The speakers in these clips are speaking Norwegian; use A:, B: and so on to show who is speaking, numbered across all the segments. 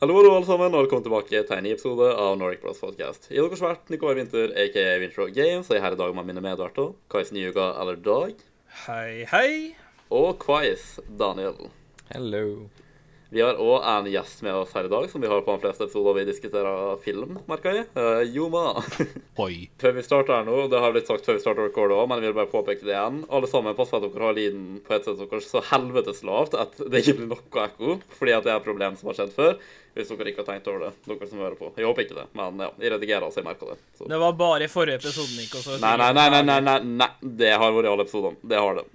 A: Hallo, hallo, alle sammen, og velkommen tilbake til en ny episode av Nordic Bros Podcast. Jeg er deres vert, Nikolai Winther, aka Wintro Games, og jeg er her i dag med mine medverter, Kais Nyuga eller Dag,
B: Hei, hei.
A: og Quais Daniel.
C: Hello.
A: Vi har òg en gjest med oss her i dag, som vi har på de fleste episoder vi diskuterer film, merker jeg. Eh, Joma.
D: Oi.
A: før vi starter her nå, det har blitt sagt før vi starter record òg, men jeg vil bare påpeke det igjen. Alle sammen, pass på at dere har lyden på headsetet deres så helvetes lavt at det ikke blir noe ekko, fordi at det er et problem som har skjedd før. Hvis dere ikke har tenkt over det, dere som hører på. Jeg håper ikke det, men ja, jeg redigerer så jeg merker det. Så.
B: Det var bare i forrige episode, Nico. Så
A: Nei, nei, nei, nei, nei, nei, nei, det har vært i alle episodene. Det har det.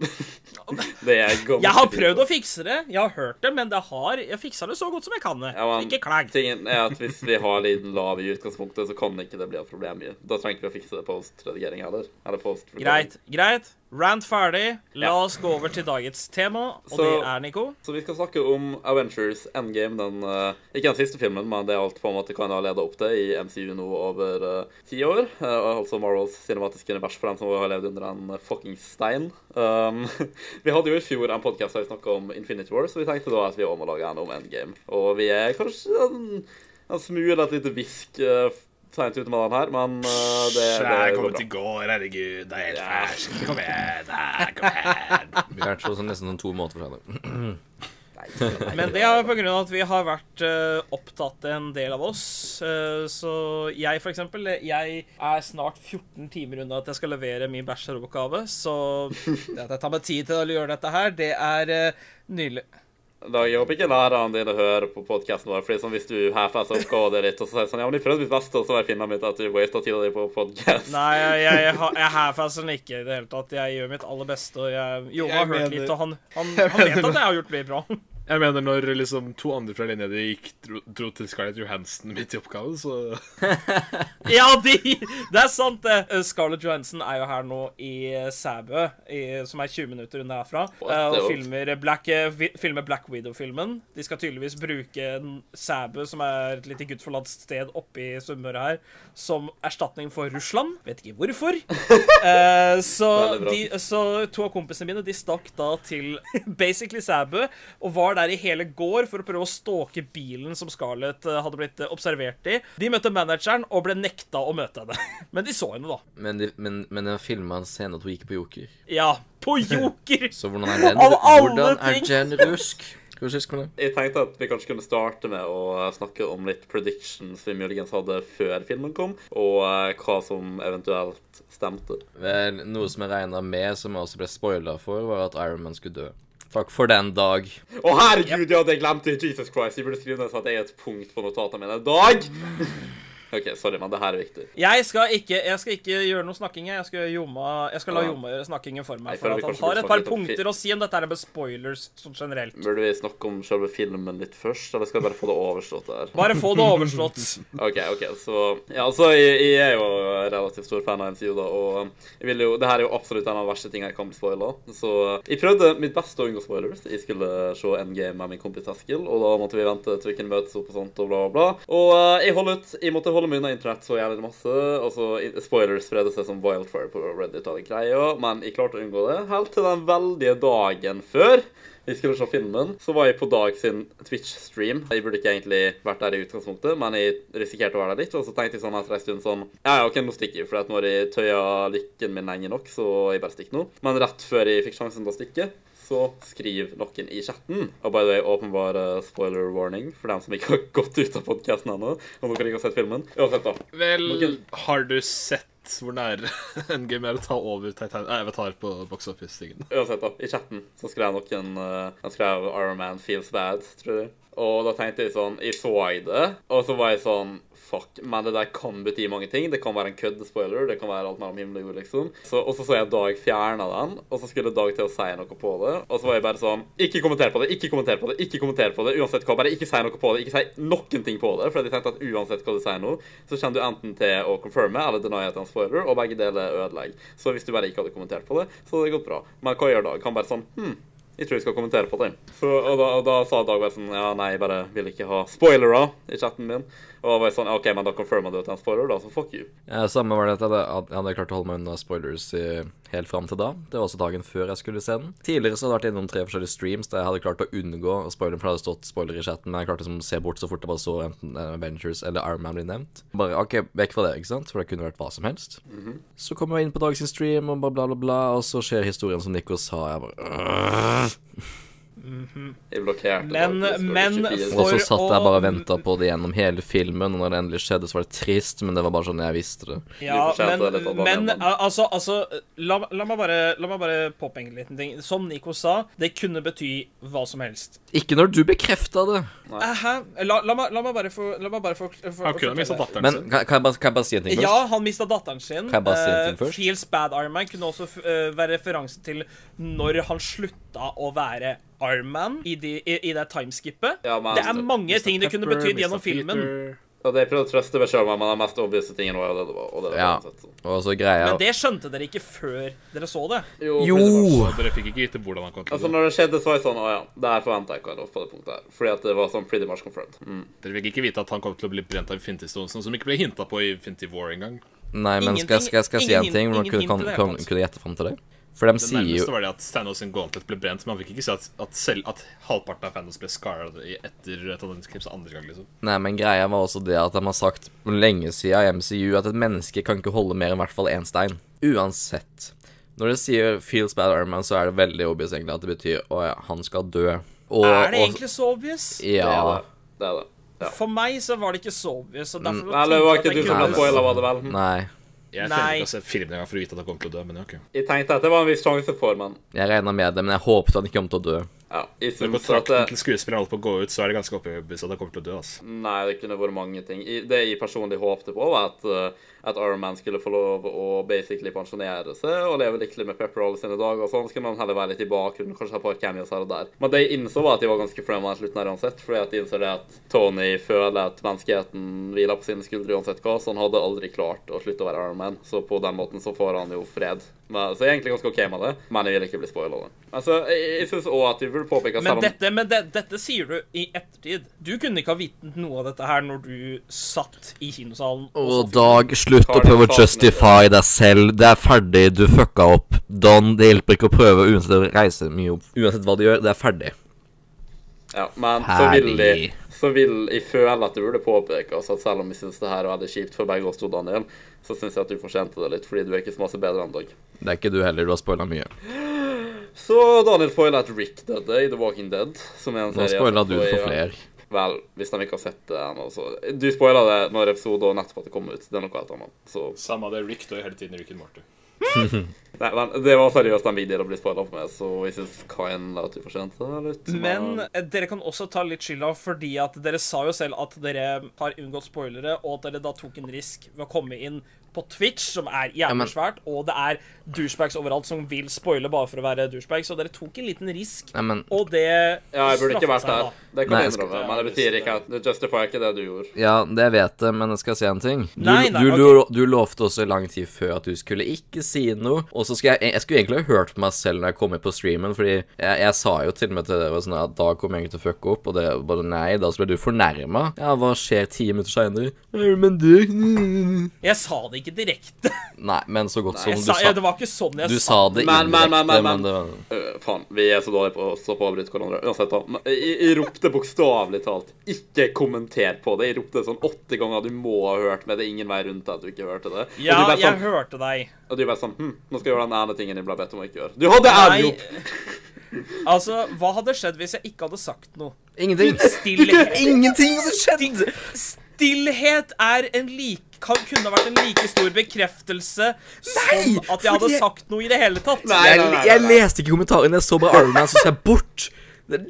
A: det er ganske
B: Jeg har
A: fint.
B: prøvd å fikse det. Jeg har hørt det, men det har Jeg fiksa det så godt som jeg kan det.
A: Ja, men
B: Ikke klag.
A: Tingen er at hvis vi har lyden lav i utgangspunktet, så kan ikke det bli et problem. i- Da trenger ikke vi å fikse det post-redigering heller. Eller post
B: Greit, greit. Rant ferdig. La
A: Ja.
B: oss gå over til dagens tema, og
A: Så-
B: det er Nico.
A: Så vi skal snakke om Avengers Endgame, den eh, ikke den siste filmen, men det er alt på en måte kan ha leda opp til i MCU nå over ti år. eh, og altså Marvels cinematiske univers for dem som har levd under en fuckings stein. Um, vi hadde jo i fjor en podkast der vi snakka om Infinity War, så vi tenkte da at vi òg må lage en om Endgame. Og vi er kanskje en, en smule et lite hvisk uh, seint ute med den her, men eh, det, det
D: Jeg
A: går
D: kom ut
A: bra.
D: i går, herregud. Det er helt
A: Ja.
D: ferskt. Kom igjen. her, Kom igjen.
C: Vi lærte oss nesten om to måneder fra det.
B: Men det er pga. at vi har vært eh, opptatt, en del av oss. Eh, så jeg, for eksempel, jeg er snart 14 timer unna at jeg skal levere min bacheloroppgave. Så det at jeg tar meg tid til å gjøre dette her, det er uh, nydelig.
A: Da, jeg håper ikke læreren din hører på podcasten vår. Fordi sånn, Hvis du half-asser oppgaven ditt og så sier sånn, ja, men jeg prøvde mitt beste, og så bare finner jeg ut at du wasta tida di på podcast.
B: Nei, jeg, jeg, har- jeg half-asser den ikke i det hele tatt. Jeg gjør mitt aller beste, og jeg Jo, jeg har
D: Jeg
B: hørt
D: mener-
B: litt, og han, han, han vet at jeg har gjort mye bra.
D: Jeg mener, når liksom to andre fra linja di gikk dro, dro til Scarlett Johansen midt i oppgaven, så
B: Ja, de, det er sant, det! Eh, Scarlett Johansen er jo her nå i eh, Sæbø, i, som er 20 minutter unna herfra,
A: What
B: eh,
A: the-
B: og filmer Black, eh, vi- filmer Black Widow-filmen. De skal tydeligvis bruke en Sæbø, som er et lite gudforlatt sted oppe i Sunnmøre her, som erstatning for Russland. Vet ikke hvorfor. Eh, så,
A: Veldig bra.
B: de, så to av kompisene mine de stakk da til basically Sæbø og var der i hele går for å prøve å stalke bilen som Scarlett eh, hadde blitt eh, observert i. De møtte manageren og ble nekta å møte henne. Men de så henne, da.
C: Men, de, men, men jeg filma en scene at hun gikk på Joker.
B: Ja, på Joker!
C: Så hvordan er den
B: Av alle
C: Hvordan er
B: ting!
C: den rusk? Hva synes du om det?
A: Jeg tenkte at vi kanskje kunne starte med å snakke om litt predictions vi muligens hadde før filmen kom, og eh, hva som eventuelt stemte.
C: Vel, noe som jeg regna med, som jeg også ble spoila for, var at Iron Man skulle dø. Takk for den, Dag.
A: Å, herregud, ja, det glemte jeg! Jesus Christ, jeg burde skrive ned sånn at jeg er et punkt på notatene mine. Dag! OK, sorry, men det her er viktig.
B: Jeg skal ikke, jeg skal ikke gjøre noe snakking. jeg. Jeg skal, gjøre Joma, jeg skal la
A: Ja.
B: Joma gjøre snakkingen for
A: Nei,
B: meg.
A: for vi
B: For at han
A: kanskje
B: har
A: burde
B: et
A: snakke
B: par
A: litt om fi-
B: punkter å si om dette her med spoilers sånn generelt.
A: Burde vi snakke om selve filmen litt først, eller skal jeg bare få det overstått der?
B: Bare få det overslått.
A: OK, ok, så Ja, altså, jeg, jeg er jo relativt stor fan av MCU, da, og um, jeg vil jo Det her er jo absolutt en av de verste tingene jeg kan bli spoila. Så uh, jeg prøvde mitt beste å unngå spoilers. Jeg skulle se Endgame med min kompis Eskil, og da måtte vi vente til vi kunne møtes opp og sånt, og bla, bla, bla. Og eh, jeg holdt ut. Jeg måtte holde meg unna internett så jævlig masse. Altså, i- spoilers spredde seg som wildfire på Reddit og greia, men jeg klarte å unngå det helt til den veldige dagen før. Vi skulle se filmen, så var jeg på Dag sin Twitch-stream. Jeg burde ikke egentlig vært der i utgangspunktet, men jeg risikerte å være der litt. Og så tenkte jeg sånn etter en stund sånn Ja, ja, ok, nå stikker jeg, for at når jeg tøyer lykken min lenge nok, så jeg bare stikker nå. Men rett før jeg fikk sjansen til å stikke, så skriv noen i chatten. Og by the way, åpenbar eh, spoiler warning for dem som ikke har gått ut av podkasten ennå. Om dere ikke har sett filmen. Uansett, da.
D: Vel,
A: Morgan.
D: har du sett hvor nære Endgame er å ta over Titan Nei, Avatar på Box Office-tingen?
A: Uansett, da. I chatten så skrev noen eh, Han skrev 'Iron Man feels bad', tror jeg. Og da tenkte jeg sånn Jeg så jeg det, og så var jeg sånn Fuck, men det der kan bety mange ting. Det kan være en kødd-spoiler. Det kan være alt mellom himmel og jord, liksom. Så, og så så jeg Dag fjerna den, og så skulle Dag til å si noe på det. Og så var jeg bare sånn Ikke kommenter på det, ikke kommenter på det, ikke kommenter på det. Uansett hva, bare ikke si noe på det. Ikke si noen ting på det. For jeg tenkte at uansett hva du sier nå, så kommer du enten til å confirme eller deny at det er en spoiler, og begge deler ødelegger. Så hvis du bare ikke hadde kommentert på det, så hadde det gått bra. Men hva gjør Dag? Han bare sånn Hm. Jeg tror jeg skal kommentere på det. Så, og, da, og da sa Dagberg sånn Ja, nei, jeg bare vil ikke ha spoilere i chatten min. Og da var jeg sånn OK,
C: Eh,
A: men da confirmer du at det er en spoiler, da, så fuck you.
C: Ja, samme var det at jeg hadde, at jeg hadde klart å holde meg unna spoilers i helt fram til da. Det var også dagen før jeg skulle se den. Tidligere så hadde jeg vært innom tre forskjellige streams der jeg hadde klart å unngå å spoile, for det hadde stått spoiler i chatten, men jeg klarte liksom å se bort så fort jeg bare så enten eh, Avengers eller Iron Man bli nevnt. Bare OK, vekk fra det, ikke sant, for det kunne vært hva som helst.
B: Mhm.
C: Så kommer jeg inn på dagens stream, og bla, bla, bla, bla, og så skjer historien som Nico sa, jeg bare «Åh!»
A: Jeg blokkerte
B: Men-
A: faktisk over
B: men
A: 24.
C: Og så
B: For
C: satt
B: å-
C: jeg bare og venta på det gjennom hele filmen, og når det endelig skjedde, så var det trist, men det var bare sånn jeg visste det.
B: Ja,
A: Du fortjente det litt,
B: men,
A: Alban,
B: men
A: Alban.
B: al- altså, altså la, la meg bare, la meg bare påpenge en liten ting. Som Nico sa, det kunne bety hva som helst.
C: Ikke når du bekrefta det.
B: Eh, Hæ? La, la, meg, la meg bare få La meg bare få for,
D: Han kunne ha mista datteren
C: Men
D: sin.
C: kan, kan, jeg bare, kan jeg bare si en ting først?
B: Ja, han mista datteren sin.
C: Kan jeg bare si en ting
B: Eh,
C: først?
B: Feels Bad Iron Man kunne også f- eh, være referanse til når han slutta å være Iron Man i, de, i, i det timeskipet.
A: Ja, men-
B: det er mange ting det kunne
D: Pepper,
B: betydd gjennom
D: Mr.
B: filmen.
D: Peter.
A: Og det jeg prøvde å trøste meg selv med, men den mest obvious tingen var jo det det var. Og det det
C: Ja.
A: var uansett, så.
C: Og så greia
B: Men det skjønte dere ikke før dere så det.
C: Jo!
A: pretty much.
D: Og dere fikk ikke vite hvordan han kom til
A: Altså,
D: det.
A: når det skjedde, så var jeg sånn Å ja, det her forventa jeg ikke av på det punktet her. Fordi at det var sånn pretty much confirmed. Mm.
D: Dere fikk ikke vite at han kom til å bli brent av Infinity Stones, noe som ikke ble hinta på i Infinity War engang.
C: Nei, men skal, skal, skal jeg si en
B: Ingenting-
C: ting?
B: ingen-
C: Hvordan kunne,
B: ingen hint i
C: kan,
B: det hele
C: kan,
B: tatt.
C: kunne jeg gjette fram til det? For de
D: Det
C: sier jo
D: nærmeste var det at Thanos sin gauntlet ble brent, men han fikk ikke si at, at, selv, at halvparten av Thanos ble scarred i- etter Thanos Knips andre gang, liksom.
C: Nei, men greia var også det at de har sagt lenge siden i MCU at et menneske kan ikke holde mer enn i hvert fall én stein. Uansett. Når det sier 'feels bad Iron Man', så er det veldig obvious egentlig at det betyr 'å ja, han skal dø'. Og,
B: Er det
C: og-
B: egentlig så obvious?
A: Det er
C: Ja.
A: det. Det er det. Ja.
B: For meg så var det ikke så obvious. Og
C: Mm.
B: derfor
A: Nei, det var
B: tenkte
A: ikke
B: jeg
A: du som ble
C: kunne-
A: spoila, var det vel?
C: Nei.
D: Jeg
B: Nei.
D: trenger ikke å se filmen engang for å vite at han kom til å dø, men ja, ok.
A: Jeg tenkte at det var en viss sjanse for, men
C: Jeg regna med det, men jeg håpet han ikke kom til å dø.
A: ja. Jeg
D: Når
A: syns at det,
D: kontrakten til skuespilleren holdt på å gå ut, så er det ganske overbevist at han kommer til å dø, altså.
A: Nei, det kunne vært mange ting. I- Det jeg personlig håpte på, var at, uh, at Iron Man skulle få lov å basically pensjonere seg og leve lykkelig med Pepper alle sine dager og sånn. Så kunne han heller være litt i bakgrunnen, kanskje ha et par cameos her og der. Men det jeg innså, var at de var ganske fremmed til slutten her uansett. Fordi at de innså det at Tony føler at menneskeheten hviler på sine skuldre uansett hva, så han hadde aldri klart å slutte å være Iron Man. Så på den måten så får han jo fred. Men, så jeg er egentlig ganske OK med det, men jeg vil ikke bli spoila. Altså, jeg, jeg syns òg at vi burde påpeke
B: Men, dette, men det, dette sier du i ettertid. Du kunne ikke ha vitnet noe av dette her når du satt i kinosalen.
C: Og
B: så-
C: Dag, slutt å
A: Carl
C: prøve å
A: Fasen.
C: justify deg selv. Det er ferdig, du fucka opp. Don, det hjelper ikke å prøve uansett å reise mye opp. Uansett hva du gjør, det er ferdig.
A: Ja, men så vil, jeg,
C: Herlig.
A: så vil jeg føle at det burde påpekes at selv om jeg syns det her var veldig kjipt for begge oss to, Daniel, så syns jeg at du fortjente det litt, fordi du er ikke så masse bedre enn Dag.
C: Det er ikke du heller, du har spoila mye.
A: Så Daniel spoiler at Rick døde i The Walking Dead, som er en
C: Nå
A: serie
C: spoila
A: som
C: du
A: får i-
C: for flere.
A: Vel, hvis de ikke har sett det ennå, så Du spoila det når episoden nettopp hadde kommet ut. Det er noe helt annet. Så
D: Samme det, Rick dør hele tiden i Rick and Morty.
A: Nei, men det var seriøst den videoen å bli spoila for meg, så jeg syns kind at du fortjente det litt.
B: Men eh, dere kan også ta litt skylda, fordi at dere sa jo selv at dere har unngått spoilere, og at dere da tok en risk ved å komme inn på Twitch, som er
C: men-
B: jævlig svært, og det er douchebags overalt som vil spoile bare for å være douchebags, så dere tok en liten risk,
C: Nei, men
B: og det
A: Ja, jeg burde ikke
B: straffet
A: vært
B: seg
A: der.
B: da.
A: Det kan
C: Nei,
A: jeg
C: jeg skal-
A: innrømme, men det betyr ikke at Det justifier ikke det du gjorde.
C: Ja, det vet jeg, men jeg skal si en ting. Du,
B: Nei, nei,
C: du,
B: ok.
C: lo- du lovte også i lang tid før at du skulle ikke si noe. Og så skulle jeg Jeg skulle egentlig ha hørt på meg selv når jeg kom inn på streamen, fordi jeg, jeg sa jo til og med til dere sånn at da kommer jeg ikke til å fucke opp, og det bare nei, da så ble du fornærma. Ja, hva skjer ti minutter seinere? Men du
B: Jeg sa det ikke direkte.
C: Nei, men så godt som
B: Jeg
C: du
B: sa, ja,
C: sa
B: det var ikke sånn jeg
C: Du
B: sa
C: sa det
A: Men, men, men, men,
C: indirekte, men
A: men.
C: det var
A: Øh, faen, vi er så dårlige på å stå på og avbryte hverandre. Uansett, da. Men Jeg, jeg ropte bokstavelig talt 'ikke kommenter på det'. Jeg ropte sånn åtte ganger. Du må ha hørt med det. er Ingen vei rundt at du ikke hørte det.
B: Ja,
A: og du bare
B: jeg
A: sånn,
B: hørte deg.
A: og du bare sånn hm, 'Nå skal jeg gjøre den ene tingen jeg ble bedt om å ikke gjøre'. Du hadde
B: Nei.
A: adjob!
B: Altså, hva hadde skjedd hvis jeg ikke hadde sagt noe?
C: Ingenting.
B: Stillhet,
C: Ingenting hadde skjedd!
B: Still- stillhet er en like kan, kunne vært en like stor bekreftelse som at jeg hadde
C: fordi-
B: sagt noe i det hele tatt.
A: Nei.
C: Jeg, jeg leste ikke kommentarene, jeg så bare Iron Man, så så jeg bort. Det-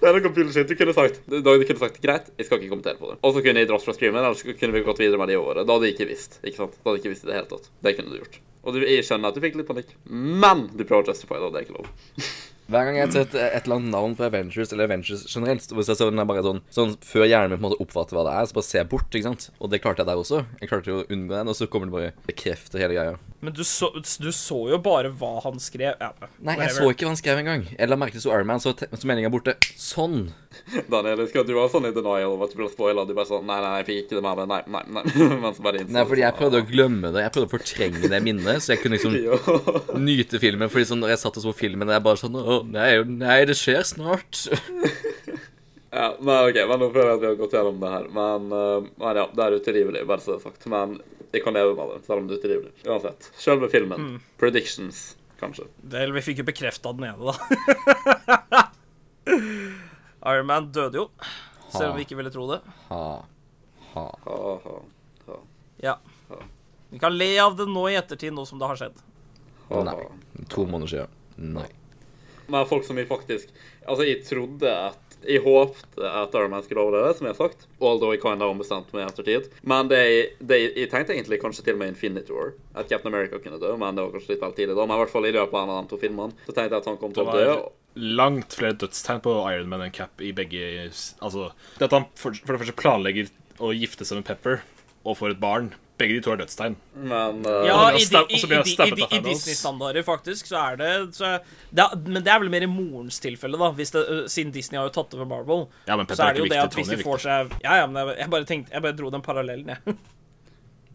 A: Det er noe bullshit. Du kunne sagt du, Dag, du kunne sagt 'greit, jeg skal ikke kommentere på det'. Og så kunne jeg dratt fra streamen, eller så kunne vi gått videre med det i året. Da hadde jeg ikke visst. ikke sant? Da hadde jeg ikke visst i det hele tatt. Det kunne du gjort. Og du, jeg skjønner at du fikk litt panikk, men du prøver å justify det, og det er ikke lov.
C: Hver gang jeg setter et eller annet navn på Avengers eller Avengers generelt, så hvis jeg ser den er bare sånn, sånn før hjernen min på en måte oppfatter hva det er, så bare ser jeg bort, ikke sant? Og det klarte jeg der også. Jeg klarte jo å unngå den, og så kommer det bare bekrefter hele greia.
B: Men du så, du så jo bare hva han skrev. Ja,
C: Nei, jeg så ikke hva han skrev engang. Eller merket det sto Iron Man, så, te- så meldinga borte. Sånn.
A: Daniel, husker du at du var sånn i denial over at du ble spoila? Du bare sånn Nei, nei, jeg fikk ikke det med meg. Nei, nei, nei. Men så bare innså
C: Nei, fordi jeg
A: du
C: prøvde å glemme det. Jeg prøvde å fortrenge det minnet, så jeg kunne liksom
A: sånn, «Ja».
C: nyte filmen. Fordi sånn, når jeg satt og så filmen, jeg bare sånn Å, nei, nei, det skjer snart.
A: Ja, men ok, men nå føler jeg at vi har gått gjennom det her. Men, eh, men ja, det er utilgivelig, bare så det er sagt. Men jeg kan leve med det, selv om det er utilgivelig. Uansett. Selve filmen. Predictions, kanskje.
B: Eller vi fikk jo bekrefta den ene, da. Iron Man døde jo, selv om vi ikke ville tro det.
C: Ha, ha.
A: Ha, ha, ha,
B: Ja. Vi kan le av det nå i ettertid, nå som det har skjedd.
A: ha,
C: Nei.
A: ha.
C: To måneder siden. Nei.
A: Men folk som vi faktisk Altså, jeg trodde at jeg håpte at Iron Man skulle overleve, som jeg har sagt. Although I kind of ombestemte meg i ettertid. Men det, det, jeg tenkte egentlig kanskje til og med Infinity War. At Captain America kunne dø, men det var kanskje litt vel tidlig da. Men i hvert fall i løpet av en av de to filmene så tenkte jeg at han kom
D: Det
A: til å dø.
D: var langt flere dødstegn på Iron Man enn Cap i begge Altså, det at han for, for det første planlegger å gifte seg med Pepper og får et barn Begge de to er dødstegn.
A: Men eh,
B: Ja,
D: Og så blir han
B: i,
D: stab-
B: di-
D: og så
B: i,
D: blir han
B: i,
D: stabbet
B: di- i,
D: av
B: i
D: Thanos.
B: Disney-standarder, faktisk, så er det, så er, det er, Men det er vel mer i morens tilfelle, da, hvis det, øh, siden Disney har jo tatt over Marvel.
D: Ja, men Pepper
B: så
D: er
B: er det jo
D: ikke
B: det
D: viktig,
B: at hvis
D: Tony er
B: de får seg Ja, ja, men jeg, jeg bare tenkte Jeg bare dro den parallellen, jeg.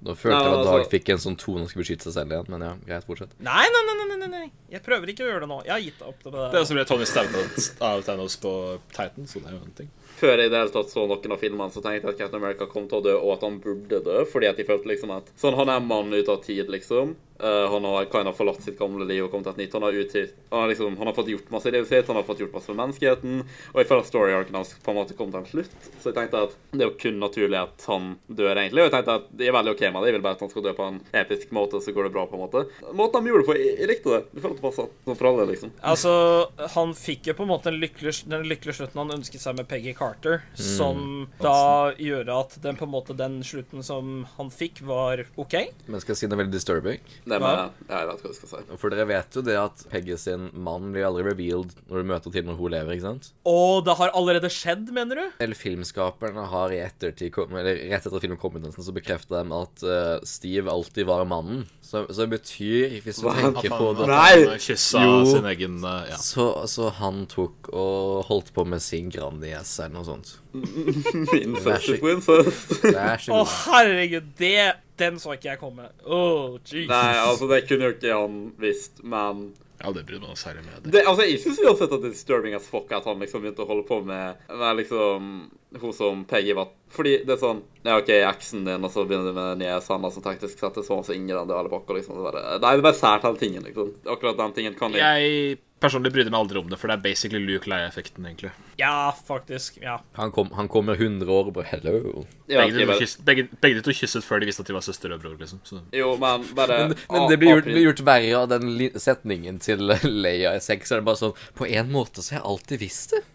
C: Da følte
A: Nei,
C: jeg at
A: altså-
C: Dag fikk en sånn tone han skulle beskytte seg selv igjen, men ja, greit, fortsett.
B: Nei, nei, nei, nei, nei, nei. Jeg prøver ikke å gjøre det nå. Jeg har gitt opp det med
D: Det er også ble Tony stabbet av Thanos på Titan, så det er jo en ting.
A: Før jeg i det hele tatt så noen av filmene, så tenkte jeg at Captain America kom til å dø, og at han burde dø, fordi at jeg følte liksom at sånn, han er en mann ut av tid, liksom. Eh, han har kind of forlatt sitt gamle liv og kommet til et nytt. Han har, utgitt, han, har liksom, han har fått gjort masse i livet sitt, han har fått gjort masse for menneskeheten, og jeg føler at story arcen hans på en måte kom til en slutt. Så jeg tenkte at det er jo kun naturlig at han dør, egentlig. Og jeg tenkte at jeg er veldig OK med det, jeg vil bare at han skal dø på en episk måte, så går det bra, på en måte. Måten de gjorde det på, jeg, jeg likte det. Jeg føler at det passet. Sånn for alle, liksom.
B: Altså, han fikk jo på en måte den lykkelige, den lykkelige slutten han ønsket seg med Peggy Carter,
D: Mm.
B: som da gjør at den på en måte den slutten som han fikk, var OK.
C: Men jeg skal si noe veldig disturbing.
A: Det med Ja, jeg vet hva jeg skal si.
C: For dere vet jo det at Peggy sin mann blir aldri revealed når du møter til når hun lever, ikke sant?
B: Og det har allerede skjedd, mener du?
C: Eller filmskaperne har i ettertid, kom- eller rett etter at filmen kom ut, nesten, så bekrefter de at eh, Steve alltid var mannen. Så, så det betyr, hvis du tenker på det
A: Nei!
D: Kyssa
C: Jo.
D: sin egen eh, ja.
C: så, så han tok og holdt på med sin Grandis eller noe sånt.
A: Incest is incest.
C: Det er så
B: Å,
C: god.
B: herregud, det Den så ikke jeg komme. Oh, jeez.
A: Nei, altså, det kunne jo ikke han visst, men
D: ja, det bryr meg særlig med. Det.
A: det, altså, Jeg syns uansett at det er disturbing as fuck at han liksom begynte å holde på med med liksom hun som Peggy var Fordi det er sånn Ja, OK, eksen din, og så begynner du med den nye Sanna som teknisk sett er sånn som Ingrid og alle pakker, liksom. Det er bare, nei, det er bare sært, den tingen, liksom. Akkurat den tingen kan jeg
D: Jeg personlig brydde meg aldri om det, for det er basically Luke Leia-effekten, egentlig.
B: Ja, faktisk. Ja.
C: Han, kom, han kommer 100 år og bare Hello.
A: jeg vet ikke,
D: Begge de, to
A: bare,
D: kyss, begge, begge de to kysset før de visste at de var søster og bror, liksom. Så.
A: Jo, men bare
C: Men, men
A: ah,
C: det blir gjort,
A: april.
C: blir gjort verre av den li- setningen til Leia i sex. Er det bare sånn På en måte så har jeg alltid visst det.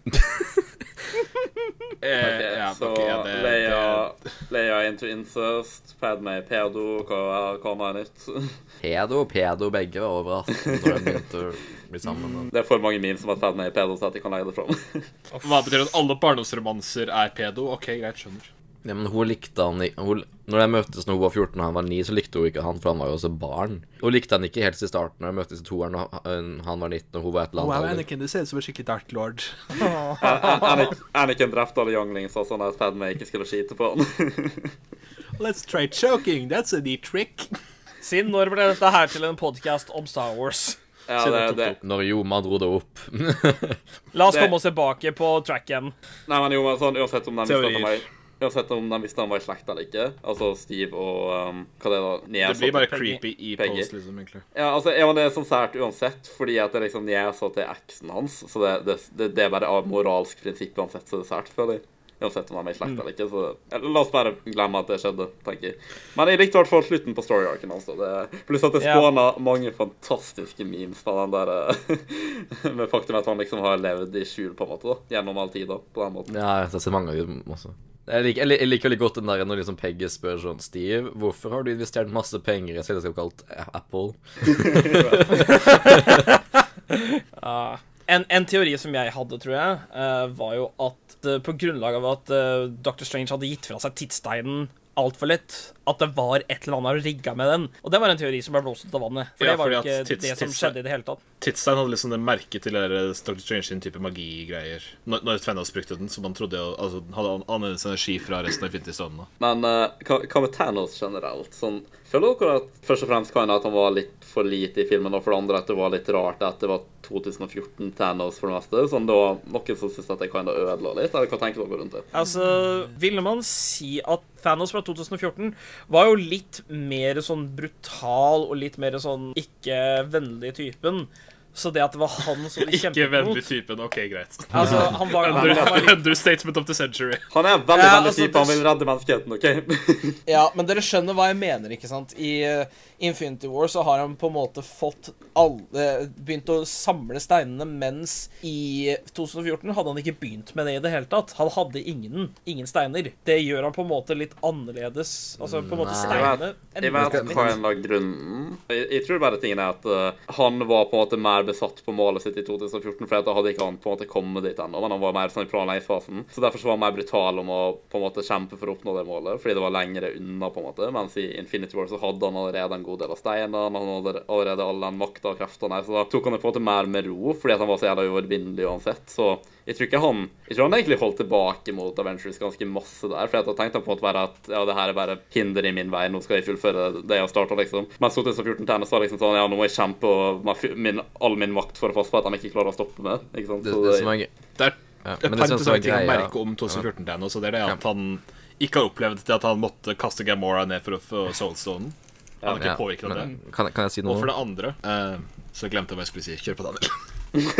D: Eh,
A: Ok,
D: ja,
A: så
D: ok, ja, det,
A: Leia, Leia into incest, Padme pedo, hva, hva mer er nytt?
C: Pedo og pedo begge var overraskende når de begynte å bli sammen. da.
A: Det er for mange memes om at Padme er pedo til at jeg kan leie det fram.
D: det, hva betyr det at alle barndomsromanser er pedo? OK, greit, skjønner.
C: Ja, men hun likte han i- hun, Når de møttes når hun var 14 og han var 9, så likte hun ikke han, for han var jo også barn. Hun likte han ikke helt i starten, når de møttes i toeren og han- han var 19 og hun var et eller annet alder.
D: du ser ut som en skikkelig dark lord.
A: An- Anakin- Anakin drepte alle younglings og sånn at Padme ikke skulle skyte på han.
D: Let's try choking, that's a neat trick.
B: Siden når ble dette her til en podkast om Star Wars?
A: ja, det, det.
C: Når Joma dro det opp.
B: La oss
A: Det-
B: komme oss tilbake på track igjen.
A: Nei, men jo, men sånn, uansett om de visste at han var
D: Teorier.
A: Uansett om de visste han var i slekt eller ikke, altså Steve og um, hva det er da,
D: Det
A: niesa
D: blir bare
A: til-
D: creepy i
A: Peggy.
D: post, liksom, egentlig.
A: Ja, altså, ja, men det er sånn sært uansett, fordi at det er liksom niesa til eksen hans, så det, det, det, det er bare av moralsk prinsipp uansett, så det er sært, føler jeg. Uansett om de er i slekt eller ikke, så eller, la oss bare glemme at det skjedde, tenker jeg. Men jeg likte i hvert fall slutten på story arcen hans, da. Det- pluss at det
B: Ja.
A: spåna mange fantastiske memes fra den der eh, Med faktum at han liksom har levd i skjul, på en måte, da, gjennom all tid, da, på den måten.
C: ja, jeg har sett mange av dem også. Jeg liker, jeg lik- jeg liker veldig godt den der når liksom Peggy spør sånn Steve, hvorfor har du investert masse penger i et selskap kalt A- Apple?
B: En, en teori som jeg hadde, tror jeg, eh, var jo at eh, på grunnlag av at eh, Dr. Strange hadde gitt fra seg tidssteinen altfor lett at det var et eller annet rigga med den. Og det var en teori som ble blåst ut av vannet. For
D: Ja,
B: det var jo
D: fordi at
B: ikke
D: tids-
B: det som
D: tids-
B: skjedde i det hele tatt.
D: Tidsstein hadde liksom det merket til det der Dr. Strange sin type magigreier. Når, når Tvennas brukte den, som han trodde altså, den hadde an- annerledes energi fra resten av Infinity Stone.
A: Men eh, hva hva med Thanos generelt? Sånn, føler dere at først og fremst kan det at han var litt for lite i filmen, og for det andre at det var litt rart at det var 2014 Thanos for det meste? Sånn, det var noen som syntes at det kan ødela litt, eller hva tenker dere rundt det?
B: Altså, ville man si at Thanos fra 2014 var jo litt mer sånn brutal og litt mer sånn ikke-vennlig typen. Så det at det var han som de
D: Ikke
B: kjempet
D: vennlig
B: mot
D: typen. OK, greit.
B: Altså, han var, han var litt
D: Understatement of the century.
A: Han er en veldig
B: Ja,
A: vennlig
B: altså,
A: type, han
B: det-
A: vil redde menneskeheten, OK?
E: Ja, men dere skjønner hva jeg mener, ikke sant? I eh, Infinity War så har han på en måte fått alle eh, Begynt å samle steinene, mens i eh, 2014 hadde han ikke begynt med det i det hele tatt. Han hadde ingen, ingen steiner. Det gjør han på en måte litt annerledes. Altså på en måte
C: Nei.
B: steinene
A: Jeg vet hva en av grunnen jeg, jeg tror bare tingen er at eh, han var på en måte mer besatt på målet sitt i 2014, for da hadde ikke han på en måte kommet dit ennå, men han var mer sånn i planleggingsfasen. Så derfor så var han mer brutal om å på en måte kjempe for å oppnå det målet, fordi det var lengre unna, på en måte. Mens i Infinity War så hadde han allerede en god del av steinene, han hadde allerede all den makta og kreftene, så da tok han det på en måte mer med ro, fordi at han var så jævla uovervinnelig uansett. Så jeg tror ikke han Jeg tror han egentlig holdt tilbake mot Avengers ganske masse der. For jeg tenkte han på en måte bare at ja, det her er bare hinder i min vei, nå skal jeg fullføre det jeg har starta, liksom. Mens 2014 Tennis var liksom sånn ja, nå må jeg kjempe og med fu- min, all min makt for å passe på at de ikke klarer å stoppe meg. Ikke sant?
C: Det,
A: Så
C: det
A: det-
C: som er gøy
D: Det er
C: Ja,
D: et par
C: men det som er
D: interessante ting å
C: greia-
D: merke om 2014 Dan også. Det er det at han ikke har opplevd det at han måtte kaste Gamora ned for å få Soulstonen. Han er
C: Ja,
D: ikke påvirket av det.
C: men Kan, kan jeg si noe?
D: Og for det andre eh, Så glemte jeg hva jeg skulle si. Kjør på, Daniel.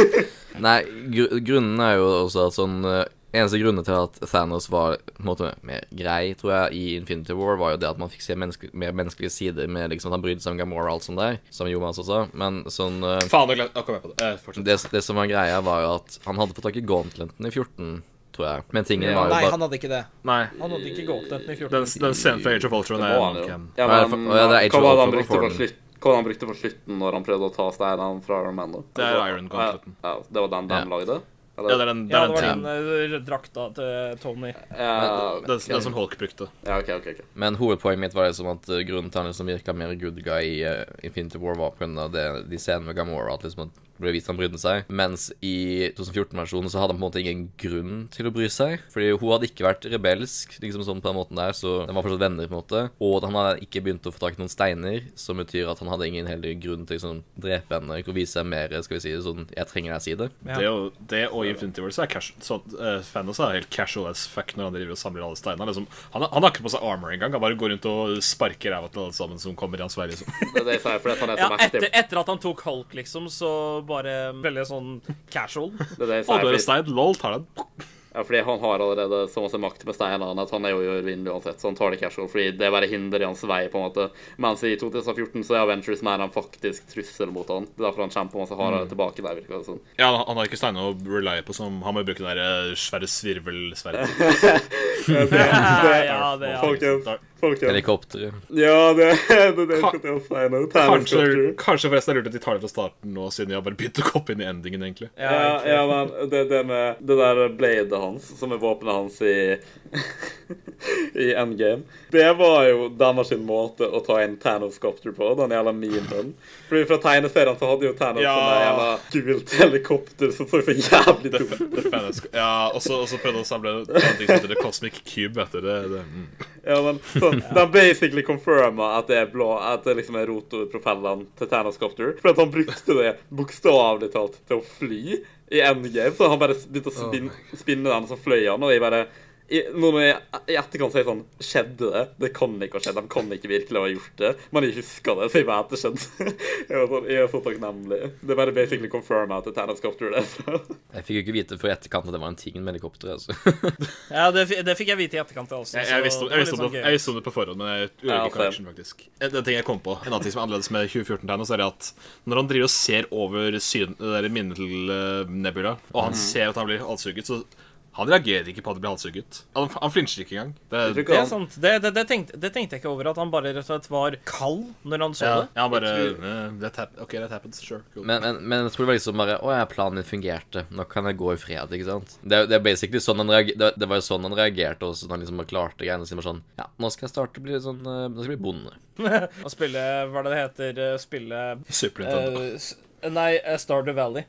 C: Nei, gr grunnen er jo også at sånn eh, Eneste grunnen til at Thanos var på en måte mer grei, tror jeg, i Infinity War, var jo det at man fikk se menneske mer menneskelige sider med liksom at han brydde seg om Gamora og alt sånt der, som Jonas også sa, men sånn eh,
D: Faen, jeg glemte Nå kom jeg på det. Eh, fortsett.
C: det, det som var greia, var jo at han hadde fått tak i Gauntleten i 14, tror jeg, men tingen var jo
E: Nei,
C: bare
E: han hadde ikke det.
D: Nei.
B: Han hadde ikke gått etter den i 14.
D: Den, den scenen fra Age of Ultron
A: det
D: er
A: var han jo.
D: nok en
A: Ja,
C: Hva er det
A: men
C: for- ja, det er Age
A: hva
C: of
A: var det han
C: Ultron
A: brukte på
C: for den.
A: slutt? Hva var det han brukte på slutten når han prøvde å ta steinene fra Iron Man? da?
D: Det er
A: Altså,
D: Iron Gauntleten.
A: Ja, ja, det var den de
C: Ja.
A: lagde?
D: Ja, det
A: Eller?
D: er den, det
B: Ja,
D: er
B: det
D: den,
B: var
D: tingen.
B: den eh, drakta til Tony.
A: Ja,
D: den, den som Hulk brukte.
A: ja, OK, OK. ok.
C: Men hovedpoenget mitt var liksom at eh, grunnen til han liksom virka mer good guy i eh, Infinity War, var pga. de scenene med Gamora. At liksom at det ble vist han brydde seg. Mens i 2014-versjonen så hadde han på en måte ingen grunn til å bry seg. Fordi hun hadde ikke vært rebelsk, liksom sånn på den måten der, så de var fortsatt venner, på en måte. Og han hadde ikke begynt å få tak i noen steiner, som betyr at han hadde ingen heller grunn til å liksom, drepe henne. Ikke å vise seg mer, skal vi si det sånn Jeg trenger deg, si det.
B: Ja.
D: Det, og, det og i Infinity War så er casual, sånn, eh, Thanos er helt casual as fuck når han driver og samler alle steinene. Liksom, han, han har ikke på seg armor engang. Han bare går rundt og sparker ræva til alle sammen som kommer i hans vei. Liksom.
A: Det er det jeg sier, fordi at han er
B: Ja,
A: så mektig.
B: etter, etter at han tok Hulk, liksom, så bare veldig sånn casual.
A: Det er det jeg
D: Og
A: sier,
D: dør
A: fordi-
D: en stein. Lol, tar den.
A: Ja, fordi han har allerede så masse makt med steinene at han er jo uovervinnelig uansett, så han tar det casual, fordi det er bare hinder i hans vei, på en måte. Mens i 2014 så er Avengers mer en faktisk trussel mot han. Det er derfor han kjemper masse hardere tilbake der, virker det som.
D: Ja, han, han har ikke steiner å rely på, som han må bruke det der eh, svære svirvelsverdet.
B: ja, det er
A: Folkens, folkens.
C: Helikopteret.
A: Ja, det er det jeg
D: skal
A: til å si nå.
D: Kanskje, kanskje forresten er det lurt at de tar det fra starten nå, siden jeg har bare begynt å koppe inn i endingen, egentlig.
A: Ja, ja, men det, det med det der bladet hans, som er våpenet hans i I Endgame, det var jo deres sin måte å ta inn Thanos Copter på, den jævla memen. Fordi fra tegneserien så hadde jo Thanos
D: Ja.
A: sånn jævla gult helikopter som så så jævlig
D: Det,
A: dumt ut.
D: det fanes, ja, og så og så prøvde han å samle en ting som heter The Cosmic Cube. Vet du, det, det, mm.
A: Ja, men sånn, De basically confirma at det er blå, at det liksom er rotorpropellene til Thanos Copter. For at han brukte det bokstavelig talt til å fly i endgame. Så han bare begynte å spin, spinne den, og så fløy han. Og jeg bare i, nå når jeg i etterkant sier sånn Skjedde det? Det kan ikke ha skjedd. De kan ikke virkelig ha gjort det. Men jeg huska det, så jeg vet det skjedde. Jeg, var sånn, jeg er så takknemlig. Det er bare basically confirma at det er Thanos Copter. Det, så.
C: Jeg fikk jo ikke vite før i etterkant at det var en ting med helikopteret, altså.
B: Ja, det, fi- det fikk jeg vite i etterkant. Altså,
D: jeg,
B: så
D: jeg, visste om, jeg,
B: det
D: visste om
B: var litt
D: det,
B: sånn
D: jeg
B: gøy.
D: visste om det på forhånd, men jeg gjorde
A: Ja,
D: ikke connection, faktisk. En, en ting jeg kom på, en annen ting som er annerledes med 2014-tegnet, så er det at når han driver
A: Mhm.
D: og ser over syn, det der minnet til eh, Nebula, og han ser at han blir halshugget, så Han reagerer ikke på at det blir halshugget. Han, han flinsjer ikke engang. Det,
A: Jeg tror
B: Det
A: ikke
B: er
A: han
B: sant. Det, det, det, tenkte, det tenkte jeg ikke over, at han bare rett og slett var kald når han så
D: ja,
B: det.
D: ja, han bare
A: Jeg
D: eh, that hap OK, that happens. Sure. Cool.
C: Men, men, men jeg tror det var liksom bare Å ja, planen min fungerte. Nå kan jeg gå i fred, ikke sant? Det, er- det er basically sånn han reager, det, det var jo sånn han reagerte også, når han liksom bare klarte greiene sine. Bare sånn Ja, nå skal jeg starte å bli sånn eh, Nå skal jeg bli bonde.
B: Å spille Hva er det det heter? eh, Spille
D: Super Nintendo.
B: eh, s- Nei, eh, Stardew Valley.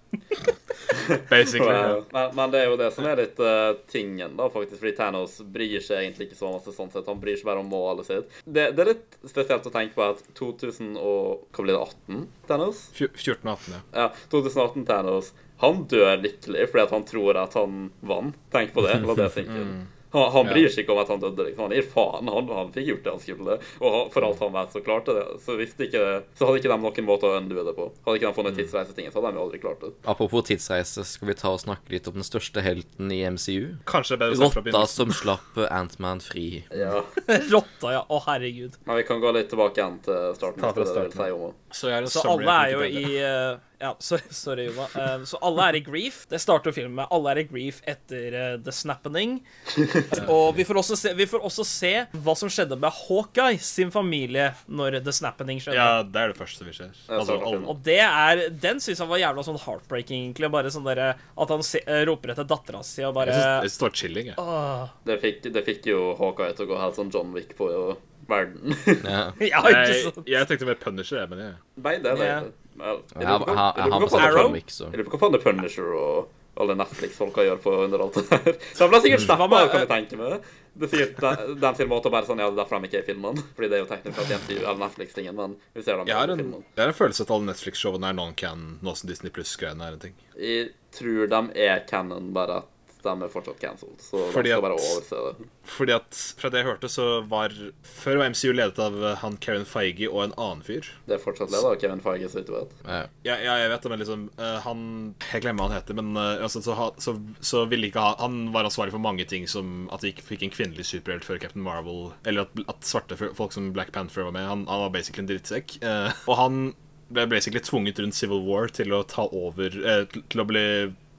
A: Eh,
D: Basically.
A: Wow. Men, men det er jo det som er litt eh, tingen, da, faktisk. Fordi Thanos bryr seg egentlig ikke så masse sånn sett. Han bryr seg bare om målet sitt. Det, det er litt spesielt å tenke på at 2000 og Hva blir det? 18? Thanos?
D: Fj- 14 og 18, ja.
A: Ja, 2018 Thanos. Han dør lykkelig fordi at han tror at han vant. Tenk på det. La det synke inn. Han, han
D: Ja.
A: bryr seg ikke om at han døde. liksom. Han gir faen. Han, han fikk gjort det han skulle. Og han- for alt han vet, så klarte det. Så hvis det ikke, så hadde ikke de noen måte å undue det på. Hadde ikke de funnet tidsreisetinget, så hadde de jo aldri klart det.
C: Apropos tidsreise, skal vi ta og snakke litt om den største helten i MCU?
D: Kanskje det er bedre å starte fra
C: Rotta
D: begynnelsen.
C: som slapp eh, Ant-Man fri.
A: Ja.
B: Rotta, ja. Å, herregud.
A: Men vi kan gå litt tilbake igjen til starten.
D: Ta fra
A: hvis det er det du
D: starten.
A: vil si om det.
D: Så jeg har en
B: Så
D: summary
B: alle
D: på
B: er jo
D: Wikipedia.
B: i eh, Ja, sorry, sorry Jona. Eh, Så alle er i grief. Det starter filmen med. Alle er i grief etter eh, The Snappening. Og vi får, også se, vi får også se hva som skjedde med Hawkeye sin familie når The Snappening skjedde.
D: Ja, det er det første vi ser. Altså,
A: starter
D: alle,
A: filmen.
B: Og det er, den syns han var jævla sånn heartbreaking, egentlig. Bare sånn derre At han se, eh, roper etter dattera si og
D: jeg
B: bare
D: synes- jeg synes det var chilling, jeg.
B: «Åh».
A: Det fikk, det fikk jo Hawkeye til å gå helt sånn John Wick på jo, verden.
C: Ja.
B: Ja, ikke
D: Jeg,
B: sant?
D: jeg tenkte mer Punisher, jeg, men jeg
A: Nei, det er det.
B: Ja.
A: Vel, jeg
C: Ja,
A: lurer på-
C: han-
A: jeg lurer på
C: han var
A: hva
C: sånn
A: faen-
B: Arrow?
C: John Wick, så
A: Jeg lurer på hva faen The Punisher og alle Netflix-folka gjør på under alt det der. Så de ble
D: Mm.
A: sikkert snappa,
B: Hva med-
A: kan jeg tenke meg. Det er sikkert de, de sin måte å bare sånn, ja, det er derfor de ikke er i filmen. Fordi det er jo teknisk sett MCU eller Netflix-tingen, men vi ser dem
D: Jeg
A: ikke
D: har
A: i
D: en,
A: filmen.
D: jeg har en følelse at alle Netflix-showene er non-can, nå som Disney Pluss-greiene er en ting.
A: Jeg tror de er canon, bare at de er fortsatt cancelled. Så
D: Fordi
A: de skal bare
D: at-
A: overse det.
D: Fordi at, fra det jeg hørte, så var Før var MCU ledet av eh, han Karen Feige og en annen fyr.
A: Det er fortsatt det, da, Kevin Feige, så vidt du vet.
C: Ja.
D: Ja, ja jeg vet det, men liksom eh, Han Jeg glemmer hva han heter, men eh, altså, så, ha- så, så ville ikke ha Han var ansvarlig for mange ting, som at vi ikke fikk en kvinnelig superhelt før Captain Marvel, eller at, at svarte fo- folk som Black Panther var med. Han, han var basically en drittsekk. eh, og han ble basically tvunget rundt Civil War til å ta over eh, til- Til å bli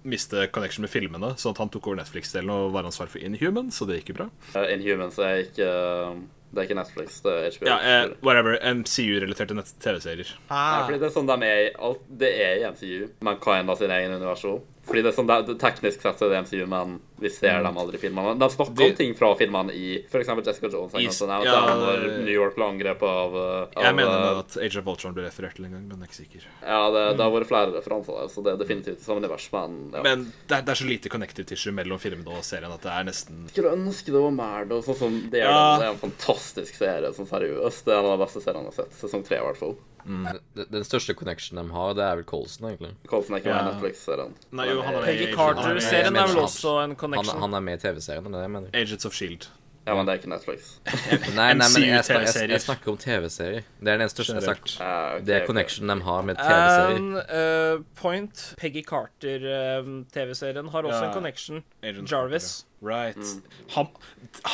D: miste connection med filmene, sånn at han tok over Netflix-delen og var ansvarlig for Inhuman, så det gikk jo bra.
A: Uh, Inhumans er ikke uh, Det er ikke Netflix, det er HBO.
D: Ja, eh, whatever. MCU-relaterte nett- TV-serier.
A: Nei, fordi det er sånn de er i alt Det er i MCU, men hva enn da sin egen universjon. Fordi det er sånn, det, det, Teknisk sett så er det MCU, men vi ser
D: Mm.
A: dem aldri i filmene. De snakker
D: De-
A: om ting fra filmene i for eksempel Jessica Jones.
D: I-
A: I, sånn, at
D: ja,
A: det er når
D: det-
A: New York ble angrepet av, uh, av
D: Jeg mener
A: uh,
D: at Age of Ultron ble referert til en gang, men jeg er ikke sikker.
A: Ja, det, det har vært flere referanser der, så det er definitivt et samme univers, men ja.
D: Mm. Men det er, det er så lite connective tissue mellom filmene og serien at det er nesten
A: skulle ønske det var mer, da. Sånn som det, er,
D: Ja.
A: det er en fantastisk serie, sånn seriøst. Det er en av de beste seriene jeg har sett. Sesong tre, i hvert fall.
C: Den, den største connection de har, det er vel Colson, egentlig.
A: Colson er ikke med i
D: Ja.
A: Netflix-serien.
D: Nei, jo, han er med i
B: Peggy
D: Agents- han er med i
B: Carter-serien er
D: Agents
B: vel
D: of-
B: også en
C: Han,
B: connection.
C: han er med i TV-serien, det er det jeg mener.
D: Agents of Shield.
A: Ja, men det er ikke Netflix.
C: Nei, nei, men jeg, jeg, jeg,
D: MCU-TV-serier.
C: jeg snakker om TV-serier. Det er den største jeg snakker
D: Generelt. Um,
A: Ah, ok,
C: Det er
A: ok.
C: connection de har med TV-serier.
B: And, eh, point Peggy Carter-TV-serien har også
D: Ja.
B: en connection.
D: Agents of
B: Jarvis.
D: Shield, E ja. Right. Han,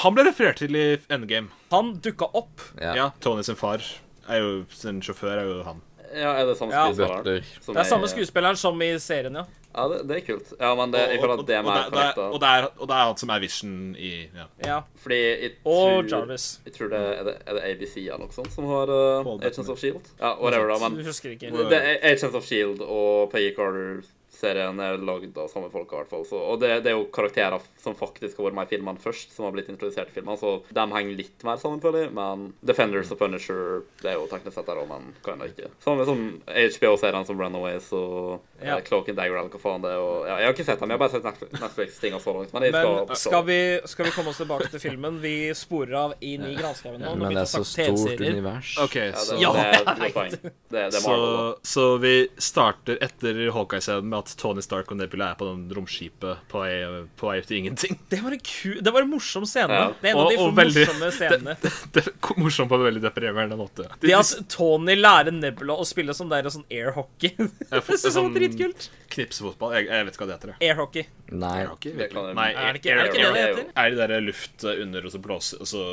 D: han ble referert til i Endgame.
B: Han dukka opp.
C: Ja.
D: Ja. Tony sin far er jo sin sjåfør, er jo han.
A: Ja, er det samme
B: Ja.
A: skuespilleren?
C: Butler.
A: som
B: Det er samme skuespilleren som i serien, ja.
A: Ja, det, det er kult. Ja, men det, jeg føler at det er
D: og,
A: mer
D: det, det er, og,
A: korrekt.
D: det er, og det er han som er Vision i ja.
B: ja.
A: Fordi jeg
B: Og
A: tror-
B: Jarvis.
A: Jeg tror det er, det, er det ABC eller noe sånt som har uh,
D: Paul
A: Agents
D: Bettany.
A: of Shield? Ja, whatever, da,
B: Du
A: men
B: husker ikke.
A: det, det er Agents of Shield E og Peggy Carter-serien er lagd av samme folk, i hvert fall. Så, og det, det er jo karakterer som faktisk har vært med i filmene først, som har blitt introdusert i filmene, så de henger litt mer sammen, føler jeg. Men Defenders og Punisher det er jo teknisk sett der òg, men kan det ikke. Samme som HBO-seriene som Runaways og
B: Ja.
A: eh, Cloak and Dagger eller hva faen det er. Og, ja, jeg har ikke sett dem, jeg har bare sett Netflix- Netflix-tinga så langt. Men jeg skal,
B: Men skal vi, skal vi komme oss tilbake til filmen? Vi sporer av inn i granskauen nå.
C: Men det er så stort univers.
D: OK,
A: Ja,
D: så
A: det,
B: Ja,
A: det, er et godt poeng. Det, det er Marvel, da.
D: Så, så vi starter etter Hawkeye-scenen med at Tony Stark og Nebula er på den romskipet på vei, på vei ut i ingenting.
B: Det var en ku... Det var en morsom scene.
A: Ja.
B: Det er en av
D: Og-
B: de
D: og veldig-
B: morsomme scenene.
D: Det, det er morsomt på en veldig deprimerende måte.
B: Det at Tony lærer Nebula å spille sånn der sånn air hockey.
D: Jeg
B: Det
D: får-
B: synes jeg var
D: sånn-
B: dritkult.
D: Knipsefotball. Jeg, jeg vet ikke hva det heter. jeg.
B: Air hockey.
C: Nei.
D: Er det ikke,
A: Det kan
D: virkelig?
A: jeg-
D: Nei,
B: Er det ikke, er det, ikke det
D: air-
B: det
A: air-
B: heter?
D: Er det der luft under, og så blåser og så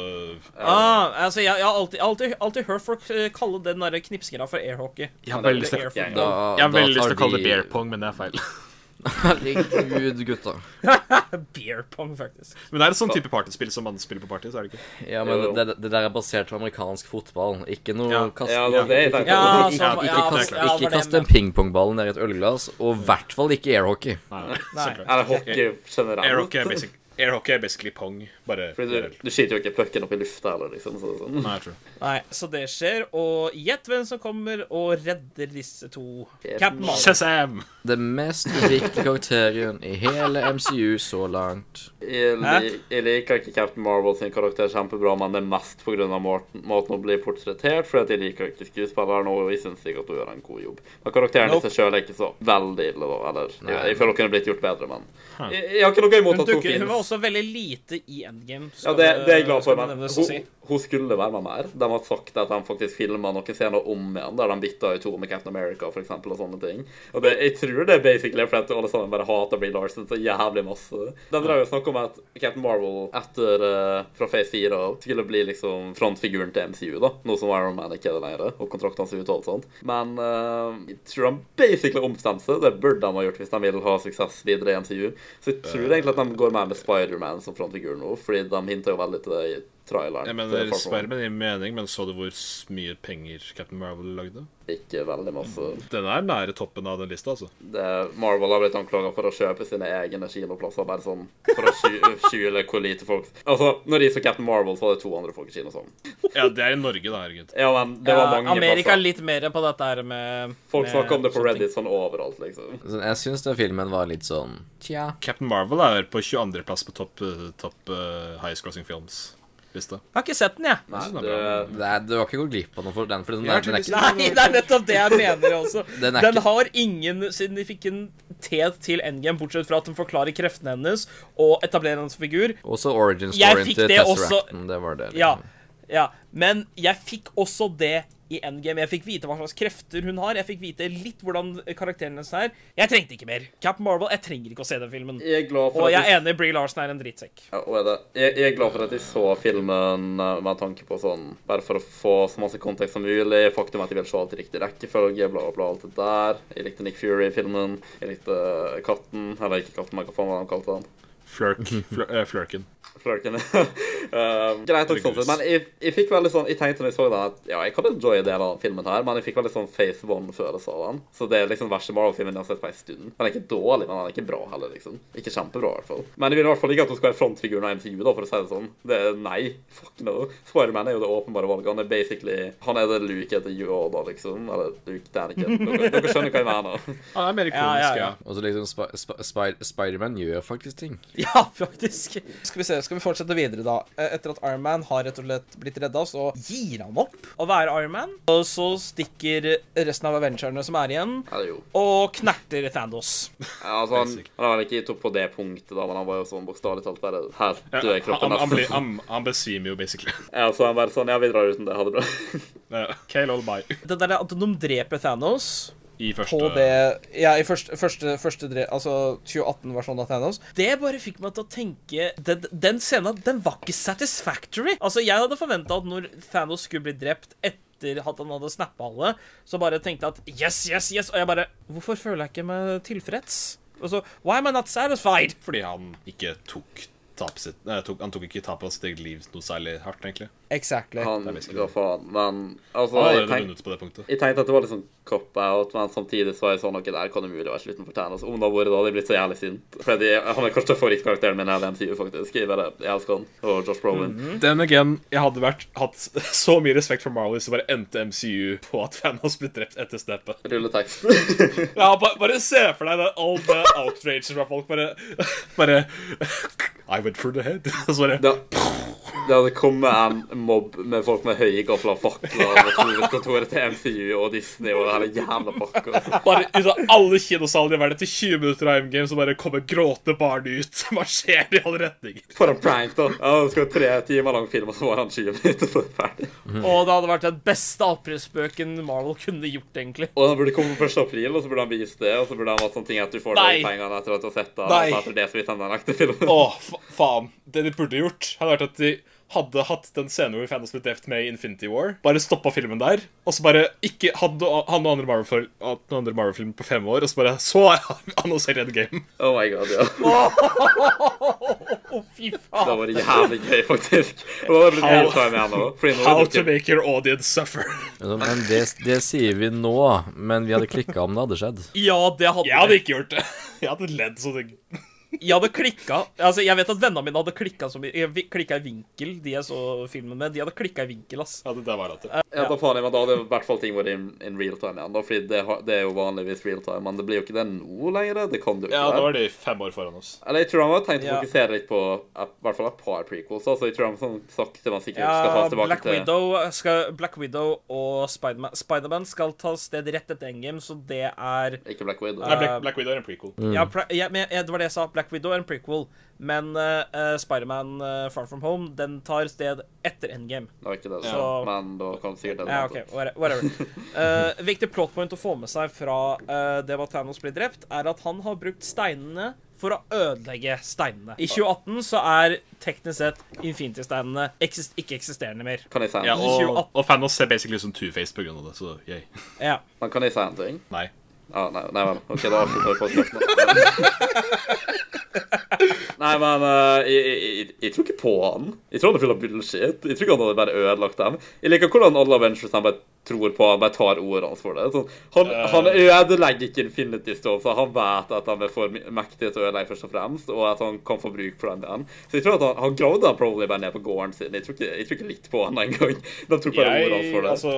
B: Ah, altså, jeg, jeg har alltid, alltid, alltid hørt folk eh, kalle den der knipsgreia for air hockey.
D: Jeg har
A: veldig
D: veldig lyst til
B: Air
A: jeg-
B: football.
C: Da,
D: jeg har
C: da
D: veldig lyst
C: tar
D: til å kalle det
C: de-
D: beer pong, men det er feil.
C: Herregud, gutta.
B: Beer pong, faktisk.
D: Men det er et sånn type partyspill som man spiller på party, så er det ikke?
C: Ja, men det, det der er basert på amerikansk fotball. Ikke noe
D: Ja.
C: kast...
A: Ja, det var det jeg tenkte.
B: Ja,
C: ikke,
B: sånn- ja,
C: ikke, kast,
B: det- ja, det var
C: ikke
B: det
C: kast en pingpongball ned i et ølglass, og i hvert fall ikke airhockey.
D: Nei, nei,
B: Nei.
D: så klart.
A: Eller hockey generelt.
D: Air hockey er basic- air hockey er basically pong, bare
A: Fordi du, du skyter jo ikke pucken opp i lufta eller liksom så, sånn.
D: Nei, jeg tror det.
B: Nei, så det skjer. Og gjett hvem som kommer og redder disse to.
A: Captain
B: Captain Marvel.
D: Shazam!
C: Den mest uviktige karakteren i hele MCU så langt.
A: Jeg, li- jeg liker ikke Captain Marvel sin karakter kjempebra, men det er mest pga. måten måten hun blir portrettert fordi at jeg liker ikke skuespilleren, og jeg syns ikke at hun gjør en god jobb. Men karakteren i
B: Nope.
A: seg sjøl er ikke så veldig ille, da. Eller jeg, jeg føler hun kunne blitt gjort bedre, men
D: Huh.
A: jeg, jeg har ikke noe imot
B: Hun,
A: at hun
B: dukker, hun var
A: fins.
B: også veldig lite i endgame.
A: Ja,
B: skal
A: det, det er jeg glad
B: skal
A: for,
B: det
A: men
B: nevnes å si.
A: hun, hun skulle være med mer. De har sagt at de faktisk filma noen scener om igjen, der de bytta i to med Captain America for eksempel, og sånne ting. Og det, jeg tror det er basically fordi at alle sammen bare hater Brie Larson så jævlig masse. De drev jo og snakka om at Captain Marvel etter eh, fra Phase 4 av skulle bli liksom frontfiguren til MCU, da. Nå som Iron Man ikke er det lenger, og kontrakten hans er ute og alt sånt. Men eh, jeg tror de basically omstemte seg. Det burde de ha gjort hvis de vil ha suksess videre i MCU. Så jeg tror egentlig at de går mer med Spider-Man som frontfigur nå, fordi de hinter jo veldig til det i traileren.
D: Jeg
A: til
D: mener,
A: Far From Home.
D: Spiderman gir mening, men så du hvor s- mye penger Captain Marvel lagde?
A: Ikke veldig masse.
D: Den er nære toppen av den lista, altså.
A: Det, Marvel har blitt anklaga for å kjøpe sine egne kinoplasser bare sånn for å sky- skjule hvor lite folk Altså, når de så Captain Marvel, så var det 200 folk i kinosalen.
D: Ja, det er i Norge, da, herregud.
A: Ja, men det var
B: Ja,
A: mange
B: Amerika er
A: plasser.
B: litt mer på dette her med
A: Folk
B: med
A: snakker om det på
B: sånne ting.
A: Reddit sånn overalt, liksom.
C: Så Jeg syns den filmen var litt sånn Tja.
D: Captain Marvel er på 22.-plass på topp eh, topp eh, highest crossing films-lista.
B: Jeg har ikke sett den, jeg.
A: Nei,
D: synes det
A: det,
D: er
C: Det er, du har ikke gått glipp av noe for den, for den,
D: Jeg har
C: er- den er ikke
B: Nei, det er nettopp det jeg mener også.
C: Den
B: Den,
C: er ikke-
B: har ingen signifikantet til endgame, bortsett fra at den forklarer kreftene hennes og etablerer hennes figur.
C: Også origin
B: Jeg
C: storyen
B: fikk
C: til
B: det også-
C: Tesseracten. Det var det. liksom.
B: Ja, ja. Men jeg fikk også det i endgame. Jeg fikk vite hva slags krefter hun har. Jeg fikk vite litt hvordan karakteren hennes er. Jeg trengte ikke mer. Cap Marvel, jeg trenger ikke å se den filmen.
A: jeg er glad for
B: Og
A: at
B: jeg
A: de-
B: er enig, Bree Larsen er en drittsekk.
A: Ja, og er det. Jeg, jeg er glad for at jeg så filmen eh, med tanke på sånn Bare for å få så masse kontekst som mulig. Faktum at jeg vil se alt i riktig rekkefølge, bla, bla, bla. Alt det der. Jeg likte Nick Fury i filmen. Jeg likte eh, katten. Eller ikke katten, men hva faen var det de kalte han?
D: Flirk. Flør, eh, flørken.
A: Flørken. Eh, greit nok, sånn sett.
D: Herregud.
A: Men jeg, jeg fikk veldig sånn Jeg tenkte når jeg så den, at ja, jeg kan enjoye en del av den filmen her, men jeg fikk veldig sånn Face One-følelse av den. Så det er liksom den verste Marvel-filmen jeg har sett på en stund. Den er ikke dårlig, men den er ikke bra heller, liksom. Ikke kjempebra, i hvert fall. Men jeg vil i hvert fall ikke at hun skal være frontfiguren av MCU, da, for å si det sånn. Det er nei. Fuck no. Spiderman er jo det åpenbare valget. Han er basically Han er det Luke etter Yoda, liksom. Eller Luke Daniken. Dere, dere skjønner hva jeg mener.
D: Ah, det er mer ikonisk,
B: Ja, ja,
D: ja.
B: ja.
C: Og så liksom Sp Sp Sp Spiderman gjør faktisk ting.
B: Ja, faktisk.
E: Skal vi se, skal vi fortsette videre, da? Eh, Etter at Iron Man har rett og slett blitt redda, så gir han opp.
B: Å være Iron Man.
E: Og så stikker resten av Avengerne som er igjen,
A: Eller jo.
B: og knerter Thandos.
A: Ja, altså, han,
D: Basic.
A: han var ikke topp på det punktet, da, men han var jo sånn bokstavelig talt bare Her
D: Ja,
A: dør kroppen.
D: han, han,
A: nesten.
D: blir- han, han besvimer jo, basically.
A: Ja, så han bare sånn Ja, vi drar uten det. Ha det bra.
D: Eh, Kale all bye.
B: Det der at de dreper Thanos,
D: I første
E: på det Ja, i første, første, første dre, Altså 2018-versjonen av Thanos.
B: det bare fikk meg til å tenke Den, den scenen den var ikke satisfactory. Altså, Jeg hadde forventa at når Thanos skulle bli drept etter at han hadde snappa alle, så bare tenkte jeg at yes, yes, yes. Og jeg bare Hvorfor føler jeg ikke meg tilfreds? Og så, Why am I not satisfied?
D: Fordi han ikke tok tapet sitt nei, tok, Han tok ikke tapet av sitt eget liv noe særlig hardt, egentlig.
E: Exactly.
A: Han
D: Det er basically
A: ga faen. Men altså
D: Han
A: jeg,
D: har allerede
A: tenk,
D: vunnet på det punktet.
A: jeg tenkte at det var litt sånn cop-out, men samtidig så var jeg sånn Ok, der kan det mulig være slutten for Thanos. Om det hadde vært da, hadde jeg blitt så jævlig sint. Fordi han er kanskje favorittkarakteren min i hele MCU, faktisk. Jeg bare jeg elsker han. Og Josh Brolin.
D: Den again, jeg hadde vært, hatt så mye respekt for Marvel hvis det bare endte MCU på at Thanos ble drept etter snappet.
A: Rulletekst.
D: Ja, bare, bare se for deg det, all the outrage fra folk. Bare, bare I went for the head. Og så bare
A: det, det hadde kommet en mobb med folk med høye gafler og fakler mot hovedkontoret til MCU og Disney og hele jævla pakka.
D: Bare ut av alle kinosalene i verden til 20 minutter av MGM, så bare kommer gråtende barn ut som marsjerer i alle retninger.
A: For en prank, da. Ja, det skal være tre timer lang film, og så var han 20 minutter før ferdig.
B: Og det hadde vært den beste avpressspøken Marvel kunne gjort, egentlig.
A: Og han burde komme på 1. april, og så burde han vise det, og så burde han hatt sånne ting at du får
D: Nei.
A: de pengene etter at du har sett det, og
D: Nei.
A: så etter det så viser han den ekte filmen.
D: Å, fa faen. Det de burde gjort, hadde vært at de hadde hatt den scenen hvor Thanos ble drept med i Infinity War, bare stoppa filmen der, og så bare ikke hadde han og andre Marvel- hatt noen andre Marvel-filmer på fem år, og så bare Så annonserer jeg Endgame.
A: Oh my god, ja.
E: Fy faen.
A: Det var jævlig gøy, faktisk. Det var litt
D: How-
A: gøy å ta med nå. Fordi nå
D: How
A: er
D: to
A: det ikke...
D: make your audience suffer.
C: Altså, Men det, det sier vi nå, men vi hadde klikka om det hadde skjedd.
B: Ja, det hadde
D: Jeg hadde ikke gjort det. Jeg hadde ledd sånn. så det
B: Jeg hadde klikka altså, Jeg vet at vennene mine hadde klikka så mye. Jeg vi- klikket i vinkel, de jeg så filmen med. De hadde klikka i vinkel, ass.
D: Ja, det der var latter.
A: Ja, da faen, jeg, men da hadde i hvert fall ting vært in, in real time igjen. da, Fordi det, har- det er jo vanligvis real time, men det blir jo ikke det nå lenger. Det kan det jo ikke
D: Ja, da
A: være.
D: var de fem år foran oss.
A: Eller jeg tror han har tenkt å
B: Ja.
A: fokusere litt på eh, i hvert fall et par prequels. Altså, jeg tror han sånn sakte, men sikkert skal
B: Ja,
A: tas tilbake
B: Black
A: til
B: Widow, skal, Black Widow og Spiderman Spiderman skal ta sted rett etter Endgame, så det er
A: Ikke Black Widow.
D: Nei, Black, Black Widow er en prequel.
B: ja, pra- ja, men, ja, Det var det jeg sa. Black Widow er en prequel. Men eh, eh, Spiderman eh, Far From Home den tar sted etter Endgame.
A: Det var ikke det,
B: Så-
A: men da kan det sikkert
B: Ja, ok, whate- whatever. Eh, viktig plot point å få med seg fra eh, det med at Thanos blir drept, er at han har brukt steinene for å ødelegge steinene. I 2018 så er teknisk sett Infinity-steinene eksist ikke-eksisterende mer.
A: Kan jeg si en
D: Ja,
A: ting?
D: og, og Thanos ser basically ut som Two-Face på grunn av det, så yay.
B: Ja.
A: Men Kan jeg si en ting?
D: Nei.
A: Ja, nei, nei vel. Ok, da avslutter vi podkasten. Nei, men eh, jeg, jeg, jeg, jeg tror ikke på han. Jeg tror han er full av bullshit. Jeg tror ikke han hadde bare ødelagt dem. Jeg liker hvordan alle Avengers han bare tror på, han bare tar ordene hans for det. Sånn, han,
D: Eh.
A: han ødelegger ikke Infinity Stone, så han vet at han er for my- mektig til å ødelegge først og fremst, og at han kan få bruk for den igjen. Så jeg tror at han, han gravde han probably bare ned på gården sin. Jeg tror ikke, jeg tror ikke litt på han engang. De tok bare ordene hans for det.
D: altså,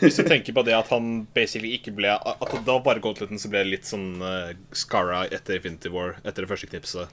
D: hvis du tenker på det at han basically ikke ble At det da bare Gauntletten som ble litt sånn uh, scara etter Infinity War, etter det første knipset,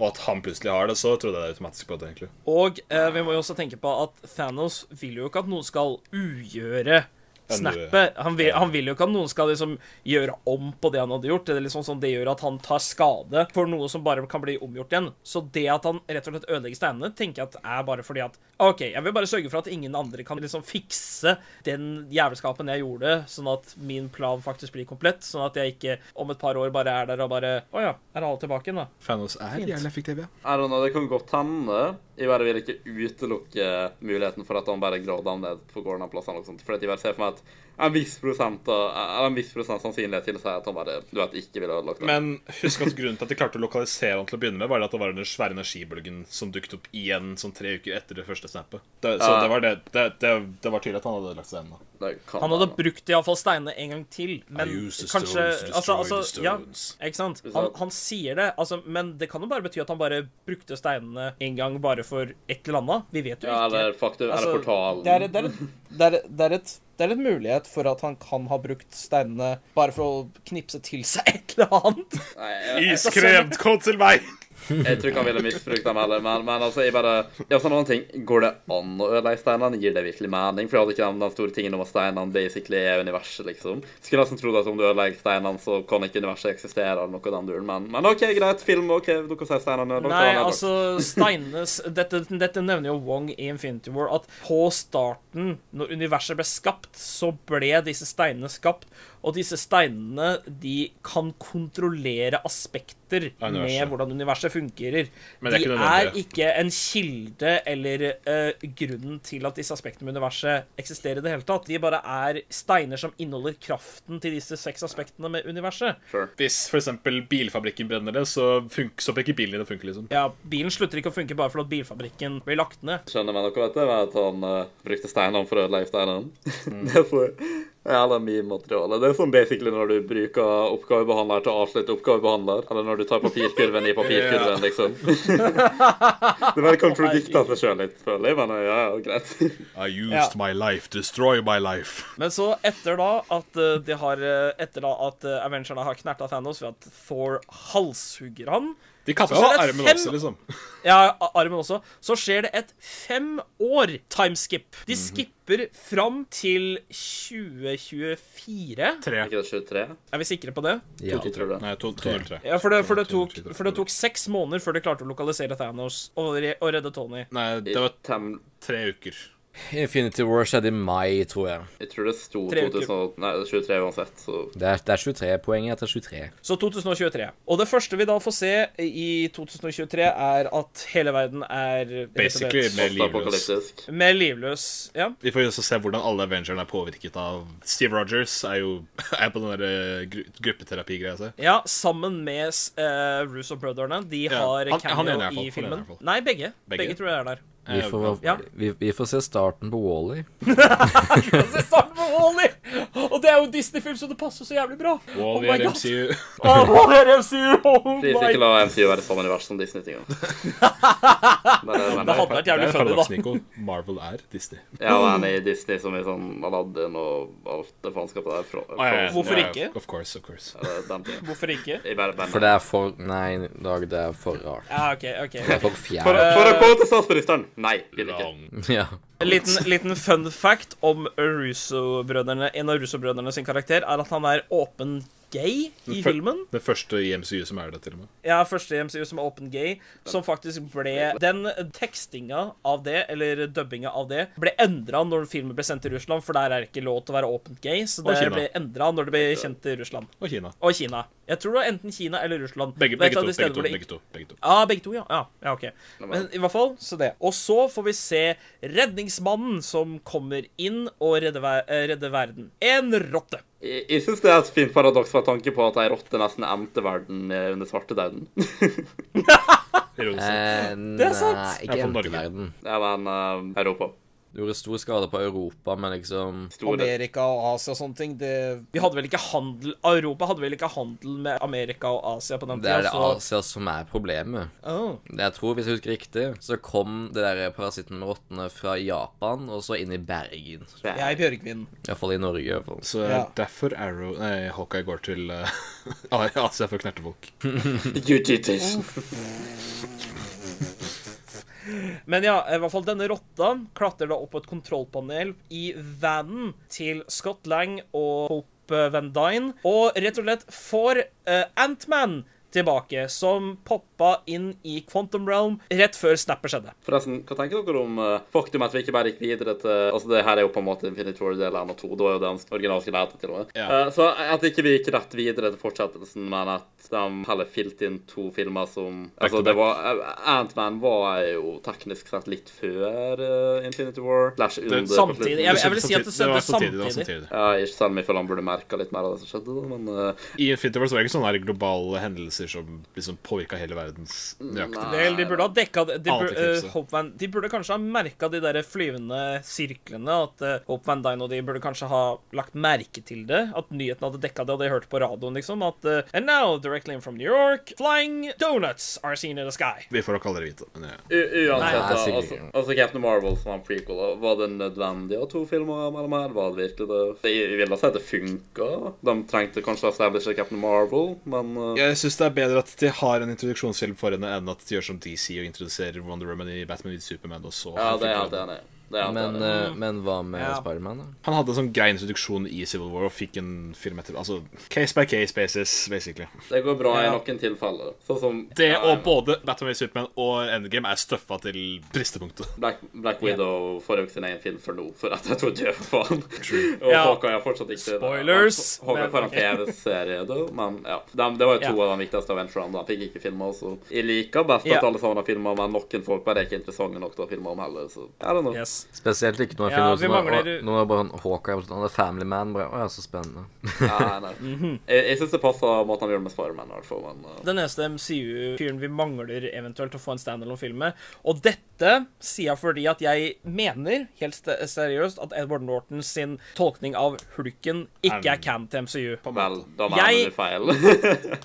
D: og at han plutselig har det, så trodde jeg det automatisk på det, egentlig.
B: Og eh, vi må jo også tenke på at Thanos vil jo ikke at noen skal ugjøre snappet. Han vil, han vil jo ikke at noen skal liksom gjøre om på det han hadde gjort. Det, er liksom sånn, det gjør at han tar skade for noe som bare kan bli omgjort igjen. Så det at han rett og slett ødelegger steinene, tenker jeg at er bare fordi at OK, jeg vil bare sørge for at ingen andre kan liksom fikse den jævelskapen jeg gjorde, sånn at min plan faktisk blir komplett. Sånn at jeg ikke om et par år bare er der og bare Å ja, er alle tilbake igjen, da?
D: Thanos er jævlig effektiv, ja.
A: I don't know, det kan godt hende. Jeg bare vil ikke utelukke muligheten for at han bare gråter om det på gården av plassene. og sånt. For at jeg bare ser for meg at en viss prosent, av- eller en viss prosent sannsynlighet til å si at han bare du vet, ikke ville ødelagt det.
D: Men husk at grunnen til at de klarte å lokalisere han til å begynne med, var det at det var den svære energibølgen som dukket opp igjen sånn tre uker etter det første snappet. Det, så
A: Ja.
D: det var det, det, det, det var tydelig at han hadde lagt seg ennå.
A: Det kan
B: Han hadde brukt iallfall steinene en gang til,
D: Ah,
B: men kanskje altså, altså, ja, ikke sant? Han, han sier det, altså, men det kan jo bare bety at han bare brukte steinene en gang bare for et eller annet. Vi vet jo
A: Ja,
B: ikke.
A: eller faktum,
E: Altså,
A: eller portalen.
E: Det er, det, er, det, er, det, er et, det er et mulighet for at han kan ha brukt steinene bare for å knipse til seg et eller annet.
A: Nei,
D: Eh,
A: jeg, jeg,
D: Iskremt, kom til meg!
A: jeg tror ikke han ville misbrukt dem heller, men, men altså, jeg bare Ja, sånn annen ting. Går det an å ødelegge steinene? Gir det virkelig mening? For jeg hadde ikke den- den store tingen om at steinene basically er universet, liksom. Skulle nesten trodd at om du ødelegger steinene, så kan ikke universet eksistere, eller noe av den duren, men, men OK, greit. Film, OK, dere sier steinene er ødelagt.
B: Nei,
A: han er ødelagt.
B: altså, steinenes dette, dette nevner jo Wong i Infinity War, at på starten, når universet ble skapt, så ble disse steinene skapt. Og disse steinene, de kan kontrollere aspekter
D: universet.
B: med hvordan universet fungerer.
D: Men det er
B: de
D: ikke
B: er
D: nødvendig.
B: ikke en kilde eller eh, grunnen til at disse aspektene med universet eksisterer i det hele tatt. De bare er steiner som inneholder kraften til disse seks aspektene med universet.
D: Hvis for eksempel bilfabrikken brenner det, så funker så ikke bilen din å funke, liksom.
B: Ja, bilen slutter ikke å funke bare fordi at bilfabrikken blir lagt ned.
A: Skjønner meg noe, vet du, med at han eh, brukte steinene for å ødelegge steinene.
B: Mm.
A: det er så jævla mye materiale. Det er sånn basically når du bruker oppgavebehandler til å avslutte oppgavebehandler, eller når du tar papirkurven i papirkurven, liksom. det bare kontradikter seg sjøl litt, føler jeg, men eh, ja, ja, greit.
D: I used
B: Ja.
D: my life, destroy my life.
B: Men så, etter da at eh, de har eh, Etter da at eh, Avengerne har knerta Thanos ved at Thor halshugger han
D: De kapper
B: Så
D: av
B: er det
D: armen
B: fem-
D: også, liksom.
B: Ja, a- armen også. Så skjer det et fem år timeskip. De skipper fram til 2024.
D: Tre.
A: Er ikke det 23?
B: Er vi sikre på det?
C: Ja.
A: 23, tror jeg.
D: Nei, to, to, null, tre.
B: Ja, for det, for det, tok, for det tok seks måneder før de klarte å lokalisere Thanos og, re og redde Tony.
D: Nei, det var
A: Tem
D: tre uker.
C: Infinity War skjedde i mai, tror jeg.
A: Jeg tror det sto
B: Tre uker.
A: 2000, nei, 23 uansett, så
C: Det er, det er 23 poeng etter 23.
B: Så 2023. Og det første vi da får se i 2023, er at hele verden er rett og
D: Basically
B: slett
D: mer livløs.
A: postapokalyptisk.
B: mer livløs. Ja.
D: Vi får jo også se hvordan alle Avengerne er påvirket av Steve Rogers er jo er på den der eh, gru gruppeterapigreia si.
B: ja, sammen med uh, Russo-brødrene. De
D: Ja.
B: har
D: Han- han
B: cameo i
D: ene er i hvert fall. Han ene er i
B: filmen.
D: hvert fall.
B: Nei, begge.
D: Begge?
B: begge. tror jeg er der.
C: Vi
D: Eh,
C: får,
B: Ja.
C: vi, vi får se starten på Wally.
B: Altså, start med Wally! Og det er jo en Disney-film, så det passer så jævlig bra.
D: Wall,
B: Oh my
D: vi er
B: God.
D: MCU.
B: Åh, Wall-E er MCU! Oh
A: Please, ikke
B: my.
A: la MCU være samme univers som eh, Disney-tinga.
B: Det hadde
A: Ja,
B: vært
D: Det er
B: jævlig
D: et
B: funny,
D: paradoks,
B: da.
D: Nico. Marvel er Disney.
A: og han er i Disney som i sånn Aladdin og alt det faenskapet der. Fra, fra,
B: Hvorfor
D: Ja, ja,
B: ikke?
D: Of course, of course.
A: eh, den tiden.
B: Hvorfor ikke?
A: Jeg bare, bare,
C: For det er for Nei, Dag, det er for rart.
B: Ja, OK.
C: Det
B: ok.
C: er for
A: for,
C: fjern.
A: for å gå til statsministeren! Nei, vil ikke.
D: Lang.
C: Ja.
B: En liten, liten fun fact om Russo-brødrene. En av Russo-brødrene sin karakter er at han er åpen gay i
D: Fø-
B: filmen.
D: Det første i MCU som er det, til og med.
B: Jeg er første i MCU som er åpen gay, som faktisk ble Den tekstinga av det, eller dubbinga av det, ble endra når filmen ble sendt til Russland, for der er det ikke lov til å være åpent gay, så
D: Og
B: det
D: Kina.
B: ble endra når det ble kjent til Russland.
D: Og Kina.
B: Og Kina. Jeg tror det var enten Kina eller Russland.
D: Begge,
B: Det er et
D: begge,
B: av
D: to,
B: de
D: begge,
B: stedene
D: to,
B: hvor det
D: begge to. begge to.
B: Ja, begge to, ja. ja. Ja, OK. Men i hvert fall, så det. Og så får vi se redningsmannen som kommer inn og redder, ver eh, redder verden. En rotte.
A: Jeg, jeg syns det er et fint paradoks med tanke på at ei rotte nesten endte verden eh, under svartedauden.
D: Ironisk.
C: Eh,
B: er sant.
C: nei,
D: Ja, for
C: ikke
D: Norge.
C: enteverden.
A: Ja, men eh, Europa.
C: Det gjorde stor skade på Europa, men liksom
A: Store.
E: Amerika og Asia og sånne ting, det
B: Vi hadde vel ikke handel Europa hadde vel ikke handel med Amerika og Asia på den
C: Det er
B: tida,
C: det altså. Asia som er problemet.
B: Åh.
C: Det jeg tror, hvis jeg husker riktig, så kom det der parasitten nummer åttende fra Japan og så inn i Bergen.
E: Jeg er Bjørgvin.
C: Iallfall i Norge. i hvert fall.
D: Så
E: Ja.
D: derfor Arrow Nei, Hawkeye går til eh, Asia for å knerte folk.
A: Jiu-jitsu.
B: Men ja, i hvert fall denne rotta klatrer da opp på et kontrollpanel i vanen til Scott Lang og Hope Van Dyne, og rett og slett får eh, Ant-Man tilbake, som poppa inn i Quantum Realm rett før snappet skjedde.
A: Forresten, hva tenker dere om eh, faktum at vi ikke bare gikk videre til Altså, det her er jo på en måte Infinity War del 1 og 2. Det var jo det han originalt skulle hete, til og med.
D: Ja.
A: Eh, så at ikke vi gikk rett videre til fortsettelsen, men at de heller filte inn to filmer som
D: Back
A: Altså,
D: to
A: det var eh, Ant-Man var jo teknisk sett litt før eh, Infinity War. Slash under på slutten.
B: samtidig. Jeg- jeg vil si at det
D: var
B: skjedde
D: Det var
B: samtidig.
D: samtidig.
A: Ja, ikke selv om jeg føler han burde merka litt mer av det som skjedde, da, men eh,
D: I Infinity War så var det ikke sånne her globale hendelser som liksom påvirka hele verdens nøyaktig.
B: Vel, de burde ha dekka det. De,
D: Annet
B: bur,
D: eclipse.
B: eh, Hope Van, de burde kanskje ha merka de der flyvende sirklene. At eh, Hope Van Dyne og de burde kanskje ha lagt merke til det. At nyheten hadde dekka det, og de hørte på radioen, liksom. At eh, And now, directly in from New York, flying donuts are seen in the sky.
D: Vi får nok aldri vite. Men ja.
A: u uansett,
C: Nei,
A: da,
C: sikkert
A: altså,
C: ikke.
A: altså Captain Marvel som var en prequel, da, var det nødvendig å ha to filmer mellom her? Var det virkelig det? Jeg vil da si at det funka. De trengte kanskje å establishe Captain Marvel, men eh,
D: Jeg syns det er bedre at de har en introduksjonsfilm for henne, enn at de gjør som DC og introduserer Wonder Woman i Batman vs Superman. Og så
A: Ja, det er jeg helt enig i. Det er jeg helt
C: Men,
A: enig i.
C: eh, men hva med
B: Ja.
C: Spiderman, da?
D: Han hadde en sånn grei introduksjon i Civil War og fikk en film etter Altså case by case basis, basically.
A: Det går bra i
B: ja.
A: noen tilfeller. Sånn som
D: Det
A: ja,
D: og både Batman vs Superman og Endgame er støffa til bristepunktet.
A: Black, Black Widow får jo ikke sin egen film for nå, for at jeg tror død for faen. Og
B: Ja.
A: Hawkeye har fortsatt ikke
B: Spoilers!
A: Ja, Hawkeye får en
B: Men,
A: TV-serie, da, men ja. De, det var jo to
B: Ja.
A: av de viktigste adventurene. De fikk ikke filma, så jeg liker best
B: Ja.
A: at alle sammen har filma, men noen folk bare er ikke interessante nok til å filme om heller, så I don't know.
B: Yes.
C: Spesielt ikke når
B: Ja,
C: jeg
B: vi
C: finner ut som
B: mangler-
C: er- Nå er det bare en Hawkeye og sånn, han er Family Man. Bare, å, ja, så spennende.
A: Ja, nei.
B: Mhm.
A: Jeg, jeg syns det passer måten de gjør det med Spiderman, i hvert fall, men uh,
B: Den eneste MCU-fyren vi mangler eventuelt å få en standalone-film med. Og dette sier jeg fordi at jeg mener helt ste- seriøst at Edward Norton sin tolkning av hulken ikke er canon til MCU.
A: Vel, da mener
B: Jeg-
A: du feil.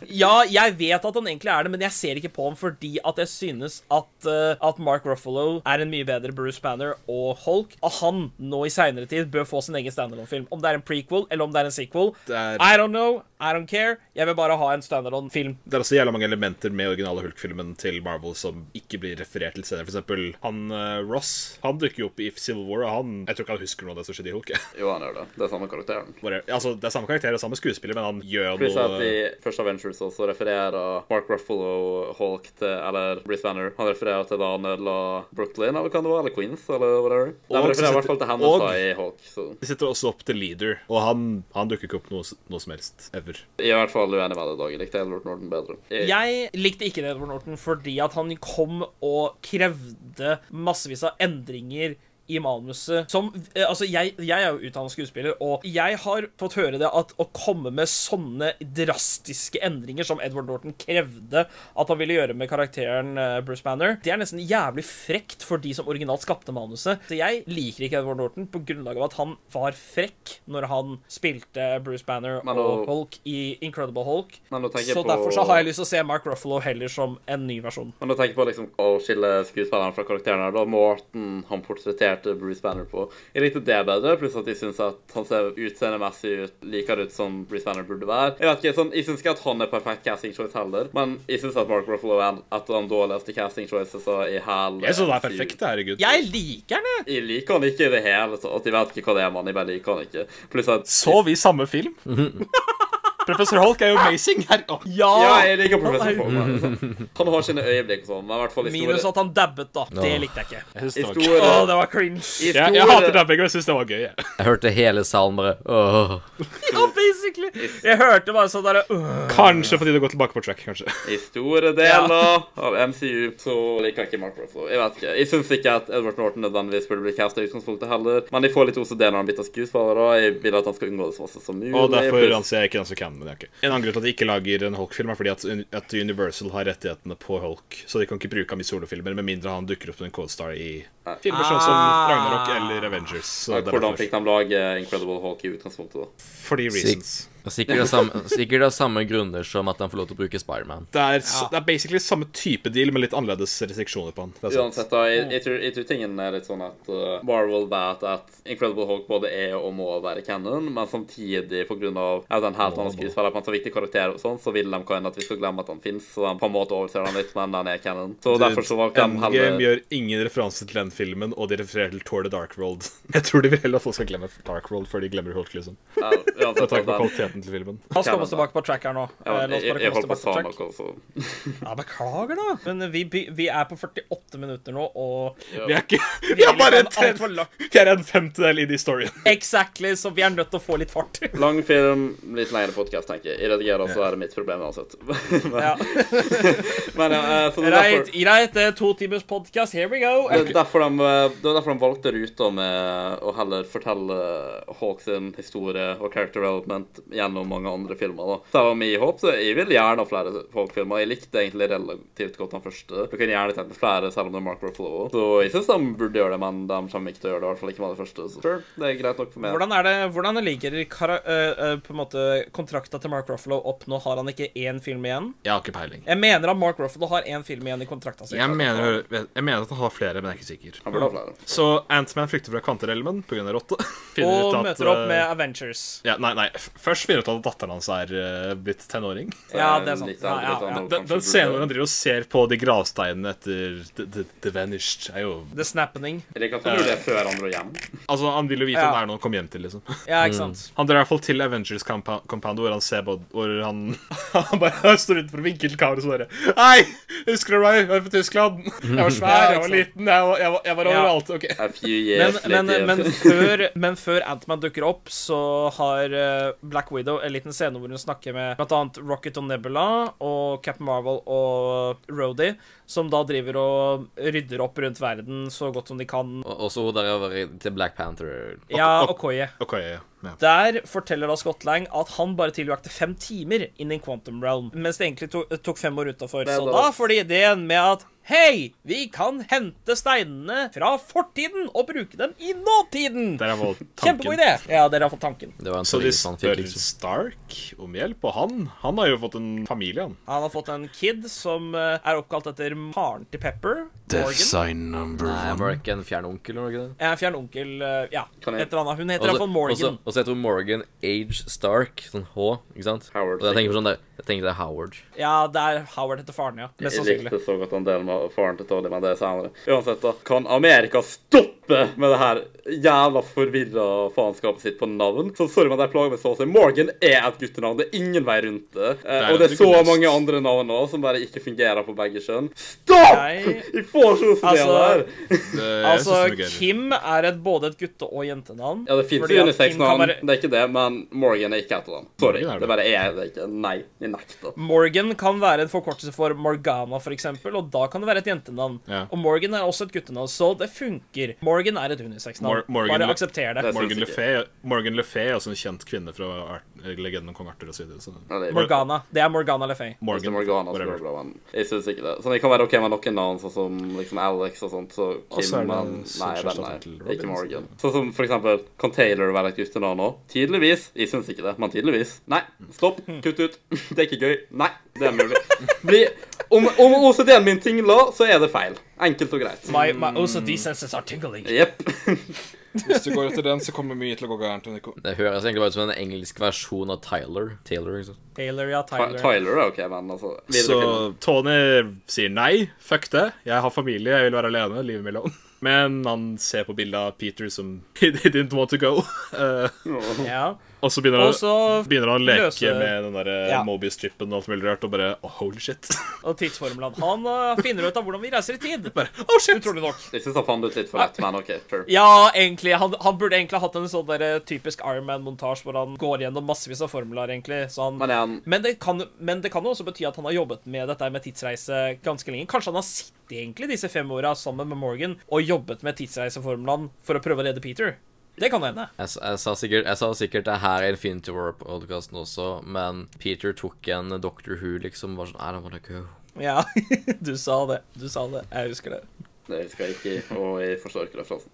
B: Ja, jeg vet at han egentlig er det, men jeg ser ikke på ham fordi at jeg synes at, eh, at Mark Ruffalo er en mye bedre Bruce Banner og Hulk. Og han nå i seinere tid bør få sin egen standalone-film. Om det er en prequel eller om det er en sequel,
D: Det er-
B: I don't know, I don't care. Jeg vil bare ha en standalone-film.
D: Det er også jævla mange elementer med originale Hulk-filmen til Marvel som ikke blir referert til senere. For eksempel eksempel han eh, Ross. Han dukker jo opp i Civil War, og han Jeg tror ikke han husker noe av det som skjedde i Hulk.
A: Jo, han gjør det. Det er samme karakteren.
D: Bare, altså, det er samme karakter og samme skuespiller, men han gjør
A: Pluss at
D: noe
A: i første Avengers også refererer Mark Ruffalo Hulk til Eller Bruce Banner. Han refererer til da han ødela Brooklyn, eller hva det var, eller Queens, eller whatever. De
D: Og-
A: refererer i hvert fall til
D: og-
A: hendelser i Hulk. Så
D: De setter også opp til leader, og han, han dukker ikke opp noe, s- noe som helst. Ever.
A: jeg er i hvert fall uenig med deg, Dag. Jeg likte Edward Norton bedre. Jeg,
B: Jeg likte ikke Edward Norton fordi at han kom og krevde massevis av endringer i manuset som eh, Altså, jeg, jeg er jo utdannet skuespiller, og jeg har fått høre det at å komme med sånne drastiske endringer som Edward Norton krevde at han ville gjøre med karakteren eh, Bruce Banner, det er nesten jævlig frekt for de som originalt skapte manuset. Så jeg liker ikke Edward Norton på grunnlag av at han var frekk når han spilte Bruce Banner
A: Men
B: og
A: nå-
B: Hulk i Incredible Hulk.
A: men å tenke
B: Så
A: på
B: derfor så har jeg lyst til å se Mark Ruffalo heller som en ny versjon.
A: Men å tenke på liksom, å skille skuespilleren fra karakteren her, da Morten han portretterte Bruce Banner på. Jeg likte det bedre, pluss at jeg syns at han ser utseendemessig ut likere ut som Bruce Banner burde være. Jeg vet ikke, sånn, jeg syns ikke at han er perfekt casting choice heller, men jeg syns at Mark Ruffalo er en- et av de dårligste casting choices i hele
D: Jeg synes det er
A: MCU.
D: perfekt, herregud.
B: Jeg liker den, jeg!
A: Jeg liker han ikke i det hele tatt. Jeg vet ikke hva det er, mann. Jeg bare liker han ikke. Pluss at
D: Så vi samme film? Professor Holk er jo amazing. Her. Å,
A: Ja,
B: Ja!
A: jeg liker
B: Han
A: Professor
B: er-
A: Fogman. liksom. Han har sine øyeblikk og sånn, men i hvert fall i store,
B: Minus at han dabbet, da. Det likte jeg ikke.
D: jeg synes
A: i
D: det var gøy.
A: store,
B: Å, det var cringe.
A: i
D: Jeg, jeg
A: store-
D: hater dabbing, men jeg syns det var gøy. jeg.
C: Jeg hørte hele salen bare åh.
B: Ja, basically. Jeg hørte bare sånn derre øh.
D: Kanskje fordi det går tilbake på track. kanskje.
A: I store deler av MCU så liker jeg ikke Mark Ruffalo. Jeg vet ikke. Jeg syns ikke at Edward Norton nødvendigvis burde bli castet i utgangspunktet heller, men jeg får litt OCD når han bytter skuespiller, og jeg vil at han skal unngå det så masse som mulig.
D: Og derfor
A: pluss-
D: anser jeg ikke den som canon. men det er ok. En annen grunn til at de ikke lager en Hulk-film, er fordi at, at Universal har rettighetene på Hulk, så de kan ikke bruke ham i solofilmer med mindre han dukker opp som en co-star i filmer sånn som Ragnarok eller Avengers. Så det er
A: Hvordan fikk
D: derfor.
A: de lage Incredible Hulk i utgangspunktet, da?
D: Fordi reasons.
C: Sikkert av samme, sikkert av samme grunner som at han får lov til å bruke Spiderman.
D: Det er, s- det er basically samme type deal, med litt annerledes restriksjoner på han. Det er sant.
A: Uansett, da, jeg, jeg, tror, jeg tror tingen er litt sånn at uh, Marvel vet at Incredible Hulk både er og må være canon, men samtidig på grunn av at en helt annen skuespiller på en så viktig karakter og sånn, så vil de kan at vi skal glemme at han fins, så de på en måte overser han litt, men han er canon. Så derfor så valgte de
D: Endgame
A: heller
D: gjør ingen referanse til den filmen, og de refererer til Tour the Dark World. Jeg tror de vil heller at folk skal glemme Dark World før de glemmer Hulk, liksom.
A: Ja,
D: Med
A: uansett,
D: tanke på
A: den-
D: kvaliteten til filmen.
B: La oss komme oss tilbake på track her nå.
A: Ja,
B: Eh,
A: men
B: La oss
A: jeg, jeg,
B: bare komme oss
A: holdt på å
B: tilbake på
A: sa
B: track.
A: noe, så
B: Ja, beklager, da. Men eh, vi, by- vi er på 48 minutter nå, og
D: Vi er ikke Vi er sånn bare en,
B: liksom alt for langt.
D: vi er en femtedel inn i storyen.
B: Exactly, så vi er nødt til å få litt fart.
A: Lang film, litt lengre podkast, tenker jeg. Jeg redigerer, så er det mitt problem uansett. men,
B: Ja.
A: men ja, eh, så det er
B: Greit,
A: derfor,
B: greit. det er To timers podcast, Here we go.
A: det er derfor, de, eh, det er derfor de valgte ruta med å heller fortelle Hawk sin historie og character development gjennom mange andre filmer. da. Selv om jeg håper, jeg vil gjerne ha flere Hawk-filmer. Jeg likte egentlig relativt godt den første. Du kunne gjerne tenkt meg flere, selv om det er Mark Ruffalo. Så jeg syns de burde gjøre det, men de kommer ikke til å gjøre det, i hvert fall ikke med det første. Så sure, det er greit nok for meg.
B: Hvordan, er det, hvordan ligger kara eh, eh, på en måte kontrakta til Mark Ruffalo opp nå? Har han ikke én film igjen?
D: Jeg har ikke peiling.
B: Jeg mener at Mark Ruffalo har én film igjen i kontrakta si.
D: Jeg mener, jeg mener at han har flere, men jeg er ikke sikker.
A: Han burde ha flere.
D: Så Antman flykter fra kvanterelmen pga. rotte. Finner
B: Og
D: ut at,
B: møter opp med
D: eh,
B: Avengers.
D: ja, Nei, nei. f- Først finner ut at datteren hans er eh, blitt tenåring.
B: Ja, det er sant.
A: Litt
B: Ja, ja,
A: litt
B: ja.
A: annerledes,
D: Den,
A: kanskje,
D: den scenen hvor
A: burde-
D: han driver og ser på de gravsteinene etter The, the, the Vanished, er jo
B: The Snappening.
A: Eller ikke at han gjorde det før han dro hjem.
D: Altså, Han vil jo vite
B: Ja.
D: om det er noe han kom hjem til, liksom.
B: Ja, ikke sant?
D: Han drar i hvert fall til Avengers compa- Compound, hvor han ser på Hvor han, han bare står utenfor vinkelkameraet og så bare Hei! Husker du meg? Jeg var fra Tyskland. Jeg var
B: Ja,
D: svær, jeg
B: ikke
D: var
B: sant.
D: liten, jeg var, jeg var, jeg var
B: Ja.
D: overalt. Ok.
A: A few years
B: Men, men, eh,
A: later.
B: men før, men før Antman dukker opp, så har eh, Black Widow en liten scene hvor hun snakker med bl.a. Rocket og Nebula og Captain Marvel og Rhodey, som da driver og rydder opp rundt verden så godt som de kan.
C: Og og så hun der over i- til Black Panther.
B: Ja, og Koye.
D: Ok, ja, ja.
B: Der forteller da Scott Lang at han bare tilbrakte fem timer inn i Quantum Realm, mens det egentlig to tok fem år utafor.
A: Det er
B: Så
A: bra.
B: da får de ideen med at Hei, vi kan hente steinene fra fortiden og bruke dem i nåtiden!
D: Der er vel
B: Kjempegod
D: tanken.
B: idé! Ja, dere har fått tanken.
C: Det var en
D: Så de
C: teori han fikk,
D: spør
C: liksom.
D: Stark om hjelp, og han Han har jo fått en familie, han.
B: Han har fått en kid som eh, er oppkalt etter faren til Pepper. Morgan.
D: sign number
C: Nei, var det ikke en fjern onkel, var det ikke det?
B: Eh, Fjern onkel eh, Ja, et
A: Kan jeg- Altså-
B: eller annet. Hun heter
C: Og så-
B: iallfall Morgan.
C: Og så heter hun Morgan Age Stark, sånn H, ikke sant?
A: Howard
C: og jeg tenker på sånn der Jeg tenker det er Howard.
B: Ja, det er Howard etter faren, ja. Mest
A: Jeg
B: sannsynlig.
A: likte så godt han delte med faren til Tolly, men det er senere. Uansett, da. Kan Amerika stoppe med det her jævla forvirra faenskapet sitt på navn? Så sorry, men de plager meg så å si. Morgan er et guttenavn. Det er ingen vei rundt det. Eh,
D: Nei,
A: og det er
D: det er
A: så
D: ikke
A: mange
D: lest.
A: andre navn òg som bare ikke fungerer på begge kjønn. Stopp!
B: Jeg-
A: Vi får så mye
B: Altså,
A: altså... her.
D: Det, eh, jeg
B: Altså,
D: synes det var gøy.
B: Kim er et, både et gutte- og jentenavn.
A: Ja, det fins
B: fordi at Kim kan
A: unisex-navn,
B: være-
A: det er ikke det, men Morgan er ikke et av dem. Sorry.
D: Morgan er det.
A: Det bare er det ikke. Nei, jeg nekter.
B: Morgan kan være en forkortelse for Morgana, for eksempel, og da kan det være et jentenavn.
D: Ja.
B: Og Morgan er også et guttenavn, så det funker. Morgan er et unisex-navn.
D: Mor- Morgan-
B: Bare aksepter det.
A: Det-
D: Morgan
A: synes
D: Le
A: ikke.
D: Fay- Morgan Le Fay er også en kjent kvinne fra Art- legenden om kong Arthur osv. Så
A: Ja, det er-
B: Morgana. Det er Morgana Le Fay.
A: Hvis det er altså. Morgana som
D: whatever.
A: gjør det, men jeg synes ikke det. Så det kan være ok med noen navn, sånn som liksom Alex og sånt, så
D: Og
A: Kim,
D: så er
A: men
D: det
A: nei,
D: Sunshine
A: den er
D: Stattel
A: ikke
D: Robinson.
A: Morgan. Sånn som for eksempel, kan Taylor være et guttenavn òg? Tydeligvis. Jeg synes ikke det, men tydeligvis. Nei, stopp, kutt ut. Det er ikke gøy. Nei, det er mulig. Bli, om om OCD-en min tingler, så er det feil. Enkelt og greit.
B: My, my OCD senses are tingling.
A: Jepp.
F: Hvis du går etter den, så kommer mye til å gå gærent. Nico.
C: Det høres egentlig bare ut som en engelsk versjon av Tyler. Taylor, ikke sant.
B: Taylor, ja, Tyler.
A: Tyler er ok, men altså videre
D: Så
A: filmen.
D: Tony sier nei, fuck det. Jeg har familie, jeg vil være alene. Livet mellom. Men han ser på bildet av Peter som He didn't want to go. Eh,
B: Ja.
D: og så begynner,
B: Og så
D: han, begynner han å leke
B: løser-
D: med den der
E: Ja.
D: Mobius-trippen og alt mulig rart, og bare oh, holy shit.
B: Og tidsformelen. Han eh, finner ut av hvordan vi reiser i tid.
D: oh shit!
B: Utrolig nok.
A: Jeg synes han fant ut litt for lett, men OK, sure.
B: Ja, egentlig. Han, han burde egentlig hatt en sånn der typisk Ironman-montasje hvor han går gjennom massevis av formler, egentlig. Så han,
A: Men er han
B: men, det kan, men det kan jo også bety at han har jobbet med dette med tidsreise ganske lenge. Kanskje han har sittet egentlig disse fem åra sammen med Morgan og jobbet med tidsreiseformlene for å prøve å redde Peter. Det kan hende.
C: Jeg, s- jeg, sa sikkert, jeg sa sikkert det her i Infinity War-podkasten også, men Peter tok en Doctor Who, liksom. Bare sånn I don't wanna go.
B: Ja, du sa det. Du sa det. Jeg husker det.
A: Det skal jeg ikke, og jeg forstår ikke referansen.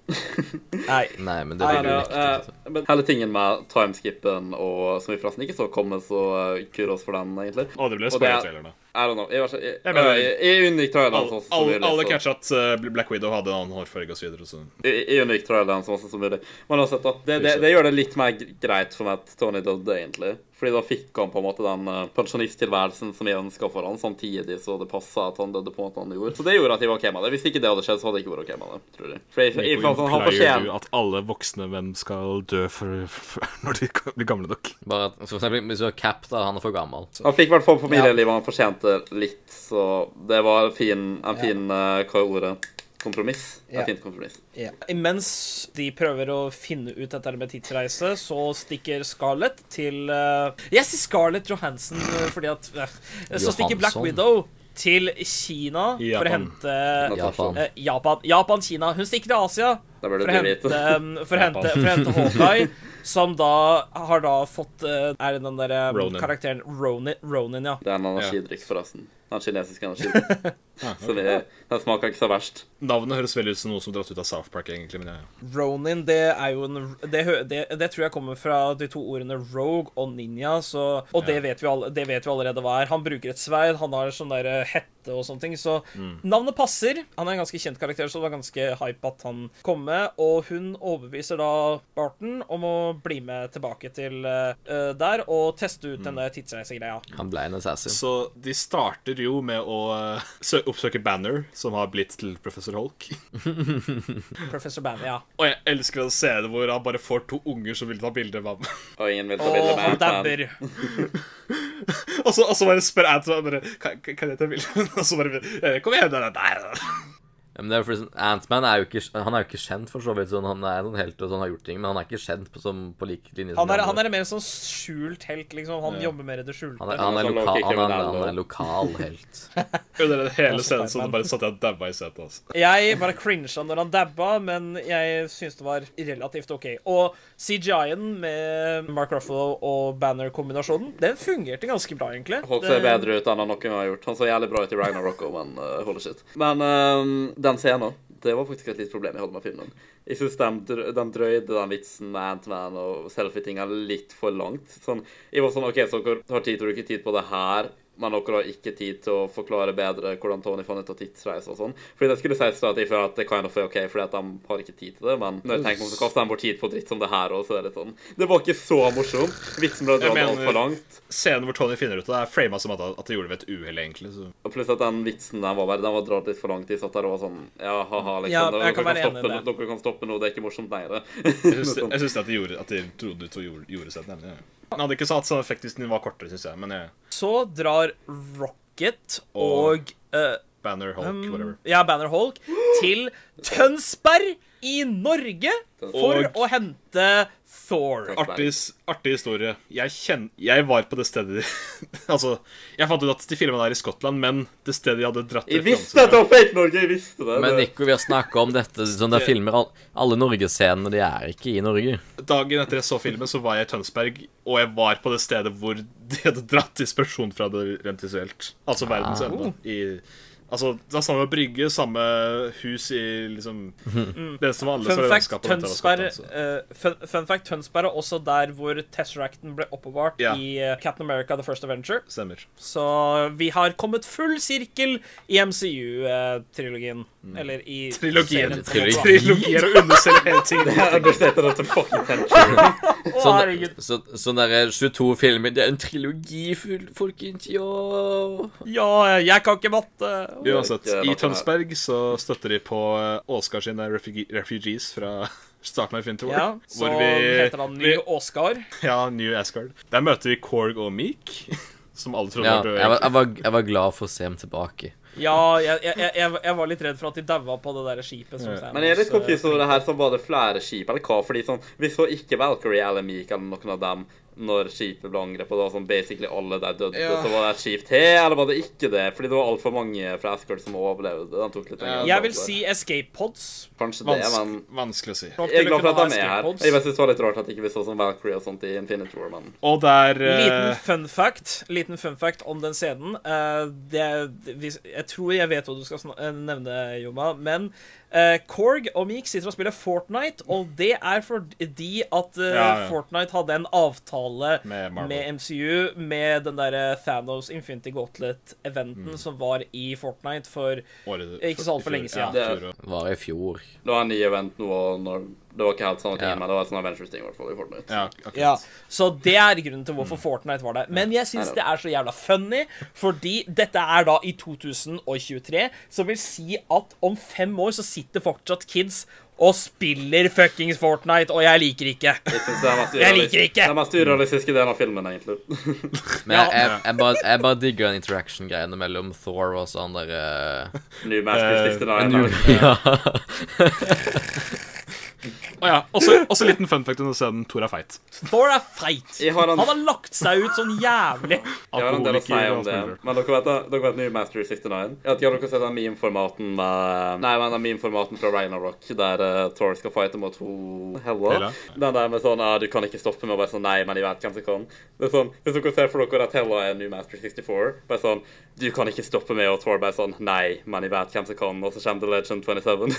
B: Nei.
C: Nei, men det
A: Nei,
C: ville
A: ja,
C: jo riktig.
A: eh, men hele tingen med timeskippen og som vi forresten ikke så komme, så eh, kudos for den, egentlig.
D: Og det
A: Og det
D: ble
A: er-
D: spoiler-traileren, da.
A: I don't know. Jeg, var så, jeg,
D: Jeg mener-
A: jeg, jeg unngikk traileren
D: Alle,
A: sånn som
D: alle,
A: mulig.
D: alle
A: så-
D: catcha at eh, Black Widow hadde en annen hårfarge osv. Så
A: Jeg, jeg unngikk traileren sånn som mulig. Men uansett, da. Det, det, det gjør det litt mer greit for meg at Tony døde, egentlig. Fordi da fikk han på en måte den eh, pensjonisttilværelsen som jeg ønska for han, samtidig så det passa at han døde på måten han gjorde. Så det gjorde at jeg var OK med det. Hvis ikke det hadde skjedd, så hadde jeg ikke vært OK med det, tror jeg. For jeg, jeg, jeg, fant sånn, han
D: Pleier
A: fortjener
D: du at alle voksne menn skal dø for, for, når de blir gamle nok?
C: Bare at, for eksempel, hvis du har Cap, da, han er for gammel. Så.
A: Han fikk i hvert fall familielivet han fortjente litt, så det var en fin, en fin eh, hva er ordet? Kompromiss.
E: Ja.
A: En fint kompromiss.
E: Ja.
B: Mens de prøver å finne ut dette her med tidsreise, så stikker Scarlett til eh, Jeg sier Scarlett Johansen eh, fordi at eh, Så stikker Black
C: Johansson.
B: Widow til Kina for å
D: Japan.
B: hente
C: Japan.
B: eh, Japan, Japan, Kina. Hun stikker til Asia
A: Det burde
B: for å
A: du
B: hente,
A: vite.
B: eh, for å hente, for å hente Hawkeye, som da har da fått eh, Er det den derre
D: Ronin.
B: karakteren Ronin, Ronin, ja.
A: Det er en energidrikk, forresten. Den kinesiske energidrikken. Så det, den smaker ikke så verst.
D: Navnet høres veldig ut som noe som er dratt ut av South Park, egentlig. Men jeg,
B: Ronin, det er jo en det, hø- det, det tror jeg kommer fra de to ordene rogue og ninja, så, og det, vet vi all, det vet vi allerede hva er. Han bruker et sverd, han har sånn der eh, hette og sånne ting, så navnet passer. Han er en ganske kjent karakter, så det var ganske hype at han kom med. Og hun overbeviser da Barton om å bli med tilbake til eh, eh, der og teste ut denne tidsreisegreia.
C: Han ble en assassin.
D: så de starter jo med å eh, sø oppsøke Banner, som har blitt til Professor Holk.
B: Professor Banner, ja.
D: Og jeg elsker den scenen hvor han bare får to unger som vil ta bilde med ham.
A: Og ingen vil ta bilde
B: Og
A: med
B: han
A: men-
B: dabber.
D: Og så, og så bare spør Anton bare, kan, kan- kan jeg ta bilde? Og så bare eh, Kom igjen! Nei, nei, nei.
C: Ja, Men det er for eksempel- Ant-Man er jo ikke Han er jo ikke kjent, for så vidt. Sånn, han er en helt og sånn, har gjort ting, men han er ikke kjent på, som, på lik linje som
B: Han er,
C: de
B: han
C: andre.
B: er en mer sånn skjult helt, liksom. Han jobber mer i det skjulte.
C: han er, han
A: Han
C: er,
A: altså, er
C: loka,
A: ikke
C: han er,
A: kriminell,
C: han er
A: da.
C: lokal helt.
D: Under den hele scenen så bare satt jeg og dabba i setet. Altså.
B: Jeg bare crincha når han dabba, men jeg syns det var relativt OK. Og CGI-en med Mark Ruffalo og Banner-kombinasjonen, den fungerte ganske bra, egentlig. Eh,
A: Folk ser bedre ut enn han noen gang har gjort. Han så jævlig bra ut i Ragnarok òg, men uh, holy shit. Men ehm, den scenen, det var faktisk et lite problem jeg hadde med filmen. Jeg syns de, dr- de drøyde den vitsen med Ant-Man og selfie-tinga litt for langt. Sånn, jeg var sånn OK, så dere har tid til å bruke tid på det her men dere har ikke tid til å forklare bedre hvordan Tony fant ut av tidsreise og sånn. Fordi jeg skulle si at jeg føler at det kind of er OK, fordi at de har ikke tid til det, men når jeg tenker meg om, så kaster de bort tid på dritt som det her òg, så er det sånn Det var ikke så morsomt. Vitsen ble dratt
D: Jeg mener-
A: altfor langt.
D: Scenen hvor Tony finner ut av det, er frama som at, at de gjorde det ved et uhell, egentlig. Så.
A: Og pluss at den vitsen der var bare Den var dratt litt for langt. De satt der og var sånn Ja, ha-ha, liksom.
B: Ja,
A: dere,
B: jeg kan
A: kan
B: være enig i
A: stoppe,
B: det.
A: nå- dere kan stoppe nå, det er ikke morsomt lenger.
D: Jeg syns- Jeg syns at de gjorde At de trodde ut og gjorde, gjorde seg nemlig. ja. Den hadde ikke hatt sånn effekt hvis den var kortere, syns jeg. Men eh, jeg,
B: Så drar Rocket og eh,
D: Banner, Hulk,
B: um,
D: whatever.
B: ja, Banner Hulk til Tønsberg i Norge for
D: Og-
B: å hente Thor.
D: Artig, s- artig historie. Jeg, kjenn, jeg var på det stedet Altså, jeg fant ut at de filma der i Skottland, men det stedet jeg hadde dratt
A: Jeg visste
D: referanser
A: at det var fake Norge! Jeg visste det.
C: Men
A: det.
C: Nico, vi har snakka om dette. Sånn, der filmer all, alle norgesscenene, de er ikke i Norge.
D: fra- Dagen etter jeg så filmen, så var jeg i Tønsberg, og jeg var på det stedet hvor de hadde dratt inspirasjon fra det rent visuelt. Altså
B: Ah.
D: verdens ende. I, altså, det var samme brygge, samme hus i liksom Det eneste var annerledes,
B: Mm. Fun
D: var
B: fact,
D: landskapet, dette var
B: Tønsberg,
D: Skottland, så-
B: eh, fun, fun fact, Tønsberg er også der hvor Tesseracten ble oppbevart
D: Ja.
B: i eh, Captain America The First Adventure.
D: Stemmer.
B: Så vi har kommet full sirkel i MCU-trilogien. eh, Eller i
D: Mm.
B: serien på
D: Trilogien.
B: en måte, da.
D: Trilogier og underselger hele ting.
A: Det er understated at det er fucking tension.
B: Å,
C: Sånn,
B: herregud.
C: så, sånn derre 22 filmer Det er en trilogi, full, folkens. Ja.
B: Ja, jeg kan ikke matte.
D: Uansett,
A: Ikke
D: i
A: noe
D: Tønsberg så støtter de på eh, Åsgar sine refugi- refugees fra starten av Infinity War.
B: Ja, så
D: hvor vi,
B: heter han Ny
D: vi,
B: Åsgard.
D: Ja, New Asgard. Der møter vi Korg og Meek, som alle trodde
C: ja
D: var døde.
C: jeg, var, jeg, var, jeg var glad for å se ham tilbake.
B: Ja, jeg, jeg, jeg, jeg var litt redd for at de daua på det der skipet. Som Thanos,
A: Men jeg er litt
B: eh,
A: confused over det her som var det flere skip, eller hva? Fordi sånn, vi så ikke Valkyrie eller Meek eller noen av dem når skipet ble angrepet, og da sånn basically alle der døde.
F: Ja.
A: Så var det et skip til, eller var det ikke det? Fordi det var altfor mange fra Asgard som overlevde. Den tok litt lenger.
B: eh, Jeg vil si escape pods.
A: Kanskje det, men
D: Vanskelig, vanskelig å si.
B: Nok
A: jeg er
B: til å
A: glad for
B: kunne
A: at de
B: ha
A: er her.
B: escape pods.
A: Jeg bare synes det var litt rart at ikke vi så sånn Valkyrie og sånt i Infinity War, men
D: Og der
B: Liten
D: eh,
B: fun fact Liten fun fact om den scenen. Eh, det, det- hvis- jeg tror jeg vet hva du skal sna- eh, nevne, Joma, men eh, Korg og Meek sitter og spiller Fortnite, og det er fordi at eh,
D: Ja, ja.
B: Fortnite hadde en avtale
D: Med Marvel.
B: MCU med den derre Thanos Infinity
D: Mm.
B: Gauntlet-eventen som var i Fortnite for
D: året,
B: Ikke så alt for
D: i fjor-
B: lenge siden.
D: Ja, i
A: Det-
D: fjor,
C: Var i fjor.
A: det var en ny event nå, og når, det var ikke helt samme ting,
C: Ja.
A: men det var et sånn Avengers-ting i hvert fall i Fortnite. Mm.
D: ja, akkurat.
E: Ja.
B: Så det er grunnen til hvorfor Fortnite var der. Men jeg syns det er så jævla funny, fordi dette er da i 2023, som vil si at om fem år så sitter fortsatt kids og spiller fuckings Fortnite, og jeg liker ikke.
A: Jeg synes det er den mest
B: Jeg liker
A: urealis-
B: ikke!
A: Den mest urealistiske delen av filmen, egentlig.
C: Men jeg, jeg, jeg, bare, jeg bare digger den interaction-greiene mellom Thor og sånn derre
A: New Master
D: Eh,
A: 69. eller-
C: Ja.
D: Å ja. Også, også liten fun fact under scenen. Thor er feit.
B: Thor er feit.
A: Jeg har en-
B: Han har lagt seg ut sånn jævlig.
A: Jeg har en del å si
D: Alkoholiker
A: om
D: og
A: det,
D: alt mulig rart.
A: men dere vet, dere vet nye Master of 69? Jeg vet ikke om dere har sett den meme-formaten med Nei, men den meme-formaten fra Ragnarok, der eh, Thor skal fighte mot ho... Hella?
D: Hela?
A: Den der med sånn ja, 'Du kan ikke stoppe meg', og bare sånn 'Nei, men jeg vet hvem som kan'. Det er sånn, Hvis dere ser for dere at Hella er en ny Master 64, bare sånn 'Du kan ikke stoppe meg', og Thor bare sånn 'Nei, men jeg vet hvem som kan', og så kommer The Legend 27.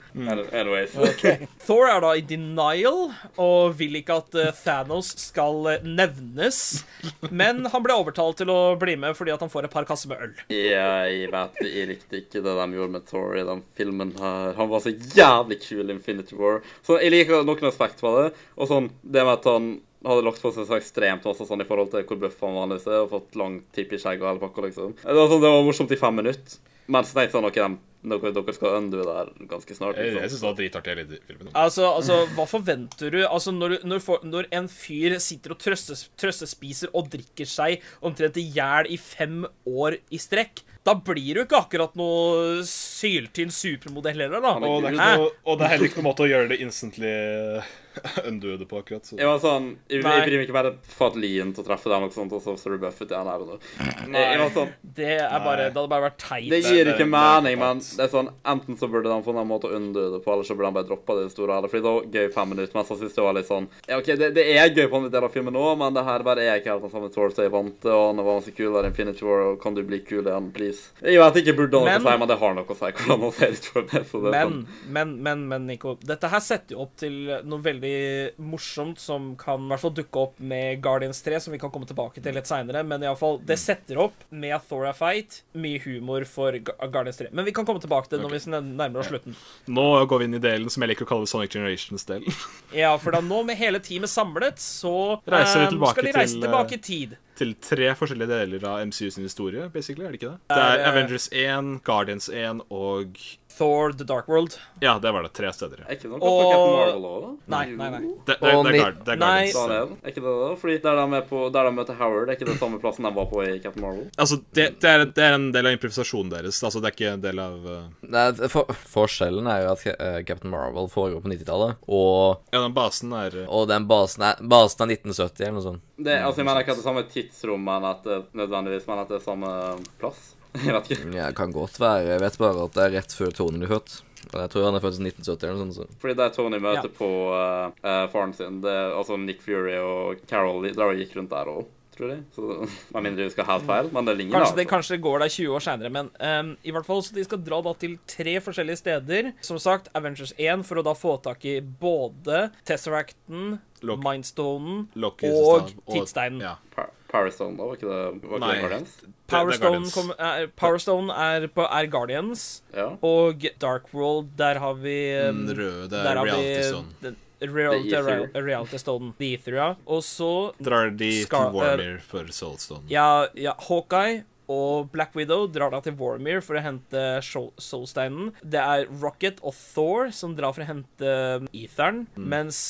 A: Any- Anyways.
B: Thor er da i denial og vil ikke at eh, Thanos skal eh, nevnes. Men han ble overtalt til å bli med fordi at han får et par kasser med øl.
A: Ja, jeg vet det. Jeg likte ikke det de gjorde med Thor i den filmen her. Han var så jævlig kul i Infinity War. Så jeg liker noen aspekt ved det. Og sånn, det med at han hadde lagt på seg så ekstremt masse sånn i forhold til hvor bøff han vanligvis er, og fått lang tipp i skjegget og hele pakka, liksom. Det var, sånn, det var morsomt i fem minutter. Men så tenkte jeg sånn, ok, dere, dere skal undo det her ganske snart,
D: Jeg, jeg
A: liksom.
D: syns det var dritartig. hele filmen.
B: Altså, altså, hva forventer du? Altså, når, når, for, når en fyr sitter og trøstes, trøstespiser og drikker seg omtrent i hjel i fem år i strekk, da blir du ikke akkurat noe syltynn supermodell heller, da.
D: Og det, er ikke noe, og det er heller ikke noen måte å gjøre det instantly undue det på, akkurat. Så.
A: Jeg var sånn, jeg,
B: Nei.
A: jeg bryr meg ikke bare fatt lien til å treffe den og sånt, og så så du buffet igjen her og nå. Jeg, jeg var sånn,
B: Det, er bare, det hadde bare vært teit.
A: Det gir
D: det-
A: ikke
D: det-
A: mening,
D: det-
A: men det er sånn, enten så burde de få en måte å unndø det på, eller så burde de bare droppe det i det store hele. Fordi det var gøy i fem minutter, men så synes jeg det var litt sånn Ja, OK, det, det er gøy på en del av filmen nå, men det her bare er ikke helt den samme Thor som jeg vant til, og han var så kul der i Infinity War, og kan du bli kul igjen, please? Jeg vet ikke, burde han
B: Men-
A: noe å si, men det har noe å si hvordan han ser ut for meg, så det er sånn.
B: Men, men, men, men, Nico. Dette her setter jo opp til noe veldig veldig morsomt som kan i hvert fall dukke opp med Guardians 3, som vi kan komme tilbake til litt seinere. Men iallfall, det setter opp med a Thora Fight mye humor for Gu- Guardians 3. Men vi kan komme tilbake til det når vi sn- nærmer oss slutten.
D: Nå går vi inn i delen som jeg liker å kalle Sonic Generations-delen.
B: Ja, for da nå med hele teamet samlet, så eh,
D: Reiser vi tilbake
B: skal de reise
D: til, eh,
B: tilbake i tid.
D: Til tre forskjellige deler av MCU sin historie, basically. Er det ikke det? Det er
B: eh,
D: Avengers 1, Guardians 1 og
B: Thor The Dark World.
D: Ja, det var det. Tre steder. ja.
A: Er ikke det noe
B: Og-
A: for Captain Marvel òg?
B: Nei, nei, nei.
D: Det, det, det, er
C: Og ni-
D: Guard- det er
B: Nei.
D: Guardians.
A: Daniel, er ikke det da? Fordi der de, er på, der de møter Howard, er ikke det samme plassen de var på i Captain Marvel?
D: Altså, det, det, er, det er en del av improvisasjonen deres. Altså, det er ikke en del av eh,
C: Nei, det- for, forskjellen er jo at eh, Captain Marvel foregår på 90-tallet, og,
D: Ja, den basen er eh,
C: og den basen er, basen er 1970 eller noe sånt.
A: Det, altså, jeg mener ikke at det er samme tidsrom, men at det, eh, nødvendigvis, men at det er samme eh, plass. Jeg vet ikke.
C: Ja, det Mm, kan godt være. Jeg vet bare at det er rett før Tony ble født. Og jeg tror han er født i 1970 eller noe sånt.
A: Fordi der Tony møter
B: Ja.
A: på eh, eh, faren sin, det, altså Nick Fury og Carol de drev og gikk rundt der òg, tror jeg. Så Med mindre du skal ha helt feil, men det ligner.
B: Kanskje det,
A: altså.
B: kanskje det går der 20 år seinere, men ehm, i hvert fall så de skal dra da til tre forskjellige steder. Som sagt, Avengers 1 for å da få tak i både Tesseracten,
D: Loki.
B: Mindstonen
D: Loki,
B: og
D: stav-
B: Tidssteinen.
D: Ja.
A: Pa- Power Stone, da? Var ikke det var ikke
D: Nei.
A: det Guardians?
B: Power
D: det er
B: Stone
D: Guardians.
B: kom- er- Power Stone er, på, er Guardians,
A: Ja.
B: og Dark World, der har vi ehm,
D: Den røde, det
B: Der
D: er
B: har
D: Reality
B: vi
D: Stone.
B: den- Reality,
A: The Ether.
B: Real- Reality Stone, The Ether, ja. Og så
D: Drar de
B: Scar- eh,
D: til Warmer for Soulstone.
B: Ja, ja, Hawkeye og Black Widow drar da til Warmere for å hente Soul- Soulsteinen. Det er Rocket og Thor som drar for å hente um, Etheren.
D: Mm.
B: Mens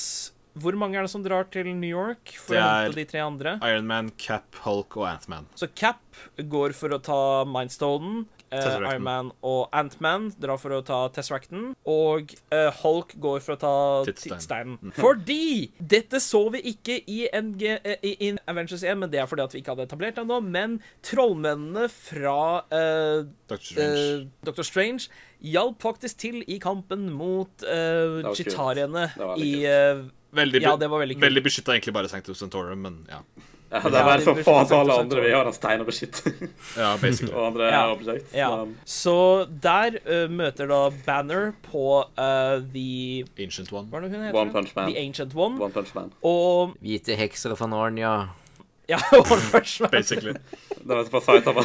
B: hvor mange er det som drar til New York for
D: Det
B: å
D: er-
B: hente de tre andre?
D: Iron Man, Cap, Hulk og Antman.
B: Så Cap går for å ta Mindstonen. Uh,
D: Tesseracten.
B: Ironman og Antman drar for å ta Tesseracten. Og eh, Hulk går for å ta
D: Tidssteinen.
B: Tidssteinen.
A: Mhm.
B: Fordi dette så vi ikke i, NG, eh, i, i Avengers 1, men det er fordi at vi ikke hadde etablert det ennå. Men trollmennene fra eh,
D: Dr. Strange.
B: eh, Dr. Strange hjalp faktisk til i kampen mot eh,
A: var kult.
B: chitariene
A: Det var veldig
B: i eh,
D: veldig
B: ja, det var veldig kult.
D: veldig beskytta egentlig bare Sanctus Santorum, men ja.
A: ja, det er
B: de
A: bare så
B: blir
A: faen til
B: sånn
A: alle
B: 50%
A: andre vi har en stein å beskytte,
D: Ja, basically.
A: og andre
B: Ja.
A: objekt.
B: Ja.
A: men-
B: Så der eh, møter da Banner på eh, The
D: Ancient One.
B: Hva er det hun heter?
A: One Punch Man.
B: The Ancient One.
A: One Punch Man.
B: Og
C: Hvite hekser fra Narnia.
B: ja, One Punch Man.
D: Basically.
A: Det var på Saitama.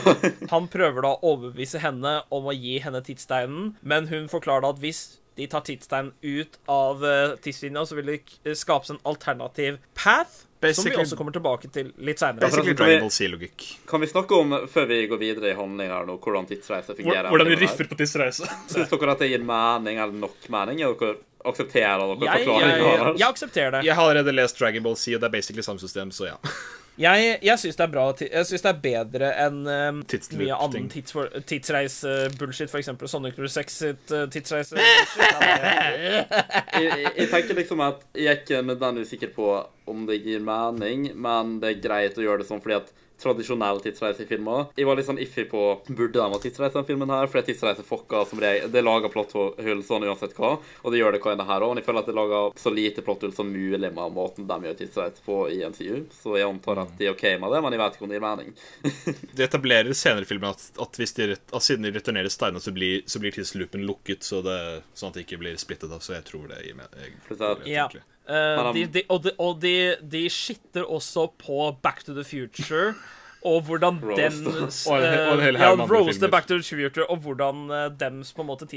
B: Han prøver da å overbevise henne om å gi henne tidssteinen, men hun forklarer da at hvis de tar tidssteinen ut av eh, tidslinja, så vil det k- skapes en alternativ path. Som
D: Basically-
B: vi også kommer tilbake til litt seinere.
D: Basically
A: forresten,
D: Dragon
A: vi-
D: Ball Z-logikk.
A: Kan vi snakke om, før vi går videre i handling her nå, hvordan tidsreiser fungerer?
D: på tidsreise.
A: Syns dere at det gir mening, eller nok mening? Er dere aksepterer dere
B: Jeg, jeg,
A: forklaringen
B: jeg aksepterer det.
D: Jeg har allerede lest Dragon Ball Z, og det er basically samme system, så ja.
B: Jeg, jeg syns det er bra ti- Jeg syns det er bedre enn eh,
D: Tidsloop-ting.
B: mye annen tidsfor, tidsreise-bullshit, f.eks. Sonic 06 sitt eh, tidsreise-bullshit.
A: jeg, jeg, jeg tenker liksom at jeg er ikke nødvendigvis sikker på om det gir mening, men det er greit å gjøre det sånn fordi at tradisjonelle tidsreisefilmer Jeg var litt sånn iffy på burde de ha tidsreise i denne filmen her, fordi tidsreise fucker som regel Det lager plotthull sånn uansett hva, og det gjør det hva enn det her òg. Men jeg føler at det lager så lite plotthull som mulig med måten de gjør tidsreise på i MCU, så jeg antar at de er OK med det, men jeg vet ikke om det gir mening.
D: De etablerer senere i filmen at, at, hvis de, ret- at siden de returnerer steinene, så blir, så blir tidsloopen lukket, så det, sånn at de ikke blir splittet av. Så jeg tror det gir meg jeg-
A: Plutselig.
B: Ja.
D: egentlig.
B: Eh,
A: han-
B: de, de, og de, og de, de skitter også på Back to the Future. Og hvordan
A: Roast.
B: den
D: Og en hel- og en hel
B: Ja,
D: haug med andre
B: roaster
D: filmer.
B: Back to the Future, og hvordan eh, dems på en måte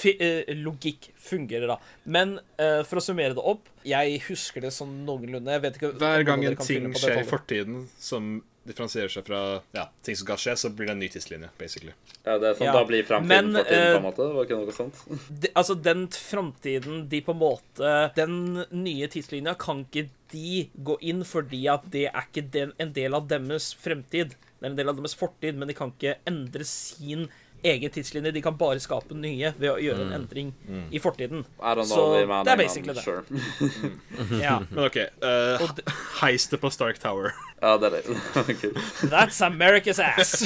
B: tidsreiselogikk fungerer, da. Men eh, for å summere det opp Jeg husker det sånn noenlunde. Jeg vet ikke om
D: Hver
B: noen
D: gang
B: av dere
D: en
B: kan
D: ting
B: fylle på
D: skjer i
B: detaljer.
D: fortiden som differensierer seg fra ja, ting som skal skje, så blir det en ny tidslinje, basically.
A: Ja, det er sånn,
B: Ja.
A: Da blir fremtiden
B: Men,
A: fortiden, på
B: eh,
A: en måte. Var ikke noe sånt?
B: de, Altså, den framtiden de på en måte Den nye tidslinja kan ikke de gå inn, fordi at det er ikke den, en del av deres fremtid. Det er en del av deres fortid, men de kan ikke endre sin egen tidslinje. De kan bare skape nye ved å gjøre en endring i fortiden.
A: I don't know,
B: Så
A: det, mener
B: det er
A: jeg, men
B: basically det.
A: Sure.
B: Ja,
D: Men OK. eh, heistet på Stark Tower.
A: Ja, det er det. Kult.
B: That's America's ass!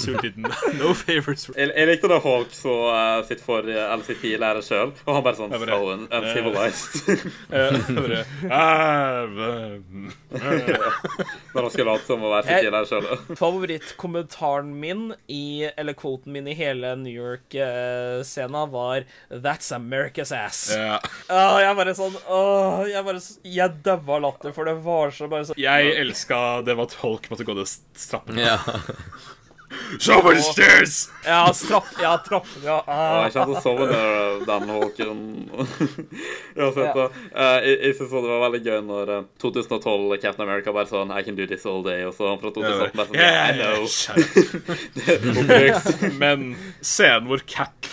D: Surt liten. No favors.
A: Jeg, jeg likte da Hawk så eh, sitt for eller sitt tidligere sjøl, og han bare sånn
D: bare-
A: so un- uncivilized.
D: Eh, Bare, ah, v-
A: Når han skulle late som å være sitt
B: Jeg-
A: tidligere sjøl.
B: Favorittkommentaren min i eller quoten min i hele New York-scena var That's America's ass.
D: Ja.
B: Åh, jeg bare sånn åh, Jeg bare s- Jeg daua av latter, for det var så bare sånn
D: Jeg elska det med at folk måtte gå ned trappen.
C: Ja.
D: Show me the stairs!
B: Ja, strapp, ja, trappen, ja.
A: Ja,
B: ah.
A: jeg kjente å sove under eh, den Håken. Uansett, da. eh, Jeg, jeg synes også det var veldig gøy når eh, 2012 Captain America bare sånn I can do this all day, og så fra 2018 bare sånn I know. Oppbrukt.
D: Men scenen hvor Cap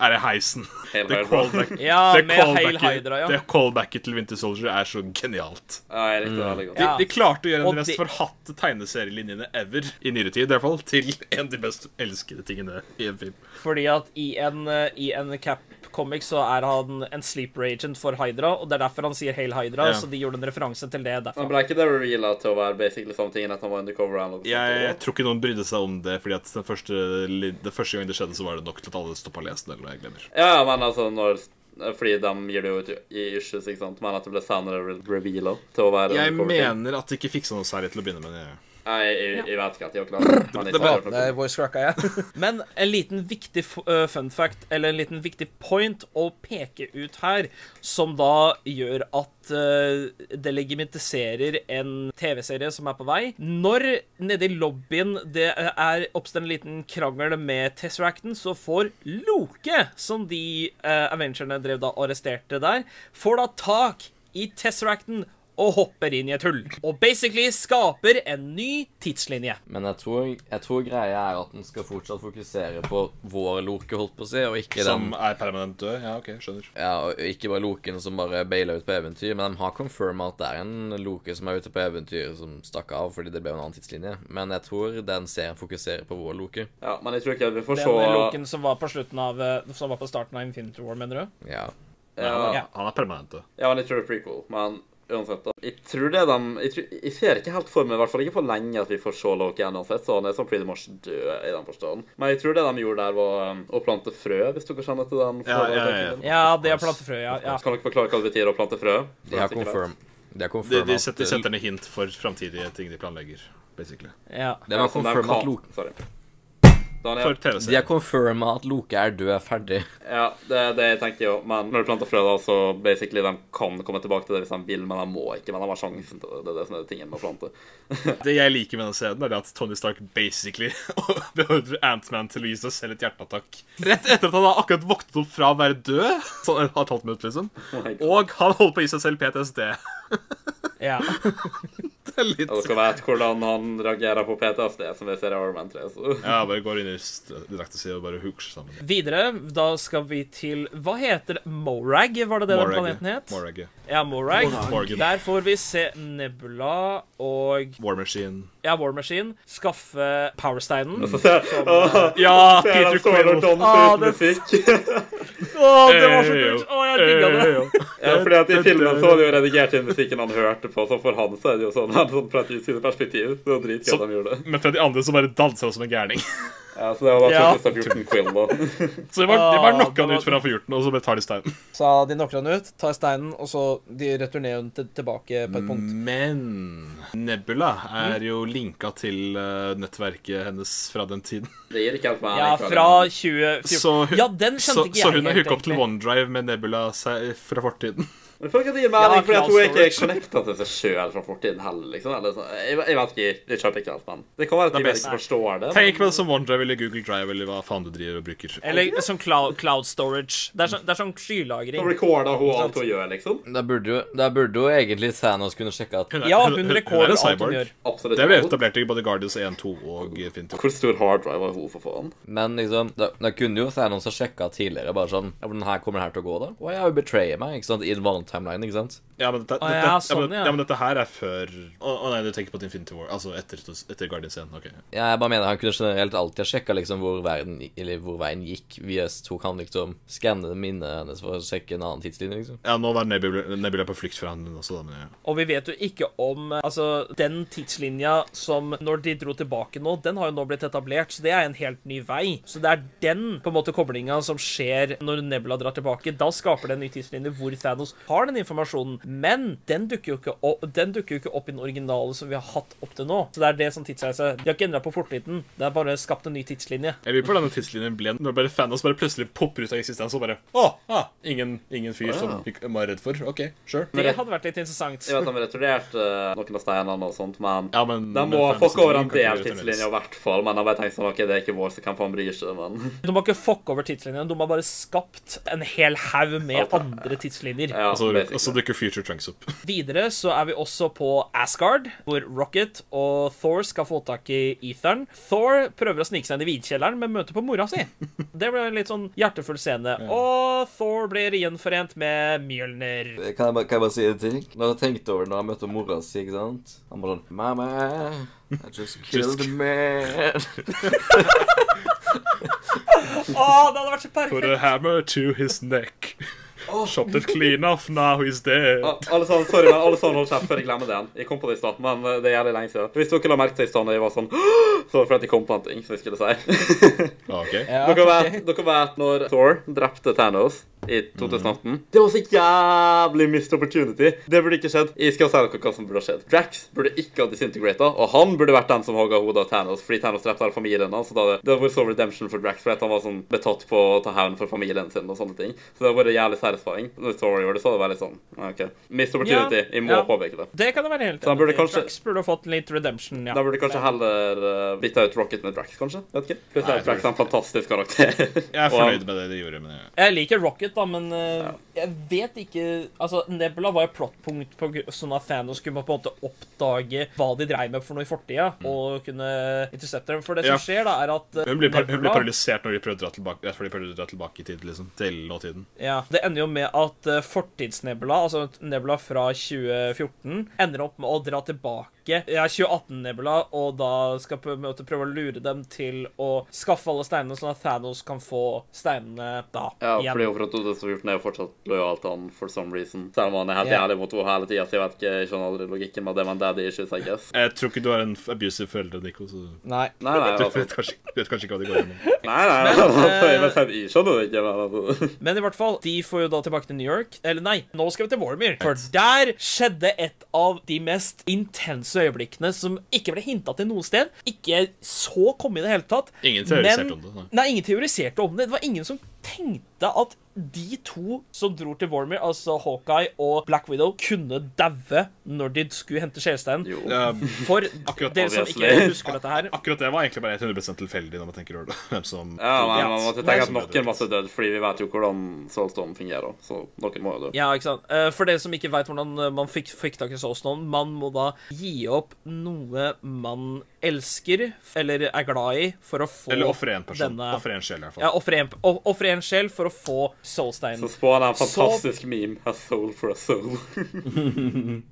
D: er i heisen
A: Hail
D: Det
A: Hydra.
D: callback-
B: Ja,
D: det
B: med Hail
D: callbacket-
B: Hydra, ja.
D: Det callbacket til Winter Soldier er så genialt.
A: Ja, jeg likte det veldig godt.
D: De,
B: Ja.
D: de klarte å gjøre en av
B: Og
D: de mest
B: det-
D: forhatte tegneserielinjene ever i nyere tid, i hvert fall, til en av de mest elskede tingene i en film.
B: Fordi at i en, eh, i en cap comic så er han en sleeper agent for Hydra, og det er derfor han sier Hail Hydra,
D: Ja.
B: så de gjorde en referanse til
A: Men
B: det derfor.
A: ble ikke det reveala til å være basically samme ting enn at han var undercover? eller noe sånt,
D: Jeg,
A: eller?
D: jeg tror ikke noen brydde seg om det, fordi at den første, li- det første gang det skjedde, så var det nok til at alle stoppa å lese den, eller noe jeg glemmer.
A: Ja, men altså når fordi de gir det jo ut i issues, ikke sant? men at det ble senere reveala til å være
D: Jeg
A: undercover ting.
D: mener at de ikke fiksa noe særlig til å begynne med. det.
A: Nei, jeg, jeg vet ikke at jeg har klart men jeg
D: det
A: sa
D: var-
A: det.
E: Det er voice cracka jeg.
B: Men en liten viktig f- eh, fun fact, eller en liten viktig point å peke ut her, som da gjør at eh, det legitimiserer en TV-serie som er på vei. Når nede i lobbyen det eh, er oppstår en liten krangel med Tesseracten, så får Loke, som de eh, Avengerne drev da og arresterte der, får da tak i Tesseracten og hopper inn i et hull. Og basically skaper en ny tidslinje.
C: Men jeg tror, jeg tror greia er at den skal fortsatt fokusere på vår Loke, holdt på å si, og ikke den
D: Som er permanent død? Ja, OK, skjønner.
C: Ja, og ikke bare Loken som bare baila ut på eventyr, men de har confirma at det er en Loke som er ute på eventyr, som stakk av fordi det ble en annen tidslinje. Men jeg tror den serien fokuserer på vår Loke.
A: Ja, men jeg tror ikke vi får
B: Den
A: se
B: loken som var på slutten av eh, Som var på starten av Infinity War, mener du?
C: Ja.
D: Nei, han,
B: Ja.
D: er, han er permanent død.
A: Ja, men jeg tror det er prequel, men uansett da. Jeg tror det de, jeg, tror, jeg ser ikke helt for meg, i hvert fall ikke på lenge, at vi får se Loki igjen uansett, så han er sånn pretty much død i den forstand. Men jeg tror det de gjorde der var um, å plante frø, hvis dere kjenner til den.
D: Ja, ja, ja.
A: forhånden.
B: Ja, det er plantefrø, ja. ja.
A: Kan dere forklare hva det betyr å plante frø?
C: De har confirm. De har
D: De,
C: confirma
D: de, setter,
C: at
D: setter ned hint for framtidige ting de planlegger, basically.
B: ja.
C: De har confirma at, Loke-
A: Sorry.
D: For
A: Daniel,
C: de har
D: TV-serien.
C: confirma at Loke er død, ferdig.
A: ja, det, det tenkte jeg òg, men når du planter frø, da, så basically de kan komme tilbake til det hvis de vil, men de må ikke. Men de har sjansen til det. Det er det som er tingen med å plante.
D: Det jeg liker med den scenen, er det at Tony Stark basically beordrer Ant-Man til å gi seg selv et hjerteattakk. Rett etter at han har akkurat våknet opp fra å være død, sånn et halvt minutt, liksom.
A: my God.
D: Og han holder på å gi seg selv PTSD.
B: ja.
D: Det er litt
A: Og dere vet hvordan han reagerer på PTSD, som vi ser i Iron Man 3. Så.
D: Ja, bare går inn i direktesida og bare hooker seg sammen.
B: Videre, da skal vi til Hva heter det? Morag, var det det den planeten het?
D: Morag.
B: Ja, Morag.
D: Morgan.
B: Der får vi se Nebula og
D: War Machine.
B: ja, War Machine skaffe Powersteinen.
A: Så ser jeg Åh,
D: Ja,
A: ser jeg
D: Peter
A: han står og
D: Quill.
A: danser
B: Ah,
A: uten musikk.
B: Å, det var så kult! Å, jeg digga det.
A: Ja, fordi at I filmen så var det jo redigert inn musikken han hørte på, så for han så er det jo sånn, han, sånn fra et utsiden perspektiv. Det var dritgøy
D: Så-
A: at de gjorde det.
D: Men fra de andre så bare danser han som en gærning.
A: Ja, så det var
B: Ja.
A: bare 2014 Quill, da.
D: Så det var, det
B: Ah,
D: var knocka
B: det
D: han
B: var-
D: ut før han får gjort den, og så bare tar de steinen.
E: Sa de knocker han ut, tar steinen, og så de returnerer den til, tilbake på et
D: Mm.
E: punkt.
D: Men Nebula er jo linka til eh, nettverket hennes fra den tiden.
A: Det gir ikke helt meg.
B: Ja,
A: egentlig.
B: fra
D: Så
B: 2014.
D: hun-
B: Ja, den
D: Så,
B: skjønte ikke jeg
D: så hun er
B: helt,
D: hooka opp til
B: egentlig.
D: OneDrive med Nebula seg fra fortiden.
A: Men jeg føler ikke at det gir mening,
B: Ja,
A: fordi at hun er ikke
B: cloud storage.
A: connecta til seg sjøl fra fortiden heller, liksom. Eller, så, jeg, jeg vet ikke, jeg kjøper ikke helt, men det kan være at
D: Det er
A: de bare
D: best.
A: ikke forstår det.
D: Tenk på det som OneDrive eller Google Drive eller hva faen du driver og bruker.
B: Eller som cloud, cloud storage. Det er sånn, det er sånn skylagring.
A: Så recorder hun alt hun gjør, liksom.
C: Da burde jo, da burde jo egentlig Thanos kunne sjekke at
D: Hun er-
B: Ja,
D: hun-
B: hun
D: hun- hun er
B: rekorder alt
D: en
B: hun
D: cyborg.
B: gjør.
A: Absolutt.
D: Det ble
A: alt.
D: etablert i både Guardians 1, 2 og Infinity. War.
A: Hvor stor harddrive har hun, for faen?
C: Men liksom, da, da kunne jo Thanos ha sjekka tidligere, bare sånn Ja, hvordan her kommer det her til å gå, da? Å, jeg betrayer meg, ikke sant? I den vanlige timelinen, ikke sant?
D: Ja, men dette,
B: Å,
D: dette,
B: ja,
D: ja,
B: sånn,
D: men,
B: ja.
D: ja, men dette her er før Å å nei, du tenker på at Infinity War Altså etter, etter Guardians 1. ok
C: Ja, jeg bare mener han kunne generelt alltid ha sjekka liksom hvor verden Eller hvor veien gikk. Vi tok han liksom skanne minnet hennes for å sjekke en annen tidslinje, liksom.
D: Ja, nå var Nebula, Nebula på flukt fra han også, da, men ja.
B: Og vi vet jo ikke om eh, Altså, den tidslinja som Når de dro tilbake nå, den har jo nå blitt etablert, så det er en helt ny vei. Så det er den på en måte koblinga som skjer når Nebula drar tilbake. Da skaper det en ny tidslinje hvor Thanos har
E: har den informasjonen. Men den dukker jo ikke opp, den dukker jo ikke opp i den originale som vi har hatt opp til nå. Så det er det som tidsreise. De har ikke endra på fortiden. Det er bare skapt en ny tidslinje.
D: Jeg lurer på hvordan den tidslinjen ble når bare fanas bare plutselig popper ut av eksistens og bare Å, ah, ingen, ingen fyr som vi var redd for. OK, sure.
E: Det hadde vært litt interessant.
A: Jeg vet de har returnert eh, noen av steinene og sånt, men
D: Ja, men
A: de må
D: men
A: fucke over
D: fantasy
A: en
D: kan
A: del
D: ikke
A: tidslinjer, i
D: returneres.
A: hvert fall. Men de har bare tenkt sånn OK, det er ikke vår, så hvem faen bryr seg? Men
E: De har ikke fucka over tidslinjen, de har bare skapt en hel haug med andre tidslinjer.
A: ja,
D: Og så-
A: basically.
D: Og så dukker Future Trunks opp.
E: Videre så er vi også på Asgard, hvor Rocket og Thor skal få tak i Etheren. Thor prøver å snike seg inn i vinkjelleren, men møter på mora si. Det ble en litt sånn hjertefull scene. Og Thor blir gjenforent med Mjølner.
C: Eh, Kan jeg, bare, kan jeg bare si en ting? Når jeg tenkte over det når jeg møtte mora si, ikke sant Han bare sånn Mamma, I just killed a man.
E: Å, det hadde vært så
D: Put
A: eh,
E: perfekt!
D: a hammer to his neck. Chopped it clean off, now he's dead.
A: Ja, alle sammen, sorry, men alle sammen holdt kjeft før jeg glemmer det igjen. Jeg kom på det i stad, men eh, det er jævlig lenge siden. Hvis dere la merke til i stad når jeg var sånn Så var det fordi jeg kom på en ting som jeg skulle si.
D: Ah, ok.
B: Ja,
A: dere,
B: ok.
A: vet, dere vet når Thor drepte Thanos i 2018? Mm. Det var så jævlig missed opportunity. Det burde ikke skjedd. Jeg skal si dere hva som burde ha skjedd. Drax burde ikke ha disintegrata, og han burde vært den som hogga hodet av Thanos, fordi Thanos drepte hele familien hans. så da hadde- Det hadde vært så redemption for Drax, fordi at han var sånn betatt på å ta hevn for familien sin og sånne ting. Så det hadde vært jævlig satisfying. Når Thor gjorde det, så hadde det vært litt sånn ja, OK. Missed opportunity. Jeg må
E: ja.
A: påpeke det.
E: Det kan det være helt
A: Så han burde
E: enig i.
A: kanskje-
E: Drax burde fått litt redemption, ja.
A: Da burde kanskje heller uh, bytta ut Rocket med Drax, kanskje? Vet ikke. Plutselig er
D: jeg tror
A: Drax en fantastisk karakter.
D: Jeg er
A: Og han-
D: fornøyd med det de gjorde. men jeg-
E: Jeg liker Rocket, da, men eh, jeg vet ikke Altså, Nebula var jo plottpunkt på gr- sånn at Thanos kunne på en måte oppdage hva de dreiv med for noe i fortida,
A: Mm.
E: og kunne intercepte dem. For det som
D: Ja.
E: skjer, da, er at eh,
D: Hun blir, par hun blir
E: Nebula-
D: paralysert når de prøver å dra tilbake, rett før de prøver å dra tilbake i tid, liksom. Til nåtiden.
E: eh, Ja, Det ender jo med at eh, fortidsnebula, altså nebula fra 2014, ender opp med å dra tilbake ja, 2018-nebula, og da skal på en måte prøve å lure dem til å skaffe alle steinene, sånn at Thanos kan få steinene da
A: Ja,
E: igjen.
A: fordi hun fra 2014 er jo fortsatt lojal til han for some reason. Selv om han er helt
E: Ja.
A: ærlig mot henne hele tida, så jeg vet ikke, jeg skjønner aldri logikken med det, men daddy issues, I guess.
D: Jeg tror ikke du har en f- abusive forelder, Nico, så du
B: Nei.
A: Nei, nei, altså.
D: vet kanskje, du vet kanskje ikke hva de går gjennom.
A: Nei, nei,
E: eh,
A: altså, jeg, vet ikke, jeg skjønner det ikke, men altså.
E: Men i hvert fall, de får jo da tilbake til New York. Eller nei, nå skal vi til Warmere. For der skjedde et av de mest intense øyeblikkene som ikke ble hinta til noe sted. Ikke så komme i det hele tatt.
D: Ingen teoriserte
E: Men-
D: om det, nei.
E: Nei, ingen teoriserte om det. Det var ingen som tenkte at de to som dro til Warmere, altså Hawkeye og Black Widow, kunne daue når de skulle hente sjelsteinen.
A: Jo.
D: Eh,
E: For
D: Akkurat
E: dere som ikke
A: obviously.
E: husker dette her
D: akkurat det var egentlig bare 100 tilfeldig, når man tenker over det. Hvem som
A: Ja, men man måtte tenke at
D: Nei,
A: noen masse død, fordi vi vet jo hvordan Soulstorm fungerer, så noen må jo dø.
E: Ja, ikke sant. Eh, For dere som ikke veit hvordan eh, man fikk, fikk tak i Soulstone, man må da gi opp noe man elsker eller er glad i, for å få
D: Eller ofre en person.
E: denne-
D: Ofre en sjel, i hvert fall.
E: Ja, ofre en, o- ofre en sjel for å få soulsteinen.
A: Så spån er en fantastisk meme, a soul for a soul.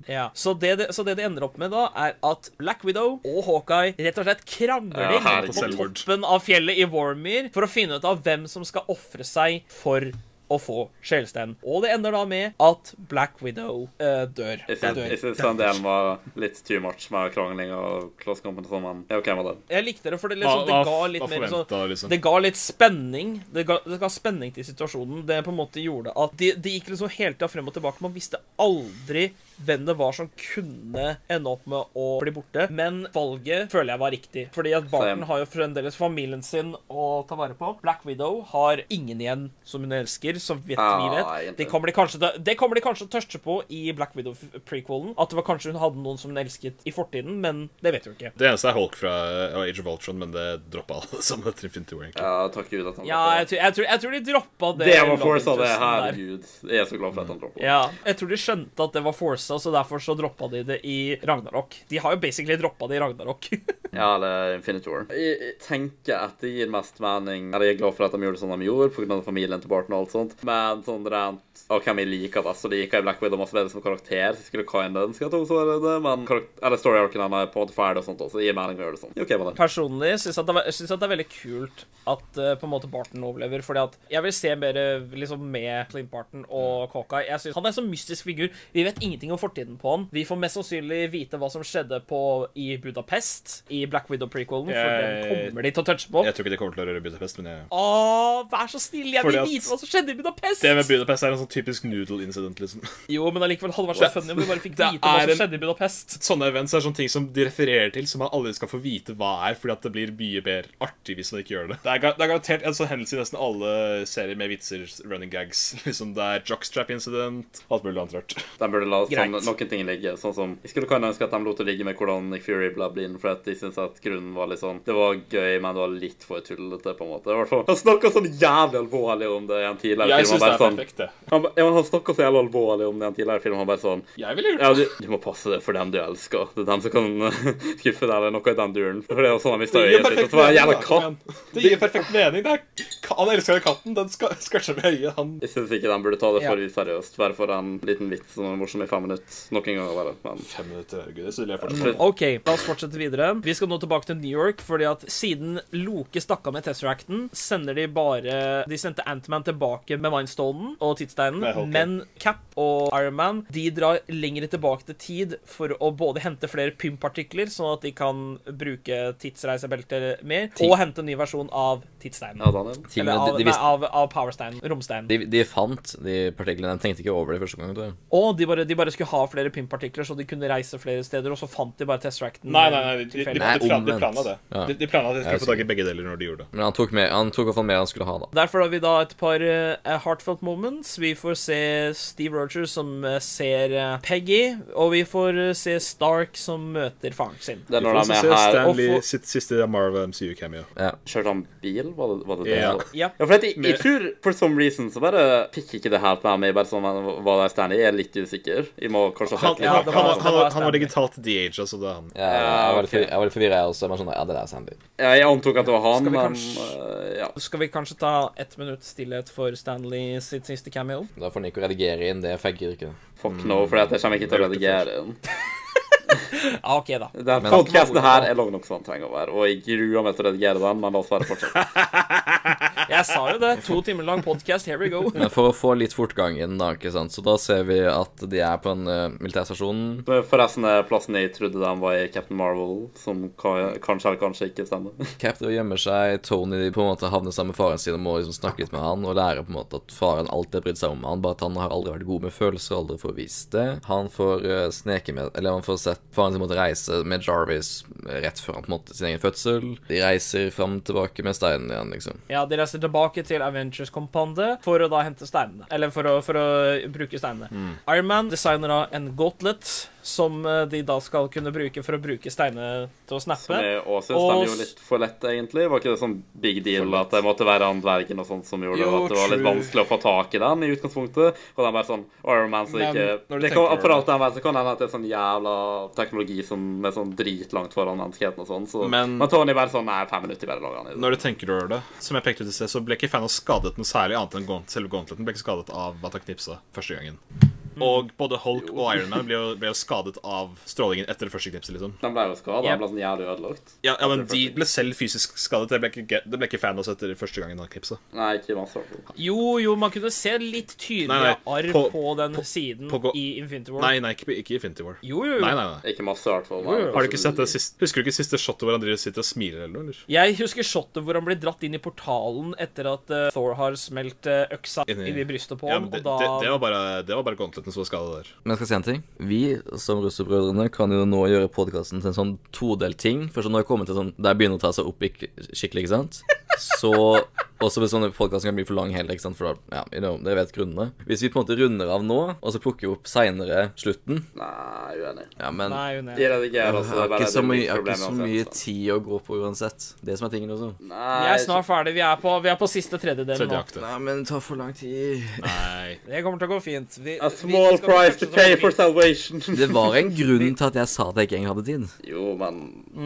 E: Ja. Så, det det, så det det ender opp med, da, er at Black Widow og Hawkeye rett og slett krangler
A: Ja, herregud.
E: på toppen av fjellet i Warmere for å finne ut av hvem som skal ofre seg for å få sjelsteinen. Og det ender da med at Black Widow eh, dør.
A: Jeg syns- jeg syns den delen var litt too much med krangling og klasskampen og sånn, men jeg er OK med det.
E: Jeg likte det, for det,
D: Hva-
E: liksom, det
D: hva-
E: ga litt
D: hva
E: mer sånn
D: forventet, liksom?
E: Det ga litt spenning. Det ga, det ga spenning til situasjonen. Det på en måte gjorde at det de gikk liksom hele tida frem og tilbake. Man visste aldri hvem det var som kunne ende opp med å bli borte. Men valget føler jeg var riktig. Fordi at Barton
A: Same.
E: har jo fremdeles familien sin å ta vare på. Black Widow har ingen igjen som hun elsker, som vet, vi
A: Ah,
E: vet. Det
A: egentlig.
E: kommer de kanskje til- det kommer de kanskje til å tørste på i Black Widow-prequelen. At det var kanskje hun hadde noen som hun elsket i fortiden, men det vet vi jo ikke.
D: Det eneste er Hulk fra eh, Age of Ultron, men det droppa alle sammen etter Infinity War. egentlig.
A: Ja, takk Gud at han
E: Ja, jeg tror, jeg tror, jeg tror de droppa det.
A: Det var
E: love
A: forsa, det.
E: interesten der.
A: Herregud. Jeg er så glad for at han droppa.
E: Ja, jeg tror de skjønte at det var forsa, så derfor så droppa de det i Ragnarok. De har jo basically droppa det i Ragnarok.
A: Ja, eller Infinity War. Jeg jeg tenker at det gir mest mening Eller jeg er glad for at de gjorde sånn de gjorde, pga. familien til Barton og alt sånt, men sånn rent av hvem jeg liker best, så liker jeg Black Widow masse bedre som karakter, så jeg skulle kinda ønske at hun så det, men karak- eller story arcen hennes er på en måte ferdig og sånt også, så det gir mening å gjøre det sånn. Jeg er OK med det.
E: Personlig syns jeg at, det var- jeg synes at det er veldig kult at eh, på en måte Barton overlever, fordi at jeg vil se mer eh, liksom med Clint Barton
A: Mm.
E: og Cockeye. Jeg synes Han er en sånn mystisk figur. Vi vet ingenting om fortiden på han. Vi får mest sannsynlig vite hva som skjedde på, i Budapest i i Black Widow-prequelen, for
D: Jeg-
E: den kommer de til å touche på.
D: Jeg tror ikke det kommer til å røre Budapest, men jeg
E: Å, vær så snill, jeg
D: Fordi
E: vil
D: at-
E: vite hva som skjedde i Budapest!
D: Det med Budapest er en sånn typisk noodle incident, liksom.
E: Jo, men allikevel hadde det vært så
D: Det-
E: funny om vi bare fikk
D: det
E: vite hva
D: er
E: som
D: en-
E: skjedde i Budapest.
D: Sånne events er sånne ting som de refererer til, som man aldri skal få vite hva er, fordi at det blir mye mer artig hvis man ikke gjør det. Det er, ga- det er garantert en sånn hendelse i nesten alle serier med vitser, running gags. Liksom Det er jockstrap incident, alt mulig annet rart.
A: De burde la sånn,
E: Greit.
A: noen ting ligge. Sånn som, Jeg skulle kunne ønske at de lot det ligge med hvordan Nick Fury ble blind, for at de syntes at grunnen var litt sånn Det var gøy, men det var litt for tullete, på en måte. I hvert fall, Han snakka sånn jævlig alvorlig om det i en tidligere
D: Jeg
A: film.
D: syns
A: Han
D: det er
A: bare sånn,
D: perfekt, det.
A: han, ba- ja, men han snakka så jævlig alvorlig om det i en tidligere film. Han bare sånn
D: Jeg ville gjort det.
A: Ja, du, du må passe deg for den du elsker. Det er den som kan eh, skuffe deg, eller noe i den duren. For det er jo sånn han mista
D: Det gir
A: øyet sitt. Og
D: perfekt
A: så var det en
D: mening,
A: jævla
D: da, kom
A: katt.
D: igjen. Det gir perfekt mening. Det er, han elsker den katten. Den ska- skvatcher med øyet. Han
A: Jeg syns ikke de burde ta det
G: Ja.
A: for seriøst. Bare for en liten vits som er morsom i fem minutter. Noen ganger, bare. Men
D: Fem minutter, herregud. Det vil jeg fortsatt.
A: slutt.
E: Ok, la oss fortsette videre. Vi skal nå tilbake til New York, fordi at siden Loke stakk av med Tesseracten, sender de bare De sendte Antman tilbake med Mindstonen og tidssteinen,
D: Nei, Hulk, ja.
E: men Cap og Ironman de drar lenger tilbake til tid for å både hente flere pympartikler, sånn at de kan bruke tidsreisebelter mer, og hente en ny versjon av tidssteinen.
A: Ja, Daniel.
C: Tingene
E: Eller av,
C: de, de,
E: nei,
C: visste,
E: av, av powersteinen. Romsteinen.
C: de, de fant de partiklene. De tenkte ikke over det første gang. tror jeg.
E: Og de bare, de bare skulle ha flere pympartikler, så de kunne reise flere steder, og så fant de bare Tesseracten.
D: Nei, nei, nei. De, de, de,
E: tilfeldig.
C: Nei,
D: plan- de
C: omvendt.
D: planla det.
C: Ja.
D: De, de planla at de
C: Jeg er
D: skulle få tak i begge deler når de gjorde det.
C: Men han tok, mer, han tok i hvert fall mer han skulle ha, da.
E: Derfor har vi da et par eh, heartfelt moments. Vi får se Steve Rogers som eh, ser eh, Peggy, og vi får eh, se Stark som møter faren sin.
A: Det er
D: Vi
A: når
D: får
A: de
D: også
A: er
D: se
A: her og
D: Stanley
A: får
D: sitt siste Marvel MCU-cameo.
A: Kjørte han bil, var det var det?
D: Ja.
A: det?
E: Ja.
A: Ja, for at jeg, jeg tror for some reason så bare fikk ikke det helt med meg. Bare sånn hva det er Stanley. Jeg er litt usikker. Jeg må kanskje ha
D: Han,
A: sett litt.
D: han,
E: Ja,
D: han,
E: det
A: mer.
E: var-
D: var- han, var- han var
E: Stanley.
D: digitalt de-age, altså. Det er han.
C: Ja, jeg var litt,
A: ok.
C: forvirra- jeg var litt forvirra, jeg også. Men jeg skjønner, ja, det der, Sandy.
A: Ja, jeg antok at det var han,
E: Skal vi
A: men
E: kanskje-
A: eh, ja.
E: Skal vi kanskje ta ett minutt stillhet for Stanley sitt siste cameo?
C: Da får Nico redigere inn det, for jeg gidder ikke.
A: Fuck no, for at jeg kommer ikke til å
D: det
A: redigere den.
E: Ja, OK, da.
A: Den podcasten her er lang nok som den trenger å være, og jeg gruer meg til å redigere den, men la oss bare fortsette.
E: Jeg sa jo det. To timer lang podcast, here we go.
C: Men for å få litt fortgang inn, da, ikke sant. Så da ser vi at de er på en eh, militærstasjon.
A: Forresten er plassen jeg trodde den var i Captain Marvel, som ka- kanskje eller kanskje ikke stemmer.
C: Cap driver og gjemmer seg, Tony på en måte havner sammen med faren sin og må liksom snakke litt med han og lære på en måte at faren alltid har brydd seg om han, bare at han har aldri vært god med følelser og aldri får vist det. Han får eh, sneke med Eller han får sett faren sin måtte reise med Jarvis eh, rett før han på en måte sin egen fødsel. De reiser fram og tilbake med steinen igjen, liksom.
E: Ja, De reiser tilbake til Avengers Compoundet for å da hente steinene. Eller for å, for å bruke steinene.
D: Mm.
E: Ironman designer da en gauntlet som eh, de da skal kunne bruke for å bruke steinene til å snappe.
A: Som jeg også synes
E: Og
A: den gjorde litt for lett, egentlig. Var ikke det sånn big deal at det måtte være han dvergen og sånt som gjorde
B: Jo,
A: at det var litt
B: true.
A: vanskelig å få tak i den i utgangspunktet? Og den bare sånn Iron Man som
B: Men, når
A: ikke
B: du
A: det kan,
B: tenker over
A: For alt jeg vet, så kan det hende at det er sånn jævla teknologi som er sånn dritlangt foran menneskeheten og sånn, så Men,
D: Men-
A: Tony bare sånn Nei, fem minutter bare lager han i det.
D: Når du tenker over det, som jeg pekte ut i sted, så ble ikke Thanos skadet noe særlig annet enn gaunt, selve gauntleten ble ikke skadet av at han knipsa første gangen. Og både Hulk og Ironman ble, jo- ble jo skadet av strålingen etter det første knipset, liksom.
A: Den ble jo skadet,
E: Yep.
A: den ble sånn jævlig ødelagt.
D: Ja, ja men de ble selv fysisk skadet. Det ble ikke, ge- det ble ikke Thanos etter første gangen han knipsa.
A: Nei, ikke masse. i hvert fall.
E: Jo, jo, man kunne se litt tydeligere
D: Nei, nei,
E: arr på,
D: på-
E: den siden
D: på gå-
E: i Infinity War.
D: Nei, nei, ikke, ikke Infinity War.
E: Jo, jo, jo.
D: Nei, nei, nei.
A: Ikke masse, i hvert fall.
E: Jo, jo.
D: Har du ikke sett det siste, Husker du ikke siste shotet hvor han driver og sitter og smiler eller noe? eller?
E: Jeg husker shotet hvor han blir dratt inn i portalen etter at eh, Thor har smelt eh, øksa inn
D: Inni-
E: i brystet på
D: Ja,
E: ham,
D: men det,
E: og da
D: det, det var bare, det var bare gauntleten som var skadet der.
C: Men jeg skal si en ting. Vi som russerbrødrene kan jo nå gjøre podkasten til en sånn todelt ting. For så når jeg kommer til sånn der begynner å ta seg opp ikk- skikkelig, ikke sant. Så også hvis sånne podkasten kan bli for lang heller, ikke sant. For da, ja, you know, dere vet grunnene. Hvis vi på en måte runder av nå, og så plukker vi opp seinere slutten
A: Nei, uenig.
C: Ja, men
E: Nei, hun er
A: De redigerer
C: jeg
A: altså. det er
C: har
A: bare
C: ikke så
A: et
C: mye, jeg har ikke
A: problem
C: så
A: uansett, altså.
C: mye
A: så.
C: tid å gå på uansett. Det som er tingen også.
A: Nei,
E: Jeg er snart ferdig. Vi er på, vi er på siste tredjedelen
D: Tredje
E: nå.
D: akte.
C: Nei, men det tar for lang tid.
D: Nei.
E: Det kommer til å gå fint. Vi,
A: A small price to pay for salvation.
C: Det var en grunn til at jeg sa at jeg ikke engang hadde tid.
A: jo, men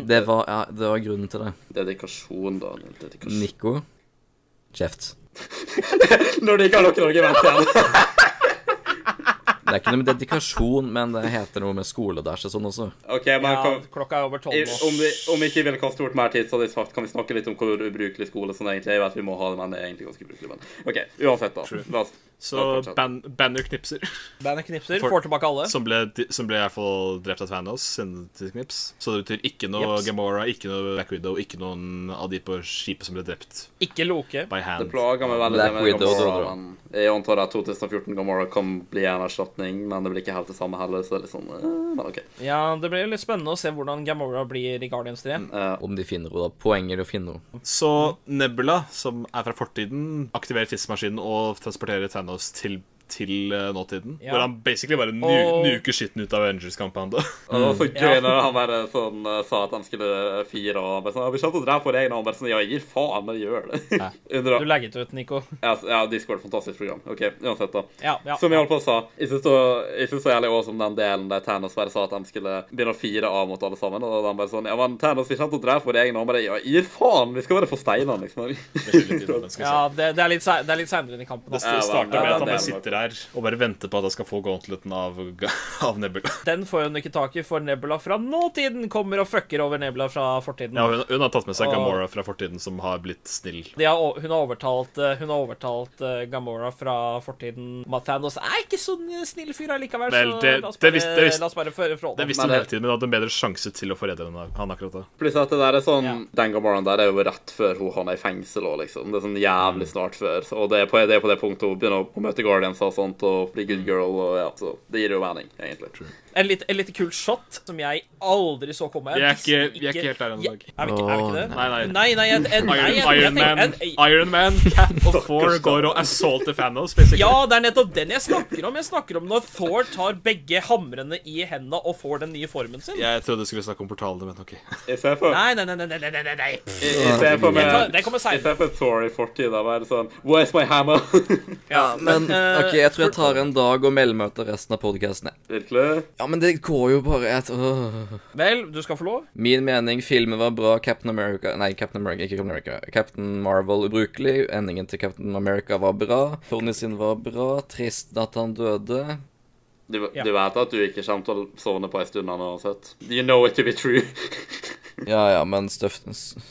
C: Det var, ja, det var grunnen til det.
A: dedikasjon, da. Dedikasjon.
C: Nico kjeft.
A: Når de ikke har noen argument igjen.
C: Det er ikke noe med dedikasjon, men det heter noe med skoledæsj og sånn også.
A: OK, men
E: Ja,
A: kan,
E: klokka er over tolv
A: i-
E: nå.
A: om, vi, om vi ikke vil kaste bort mer tid, så hadde jeg sagt kan vi snakke litt om hvor ubrukelig skole sånn egentlig er. Jeg vet vi må ha det, men det er egentlig ganske ubrukelig. Men OK, uansett, da. La oss
D: Så
A: fortsatt.
D: ban Banner knipser.
E: Bandet knipser,
D: For-
E: får tilbake alle.
D: Som ble, som ble i hvert fall drept av Thanos, sendt til knips. Så det betyr ikke noe
E: Jeps.
D: Gamora, ikke noe Black Widow, ikke noen av de på skipet som ble drept
E: Ikke Loke.
D: by
A: Det
D: hand.
A: plager meg veldig
C: Black
A: det med
C: Widow, tror
A: Gamora.
C: jeg.
A: Men jeg antar at 2014 Gamora kan bli en erstatning, men det blir ikke helt det samme heller, så det er litt sånn eh, Men OK.
E: Ja, Det blir litt spennende å se hvordan Gamora blir i Guardians
D: Mm,
E: 3.
A: Eh,
C: Om de finner henne, da. Poenget er å finne henne.
D: Så Nebula, som er fra fortiden, aktiverer tidsmaskinen og transporterer Thanos til, til eh, nåtiden.
E: Ja.
D: Hvor han basically bare nu
E: Og-
D: nuker skitten ut av
A: og
D: Avengers-kampanjen.
A: det var så gøy når han bare sånn eh, sa at han skulle fire og han bare sånn, «Ja, Vi kommer til å drepe vår egen, og han bare sånn Ja, jeg gir faen, men jeg gjør det. Undra-
E: Du lagget ut, Nico.
A: Ja, s- ja, Discord, fantastisk program. OK, uansett, da.
E: Ja, ja.
A: Som jeg holdt på å sa, jeg syns det- jeg syns det var jævlig også om den delen der Thanos bare sa at de skulle begynne å fire av mot alle sammen, og han bare sånn Ja, men Thanos, vi kommer til å drepe vår egen, og han bare Ja, gi faen, vi skal bare få steinene, liksom.
E: ja det, det er litt se- det er litt seinere inn i kampen.
D: Det
E: Altså.
A: Ja,
D: starter med
A: ja,
D: at han
A: det er
D: bare sitter her og bare venter på at han skal få gauntleten av, av Nebula.
E: Den får hun ikke tak i, for Nebula fra nåtiden kommer og fucker over Nebula fra fortiden.
D: Ja, hun, hun har tatt med seg
E: Og-
D: Gamora fra fortiden, som har blitt snill.
E: De har, o- hun har overtalt, eh, hun har overtalt eh, Gamora fra fortiden om at Thanos er ikke sånn snill fyr allikevel,
D: Vel,
E: så
D: det-
E: la oss
D: det
E: bare,
D: visste- det visste-
E: la oss bare føre fra
D: Det
E: den.
D: visste hun
A: Men
D: hele
A: det-
D: tiden, men hun hadde en bedre sjanse til å forræde henne, han akkurat da.
A: Pluss at det der er sånn
E: Ja.
A: Den Gamoraen der er jo rett før hun havner i fengsel òg, liksom. Det er sånn jævlig
E: Mm.
A: snart før. Og det er på det, er på det punktet hun begynner å- å møte Guardians og sånt, og bli
E: Mm.
A: good girl, og ja, så det gir jo mening, egentlig.
E: En litt, en litt kult shot som jeg aldri så komme.
D: Vi er ikke, vi er ikke helt der ennå.
E: Jeg- Er vi ikke, er vi ikke det?
D: Nei, nei.
E: Nei, nei, jeg, jeg, nei, jeg,
D: Iron,
E: jeg,
D: Iron,
E: tenker-
D: Man,
E: en-
D: Iron Man, Cat og Thor går og assaulter Thanos, basically.
E: ja, det er nettopp den jeg snakker om. Jeg snakker om når Thor tar begge hamrene i hendene og får den nye formen sin.
D: Jeg trodde du skulle snakke om portalene, men OK.
A: Jeg ser for,
E: Nei, nei, nei, nei, nei, nei, nei, nei.
A: jeg, jeg ser for
E: Jeg tar,
A: meg
E: den kommer
A: Jeg
E: seinere.
A: ser for Thor i fortida være sånn Where's my hammer?
E: Ja,
C: Men
E: eh,
C: OK, jeg tror jeg tar en dag og melder meg ut av resten av podkasten.
A: Virkelig?
C: Ja, men det går jo bare et åh.
E: Vel, du skal få lov.
C: Min mening, filmen var bra. Captain America Nei, Captain America, ikke Captain America. Captain Marvel ubrukelig. Endingen til Captain America var bra. Tony sin var bra. Trist at han døde.
A: Du,
E: Ja.
A: du vet at du ikke kommer til å sovne på ei stund nå, uansett? You know it to be true.
C: Ja ja, men stuff,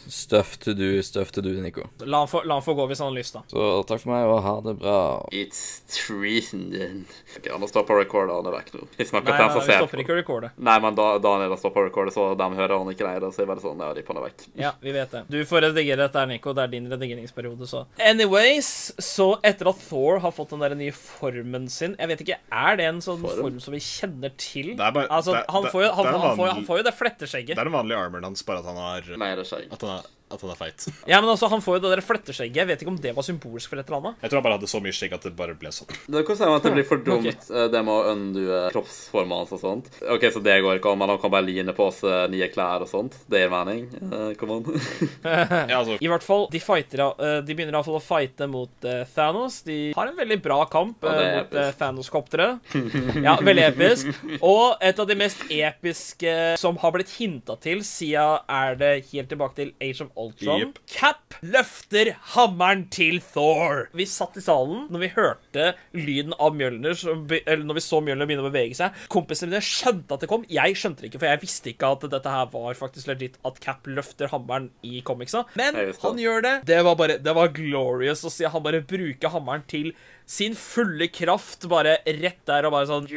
C: stuff to do, stuff to do, Nico.
E: La han få, la han få gå hvis han har lyst, da.
C: Så takk for meg, og ha det bra.
A: It's treason then. Ok, nå stopper recorden, han er vekk nå. Vi snakker
E: Nei,
A: til den
E: nei, nei,
A: som
E: vi
A: ser
E: stopper
A: på.
E: ikke å recorde.
A: Nei, men da Daniel har stoppa recordet, så de hører han ikke lenger. Så jeg bare sånn, ja, de panner vekk.
E: Ja, vi vet det. Du får redigere dette, her, Nico. Det er din redigeringsperiode, så. Anyways, så etter at Thor har fått den der nye formen sin Jeg vet ikke, er det en sånn form, som vi kjenner til?
D: er bare-
E: altså,
D: det er-
E: han,
D: det-
E: får jo, han,
D: det er
E: han, får,
D: vanlig-
E: han får jo det
D: Det
E: fletteskjegget.
D: er den vanlige armoren hans, bare at han har
A: Nei, det skjer ikke.
D: At han er, at han er feit.
E: Ja, men altså, han får jo det der fletteskjegget. Jeg vet ikke om det var symbolsk for et eller annet.
D: Jeg tror han bare hadde så mye skjegg at det bare ble sånn.
A: Det kan si at det blir for dumt,
E: ok.
A: eh, det med å undue kroppsformen hans og sånt. OK, så det går ikke an, men han kan bare line på seg nye klær og sånt. Det gir mening. Eh, Come on.
D: Ja, altså,
E: I hvert fall, de, fighter, eh, de begynner iallfall å fighte mot eh, Thanos. De har en veldig bra kamp
A: Ja, det
E: eh,
A: er
E: mot eh,
A: episk.
E: Thanos-kopteret. Ja, veldig episk. Og et av de mest episke som har blitt hinta til siden er det helt tilbake til Age of Ultron.
D: Jep.
E: Cap løfter hammeren til Thor. Vi satt i salen når vi hørte lyden av Mjølner, som be- eller når vi så Mjølner begynne å bevege seg. Kompisene mine skjønte at det kom. Jeg skjønte det ikke, for jeg visste ikke at dette her var faktisk legit at Cap løfter hammeren i comicsa. Men
A: Jeg visste
E: han
A: det.
E: gjør det. Det var bare, det var glorious å se han bare bruke hammeren til sin fulle kraft, bare rett der og bare sånn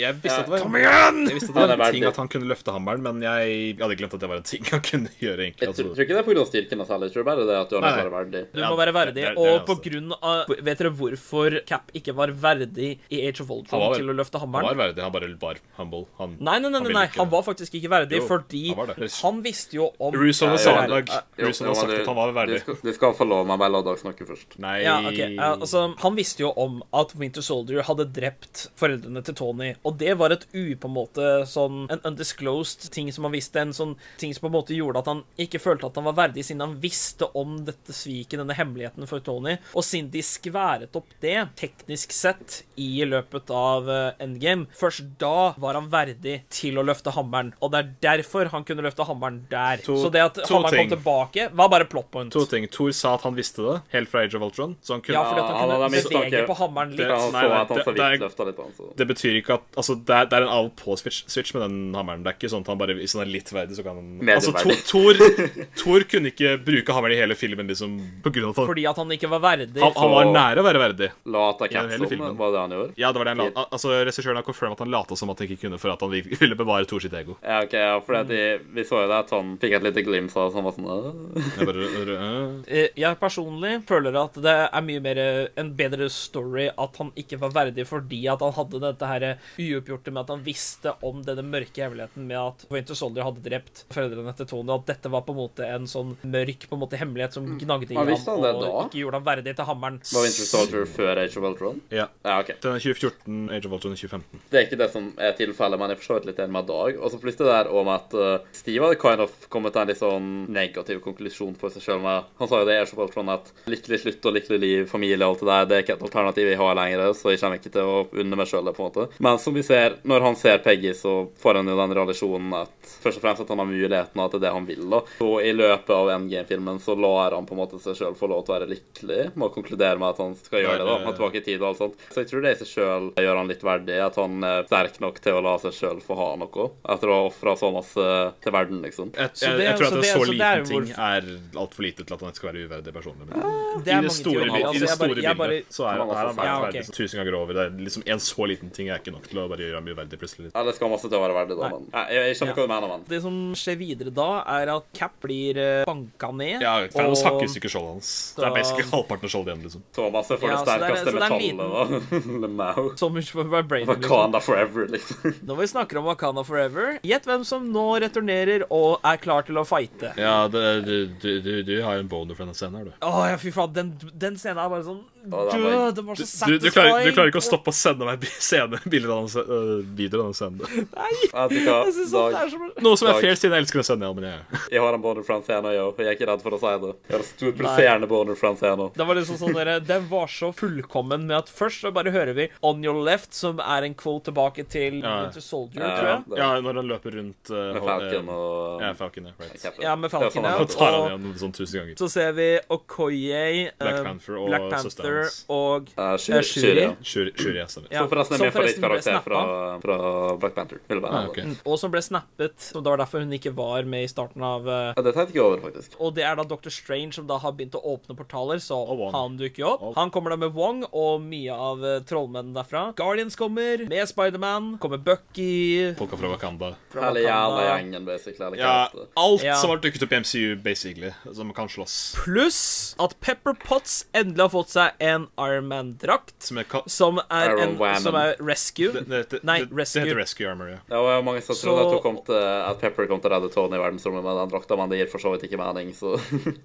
D: jeg visste at det var
E: Kom igjen!
D: Jeg visste at
A: Ja,
D: det
A: det er
D: var en
A: verdt
D: ting
A: det.
D: at han kunne løfte hammeren, men jeg, jeg hadde glemt at det var en ting han kunne gjøre, egentlig.
A: Jeg tror
D: Altså,
A: tror ikke det er pga. styrken hans heller. Jeg tror bare det er at du har
D: Nei,
A: nok
D: nei.
A: vært verdig.
E: Du
D: Ja,
E: må være
D: det-
E: verdig.
D: det er det altså.
E: og
D: jeg
E: på
D: også.
E: grunn av Vet dere hvorfor Cap ikke var verdig i Age of
D: Han
E: Ultron
D: var vel-
E: til å løfte
D: han
E: hammeren?
D: var verdig, han bare var humble. Han,
E: Nei, nei, nei,
D: han
E: nei,
D: ville
E: nei.
D: ikke-
E: han var faktisk ikke verdig,
D: Jo,
E: fordi
D: han var
E: han,
D: det.
E: visste jo om
D: Russo
A: Ja,
D: hadde
A: ja,
D: sagt
A: ja.
D: i dag
A: Jo,
D: Russo
A: jo, men
D: hadde sagt
A: du-
D: at han var verdig.
A: Du skal, du skal få lov, men bare la Dag snakke først.
D: Nei
E: ja, ok. Ja, altså, han visste jo om at Winter Soldier hadde drept foreldrene til Tony, og det var et u på en måte sånn En undisclosed ting som han visste, en sånn ting som på en måte gjorde at han ikke følte at han var verdig, siden han visste om dette sviket, denne hemmeligheten for Tony, og siden de skværet opp det, teknisk sett, i løpet av eh, Endgame, først da var han verdig til å løfte hammeren, og det er derfor han kunne løfte hammeren der.
D: To-
E: Så det at
D: to
E: hammeren
D: ting.
E: kom tilbake, var bare plot point.
D: To ting. Thor sa at han visste det, helt fra Age of Ultron. Så han kunne
E: Ja, fordi at
A: Ja, han
E: han kunne
A: hadde mistanke.
E: bevege på hammeren litt.
A: Ja, Han
D: Nei,
A: så
D: nei,
A: at han
D: det-
A: så
D: det
A: vidt
D: er-
A: løfta litt på han, så
D: Det betyr ikke at Altså, det er, det er en av-på-switch switch med den hammeren. Det er ikke sånn at han bare Hvis han er litt verdig, så kan han Altså, Thor,
A: Medieverdig.
D: Thor, Thor kunne ikke bruke hammeren i hele filmen, liksom, på grunn av at han
E: Fordi at han ikke var verdig.
D: han, han var nære å være verdig.
A: Lata
D: Ja, hele
A: Cats om,
D: filmen.
A: var det han gjorde?
D: Ja, det var det han la Altså, Regissøren har confirmet at han lata som at han ikke kunne for at han vil- ville bevare Thor sitt ego.
A: Ja, ok, ja, for de, vi så jo det at han fikk et lite glimt av det, så han var sånn «Øh».
D: Jeg bare, øh,
E: Eh, Jeg personlig føler at det er mye mer eh, en bedre story at han ikke var verdig fordi at han hadde dette her eh, uoppgjorte med at han visste om denne mørke hemmeligheten med at Winter Soldier hadde drept foreldrene til Tony, og at dette var på en måte en sånn mørk på en måte hemmelighet som gnagde i
A: Men
E: ham
A: visste Mm. han det
E: og
A: da?
E: ikke gjorde ham verdig til hammeren.
A: Var Winter Soldier før Age of Ultron?
D: ja.
A: Ja, ok.
D: Den er 2014, Age of Ultron er 2015.
A: Det er ikke det som er tilfellet, men jeg er for så vidt litt enig med Dag. Og så plutselig det der om at eh, Steve hadde kind of kommet til en litt sånn negativ konklusjon for seg sjøl. Han sa jo det er så sånn at lykkelig slutt og lykkelig liv, familie og alt det der, det er ikke et alternativ jeg har lenger, så jeg kommer ikke til å unne meg sjøl det, på en måte. Men som vi ser, når han ser Peggy, så får han jo den realisjonen at først og fremst at han har muligheten, og at det er det han vil, da. Så i løpet av Endgame-filmen så lar han på en måte seg sjøl få lov til å være lykkelig, med å konkludere med at han skal gjøre det, da. Han er tilbake i tid og alt sånt. Så jeg tror det i seg sjøl gjør han litt verdig, at han er sterk nok til å la seg sjøl få ha noe, etter å ha ofra så masse til verden, liksom.
D: Jeg,
E: Så
D: jeg,
E: det-
D: jeg tror
E: så
D: at en
E: det-
D: så
E: så det er
D: liten
E: jo
D: ting
E: hvorfor-
D: er altfor lite til at han skal være uverdig person. Men
E: Det er
D: I det
E: mange
D: store,
E: teorier,
D: bil-
E: altså,
D: i det
E: jeg
D: store
E: bare- jeg bare-
D: bildet så er, er
A: Man har
D: han
A: fått-
D: verdt
E: Ja, ok.
D: verdig som tusen ganger over. Det er liksom En så liten ting er ikke nok til å bare gjøre ham uverdig plutselig.
A: Ja, det skal masse til å være verdig, da,
E: Nei.
A: men Nei, jeg, jeg skjønner hva du mener, men
E: Det som skjer videre da, er at Cap blir eh, banka ned.
D: Ja, Thanos
E: og-
D: hakker i stykker skjoldet hans. Det
E: Da-
D: er basically halvparten av skjoldet igjen, liksom.
A: så masse for
E: Ja,
A: det
E: så det er- så
A: sterkeste
E: det er en
A: metallet, da. Lemau.
E: Som for Brain, liksom.
A: Wakanda forever, liksom.
E: Når vi snakker om Wakanda Forever, gjett hvem som nå returnerer og er klar til å fighte.
D: Ja, det, du, du, du, du har jo en boner for denne scenen her, du.
E: Å, ja, fy faen, den, den scenen er bare sånn
A: Å, den
E: Død!
A: var-
E: Den var
D: Du, du,
E: så satisfying.
D: du, klarer, du klarer ikke å stoppe å sende meg bi- scene- bilder av den se- øh, videoer av den scenen.
A: Vet du hva,
E: Jeg synes sånn, det
A: Dag,
E: er som
D: Noe som er
A: Dag.
D: fair, siden jeg elsker den scenen. Ja, men jeg,
A: jeg har en boner fra en scene, jeg òg. Jeg er ikke redd for å si det. Jeg har en stor pulserende boner fra en scene.
E: det var liksom sånn dere, Den var så fullkommen med at først så bare hører vi 'On Your Left', som er en quote tilbake til
D: Ja.
E: Winter Soldier,
A: Ja,
E: tror jeg.
A: det-
D: ja, når han løper rundt øh,
A: Med
D: hold-
A: Falcon
D: øh,
A: og
D: Ja, Falcon, ja, right.
E: Ja, med
A: Det er
E: Falcon,
A: sånn han
D: Han tar
E: Og-
D: han igjen sånn tusen ganger.
E: Så ser vi Okoye,
D: Black
E: eh,
D: Panther og
E: Black
D: søsteren
E: Panther
D: hans.
E: og
A: Eh, Shuri-
E: Eh, Shuri.
A: Shuri, ja.
D: Shuri, Shuri jeg stemmer.
E: Ja,
A: Som forresten er
E: som
A: min
E: forresten ble
A: favorittkarakter fra,
E: snappa.
A: fra Black Panther. Vil være
D: Ah,
A: med.
D: ok.
E: Og som ble snappet. Så det var derfor hun ikke var med i starten av eh,
A: Ja, det tenkte jeg ikke over, faktisk.
E: Og det er da Dr. Strange som da har begynt å åpne portaler, så
D: Og Wong.
E: han dukker jo opp.
D: Og-
E: Han kommer da med Wong og mye av eh, trollmennene derfra. Guardians kommer, med Spiderman, kommer Bucky
D: Folka fra Wakanda.
E: fra
A: Hele jævla
E: Wakanda.
A: gjengen, basically. Eller
D: Ja,
A: hva det heter.
D: alt
E: Ja.
D: som har dukket opp i MCU, basically, som kan slåss.
E: Pluss at Pepper Potts endelig har fått seg en Iron Man-drakt,
D: Som er ka
E: som er
A: Iron
E: en
A: Woman.
E: som er Rescue.
D: det, det, det,
E: Nei,
D: det, det
E: Rescue.
D: heter Rescue Armor, ja.
A: Det var jo mange som
E: Så-
A: trodde at, hun kom til, at Pepper kom til å redde Tony i verdensrommet med den drakta, men det gir for så vidt ikke mening, så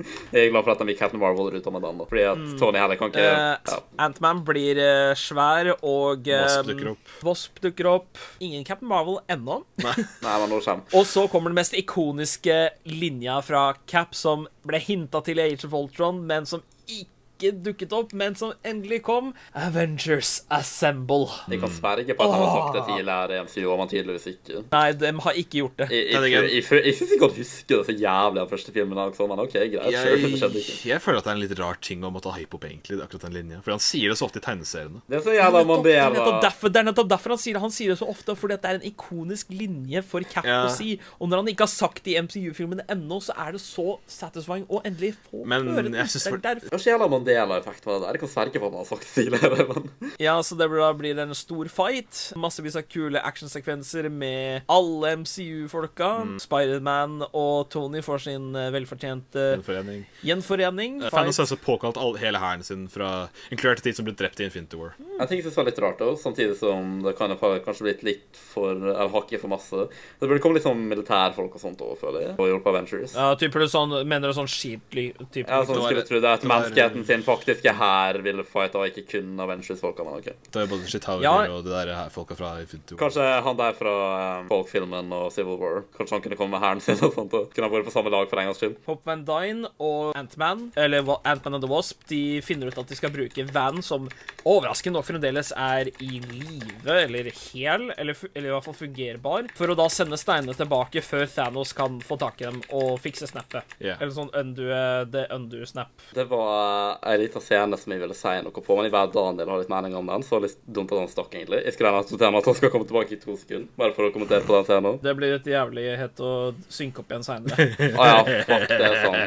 A: jeg er glad for at de gikk Captain Marvel ut av med den, da. Fordi at Tony heller kan ikke
E: Mm. Eh,
A: ja.
E: Ant-Man blir eh, svær, og eh,
D: Wasp dukker opp.
E: Wasp dukker opp. Ingen Captain Marvel ennå.
A: Nei, men nå kommer
E: Og så kommer den mest ikoniske linja fra Cap, som ble hinta til i Age of Ultron, men som ikke dukket opp, men som endelig kom. Avengers Assemble.
A: Jeg
D: Mm.
A: kan sverge på at de har sagt det tidligere i MCU, og man tydeligvis ikke.
E: Nei, de har ikke gjort det.
A: Jeg, jeg,
D: Det er
A: jeg,
D: gøy.
A: jeg, jeg syns ikke han husker det så jævlig av første filmen, altså, men OK, greit. sure, det skjedde ikke.
D: jeg føler at det er en litt rar ting å måtte hype opp, egentlig. akkurat den linja. For han sier det så ofte i tegneseriene.
A: Det er så jævla
E: Det er, nettopp
A: Mandela
E: derfor, det er nettopp derfor han sier det. Han sier det så ofte fordi at det er en ikonisk linje for Cap
D: Ja.
E: å si. Og når han ikke har sagt det i MCU-filmene ennå, så er det så satisfying å endelig få
D: Men
E: høre
D: jeg
E: det.
D: synes
E: Det er
D: for-
E: derfor-
A: Det er så jævla Mandela-effekt med det der. Jeg kan sverge på at han har sagt det tidligere, men
E: Ja, så det blir- da blir det en stor fight. Massevis av kule actionsekvenser med alle MCU-folka. Spiderman og Tony får sin eh, velfortjente
D: Gjenforening.
E: gjenforening.
D: Thanos
E: Fight.
D: har altså påkalt all, hele hæren sin fra inkludert de som ble drept i Infinity War.
A: en ting jeg synes var litt rart også, samtidig som det kan ha kanskje blitt litt for Eller hakket for masse. Det burde komme litt sånn militærfolk og sånt òg, føler jeg. Og hjulpet Avengers. Ja.
E: Ja, typer du sånn, mener du sånn shield-type?
A: sånn
D: Det var-
A: skulle tro det at
D: det var-
A: menneskeheten sin faktiske hær ville fighte, og ikke kun Avengers-folka. Men ok.
D: Det er både Shit Howard
E: Ja.
D: og det der her, folka fra Infinity War.
A: Kanskje han der fra eh, Folk-filmen og Civil War Kanskje han kunne komme med hæren sin og sånt og kunne ha vært på samme lag for en gangs skyld.
E: Pop Van Dyne og Ant-Man, eller Wa- Ant-Man and the Wasp, de finner ut at de skal bruke Van, som overraskende nok fremdeles er i live, eller hel, eller, fu- eller i hvert fall fungerbar, for å da sende steinene tilbake før Thanos kan få tak i dem og fikse snappet.
D: Ja.
E: Eller sånn undo, the undo snap.
A: Det var ei lita scene som jeg ville si noe på, men jeg vet Daniel har litt mening om den, så det var litt dumt at han stakk, egentlig. Jeg skulle gjerne akseptere med at han skal komme tilbake i to sekunder, bare for å kommentere på den scenen.
E: Det blir et jævlig hett å synke opp igjen seinere.
A: Å Ah, ja, fuck, det er sånn.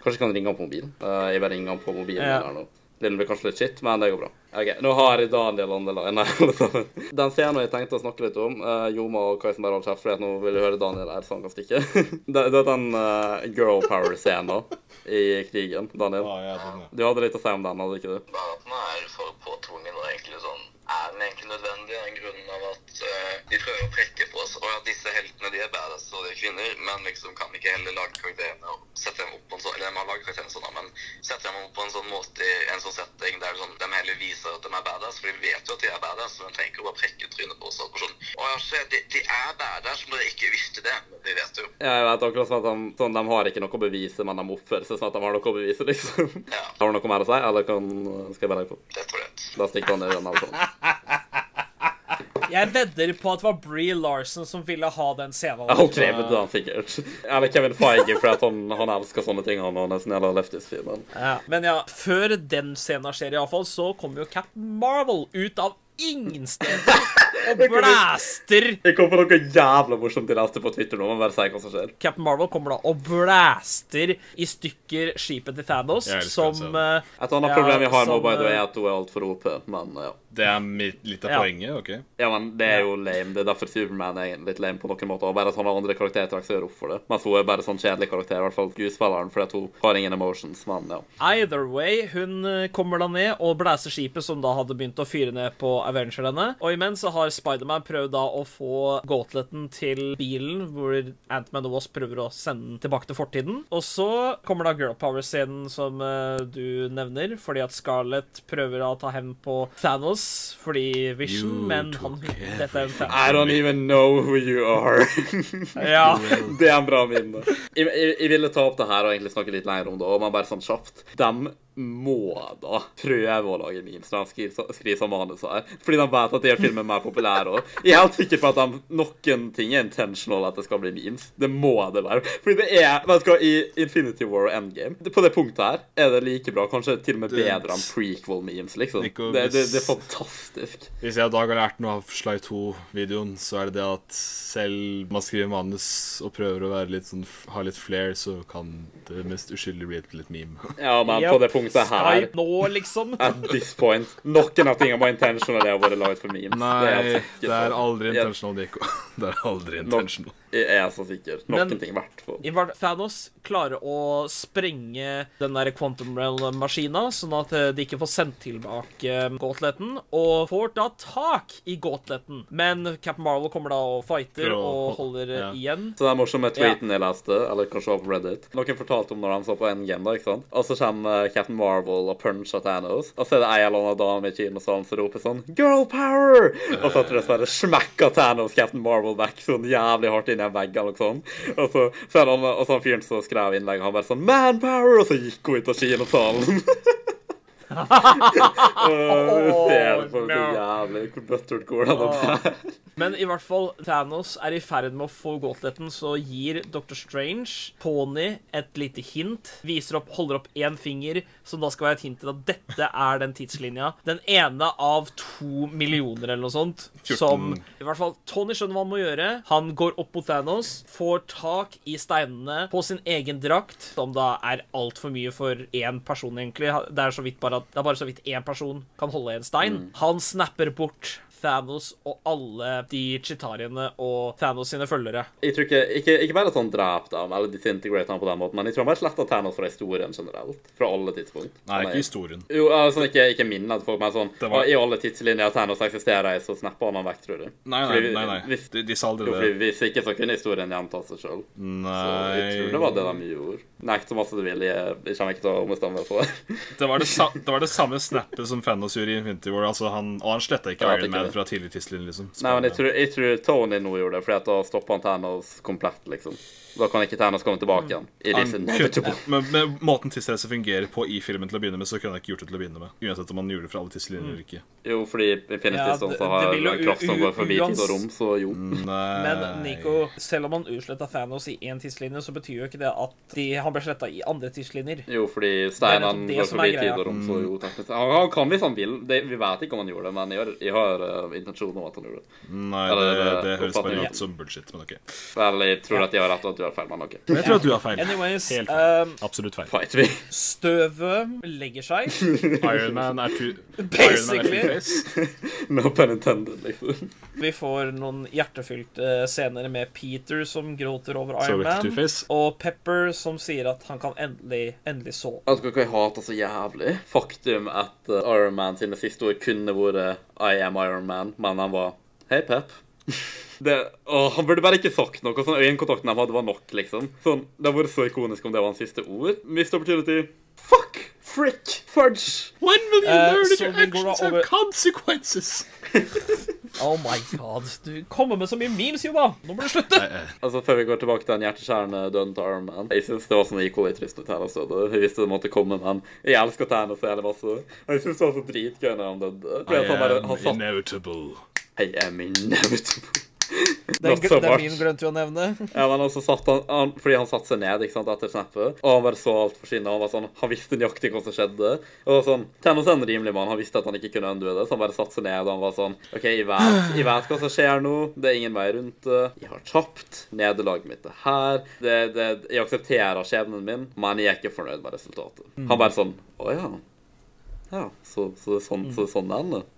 A: Kanskje jeg kan ringe han på mobilen? Eh, jeg bare ringer han på mobilen
E: Ja.
A: eller noe. Den blir kanskje litt shit, men det går bra. Ok, Nå har jeg Daniel Andela. Nei, alle sammen. Den scenen jeg tenkte å snakke litt om, eh, Joma og Kaisen bare holdt kjeft, for nå vil jeg høre Daniel er sånn ganske ikke. det, det er den eh, girl power-scenen i krigen, Daniel.
D: Ah, Ja, ja, den, ja.
A: Du hadde litt å si om den, hadde ikke du?
H: Bare at den er for påtvungen og egentlig sånn Er den egentlig nødvendig av grunnen av at eh, de prøver å prekke på oss? Og at disse heltene de er badass og de er kvinner, men liksom kan ikke heller lage karakterene og sette dem opp på en sånn Eller de har laget karakterene sånn, da, men sette dem opp på en sånn måte i en sånn setting der sånn, de heller viser at de er badass, for de vet jo at de er badass, men de trenger ikke å bare prekke trynet på oss. Og sånn, å ja, se, de, de er badass, men dere ikke visste det. Men de vet jo.
A: Ja, jeg vet akkurat sånn at de, sånn, de har ikke noe å bevise, men de oppfører seg sånn at de har noe å bevise, liksom.
H: Ja,
A: Har du noe mer å si, eller kan, skal jeg bare legge på?
H: det tror jeg.
A: Da stikker han ned igjen, eller sånn.
E: Jeg vedder på at det var Bree Larson som ville ha den scenen.
A: Han krever det, han sikkert. Eller Kevin Feige, for at han, han elsker sånne ting, han, og nesten hele Leftis-filmen.
E: Ja. Men ja, før den scenen skjer, iallfall, så kommer jo Captain Marvel ut av ingen steder og blæster
A: Jeg kom på noe jævla morsomt jeg leste på Twitter nå, men bare si hva som skjer.
E: Captain Marvel kommer da og blæster i stykker skipet til Thanos,
D: Jeg elsker den
E: som
D: scenen.
E: eh,
A: Et annet
E: Ja,
A: problem jeg har nå,
E: som,
A: by the way,
E: eh,
A: er at hun er altfor OP, men ja.
D: det er mitt, litt av
E: Ja.
D: poenget, OK?
A: Ja, men det er jo lame. Det er derfor Superman er litt lame på noen måter. Og bare at han har andre karaktertrekk som gjør opp for det. Mens hun er bare sånn kjedelig karakter, i hvert fall skuespilleren, fordi at hun har ingen emotions, men ja.
E: Either way, hun eh, kommer da ned og blæser skipet som da hadde begynt å fyre ned på Avengerne. Og imens så har Spiderman prøvd da å få gauntleten til bilen, hvor Ant-Man og Wasp prøver å sende den tilbake til fortiden. Og så kommer da girl power-scenen som eh, du nevner, fordi at Scarlett prøver å ta hevn på Thanos fordi Vision,
D: You
E: men han
D: took
E: Dette er jo Thanos.
A: I don't even know who you are.
E: Ja.
A: Det er en bra minne. Jeg, jeg, jeg ville ta opp det her og egentlig snakke litt lenger om det. Og man bare sånn kjapt De må da prøve å lage memes når de skriver, så- skriver sånn manus her. Fordi de vet at de gjør filmen mer populær òg. Jeg er helt sikker på at de, noen ting er intentional at det skal bli memes. Det må det være. Fordi det er Vet du hva, i Infinity War og Endgame På det punktet her er det like bra, kanskje til og med bedre enn prequel-memes, liksom.
D: Nico,
A: Det, det, det er
D: hvis-
A: fantastisk.
D: Hvis jeg i dag har lært noe av Sly 2-videoen, så er det det at selv man skriver manus og prøver å være litt sånn, ha litt flair, så kan det mest uskyldig bli et litt meme.
A: Ja, men på
E: Yep.
A: det punktet her
E: Skype nå, liksom.
A: At this point. Noen av tingene var intentional, det har vært laget for memes. det er
D: Nei,
A: jeg, så
D: det
A: sikker
D: er
A: på.
D: aldri intentional, Nico. Det er aldri intentional.
A: jeg er så sikker. Noen
E: Men-
A: ting i hvert fall.
E: I hvert- Thanos klarer å sprenge den der quantum realm-maskina, sånn at eh, de ikke får sendt tilbake eh, gauntleten, og får da tak i gauntleten. Men Captain Marvel kommer da og fighter
D: Prøver å
E: og holder eh,
D: ja.
E: igjen.
A: Så den morsomme tweeten jeg leste, eller kanskje var på Reddit Noen fortalte om når han så på Endgame, da, ikke sant? Og så kommer eh, Captain Marvel og puncher Thanos, og så er det ei eller annen dame i kinosalen som roper sånn 'Girl power!' Og så etter det så bare smekker Thanos Captain Marvel back sånn jævlig hardt inn i en vegg eller noe sånt. Og så, så er det han, og så han fyren som skrev innlegget, han bare sånn 'Man power!' Og så gikk hun ut av kinosalen. Åh, det er for
E: no.
A: jævlig hvor buttered går det an å
E: Men i hvert fall, Thanos er i ferd med å få gauntleten, så gir Dr. Strange Pony et lite hint. Viser opp, holder opp én finger, som da skal være et hint til at dette er den tidslinja. Den ene av to millioner eller noe sånt. Som i hvert fall Tony skjønner hva han må gjøre. Han går opp mot Thanos, får tak i steinene på sin egen drakt, som da er altfor mye for én person, egentlig. Det er, så vidt bare at, det er bare så vidt én person kan holde en stein. Han snapper bort Thanos og alle de chitariene og Thanos sine følgere.
A: Jeg tror ikke, ikke, ikke bare at han drepte ham eller disintegrerte ham på den måten, men jeg tror han bare sletta Thanos fra historien generelt. Fra alle tidspunkt.
D: Nei,
A: Han er-
D: ikke historien.
A: Jo, altså ikke, ikke minnet folk, men sånn
D: Det var-
A: I alle tidslinjer at Thanos eksisterer, så snapper han ham vekk, tror du.
D: Nei, nei,
A: Fordi vi-
D: nei. nei.
A: Hvis,
D: De, de sa aldri
A: jo, fordi
D: det. eh,
A: hvis ikke, så kunne historien gjenta seg sjøl. Så jeg tror det var det
D: Nei
A: de gjorde. Nekt så masse du vil, jeg, jeg kommer ikke til å ombestemme meg for det.
D: Det var det, sa det, var det samme snappet som Thanos gjorde i Infinity War. Altså han, og han sletta ikke
A: Ja, det er
D: Iron Man
A: ikke det.
D: fra tidlig tidslinje, liksom.
A: Nei, men jeg tror, jeg tror Tony nå gjorde det, fordi at da stoppa han Thanos komplett, liksom. Da kan ikke Thanos komme tilbake igjen. It is
D: Han
A: inevitable.
D: kunne- Men med måten tidsreise fungerer på i filmen til å begynne med, så kunne han ikke gjort det til å begynne med. Uansett om han gjorde det fra alle tidslinjer eller ikke.
A: Jo, fordi Infinity
E: Ja,
A: Stones
E: det-
A: har
E: det vil jo
A: en kraft som
E: u-
A: går forbi
E: uans-
A: tid og rom, så jo.
D: Nei
E: Men Nico, selv om han utsletta Thanos i én tidslinje, så betyr jo ikke det at de, han han ble sletta i andre tidslinjer.
A: Jo, fordi
E: Det er nettopp
A: Steinan
E: det
A: går
E: som er
A: forbi
E: greia. Mm.
A: tid og rom, så jo teknisk Han, han kan hvis han vil. Det, vi vet ikke om han gjorde det, men jeg har, jeg har eh, intensjonen om at han gjorde det.
D: Nei, det,
A: Eller, eh,
D: det høres
A: oppfatning.
D: bare ut som bullshit, men ok.
A: Vel, jeg tror at jeg har rett, og at du har feil, men ok.
D: Men jeg tror at du har feil.
E: Anyways,
D: Helt feil.
E: eh,
D: Absolutt feil.
A: Fight vi.
E: støvet legger seg.
D: Ironman er two
E: Basically.
D: face.
A: No pun intended, liksom.
E: Vi får noen hjertefylte scener med Peter som gråter over
D: Så
E: Iron
D: vi ikke
E: Man.
D: Two-Face.
E: Og Pepper som sier at han kan endelig, endelig sove.
A: Jeg vet ikke hva jeg hater så jævlig. Faktum at eh, Iron Man sine siste ord kunne vært uh, I am Iron Man, men han var Hei, Pep. Det, åh, han burde bare ikke sagt noe. Sånn Øyekontakten de hadde, var nok, liksom. Sånn, Det hadde vært så ikonisk om det var hans siste ord. Missed opportunity. Fuck! Frick! Fudge!
D: When will you
E: Eh,
D: learn
E: så
D: your
E: vi går da
D: actions have
E: over-
D: consequences?
E: Oh my god. Du kommer med så mye memes, Juba! Nå må du slutte!
A: Altså, Før vi går tilbake til den hjerteskjærende døden til Iron Man Jeg synes det var sånn equally trist når Thanos døde. Jeg visste det måtte komme, men jeg elsker Thanos hele masse. Og jeg synes det var så dritgøy når han døde. Fordi at han bare, han satt
D: eh, inevitable.
A: I am inevitable.
E: Den,
A: Not so
E: den
A: much.
E: min glemte vi å nevne.
A: Ja, men også satt han, han Fordi han satte seg ned ikke sant, etter snappet, og han bare så alt forsvinne. og Han var sånn, han visste nøyaktig hva som skjedde. Og det var sånn, Thanos er en rimelig mann. Han visste at han ikke kunne undue det, så han bare satte seg ned og han var sånn OK, jeg vet, jeg vet hva som skjer nå. Det er ingen vei rundt det. Jeg har tapt. Nederlaget mitt er her. Det, det, jeg aksepterer skjebnen min, men jeg er ikke fornøyd med resultatet.
E: Mm.
A: Han bare sånn Å ja. Ja, så, så det er sånn, så det er sånn det ender.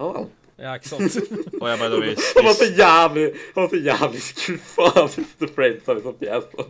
A: Ja vel.
E: Ja, ikke sant?
D: Og jeg Oh, by the way
A: Han var så
D: spiste
A: jævlig Han var så jævlig skuffa av siste frames av liksom Pietro.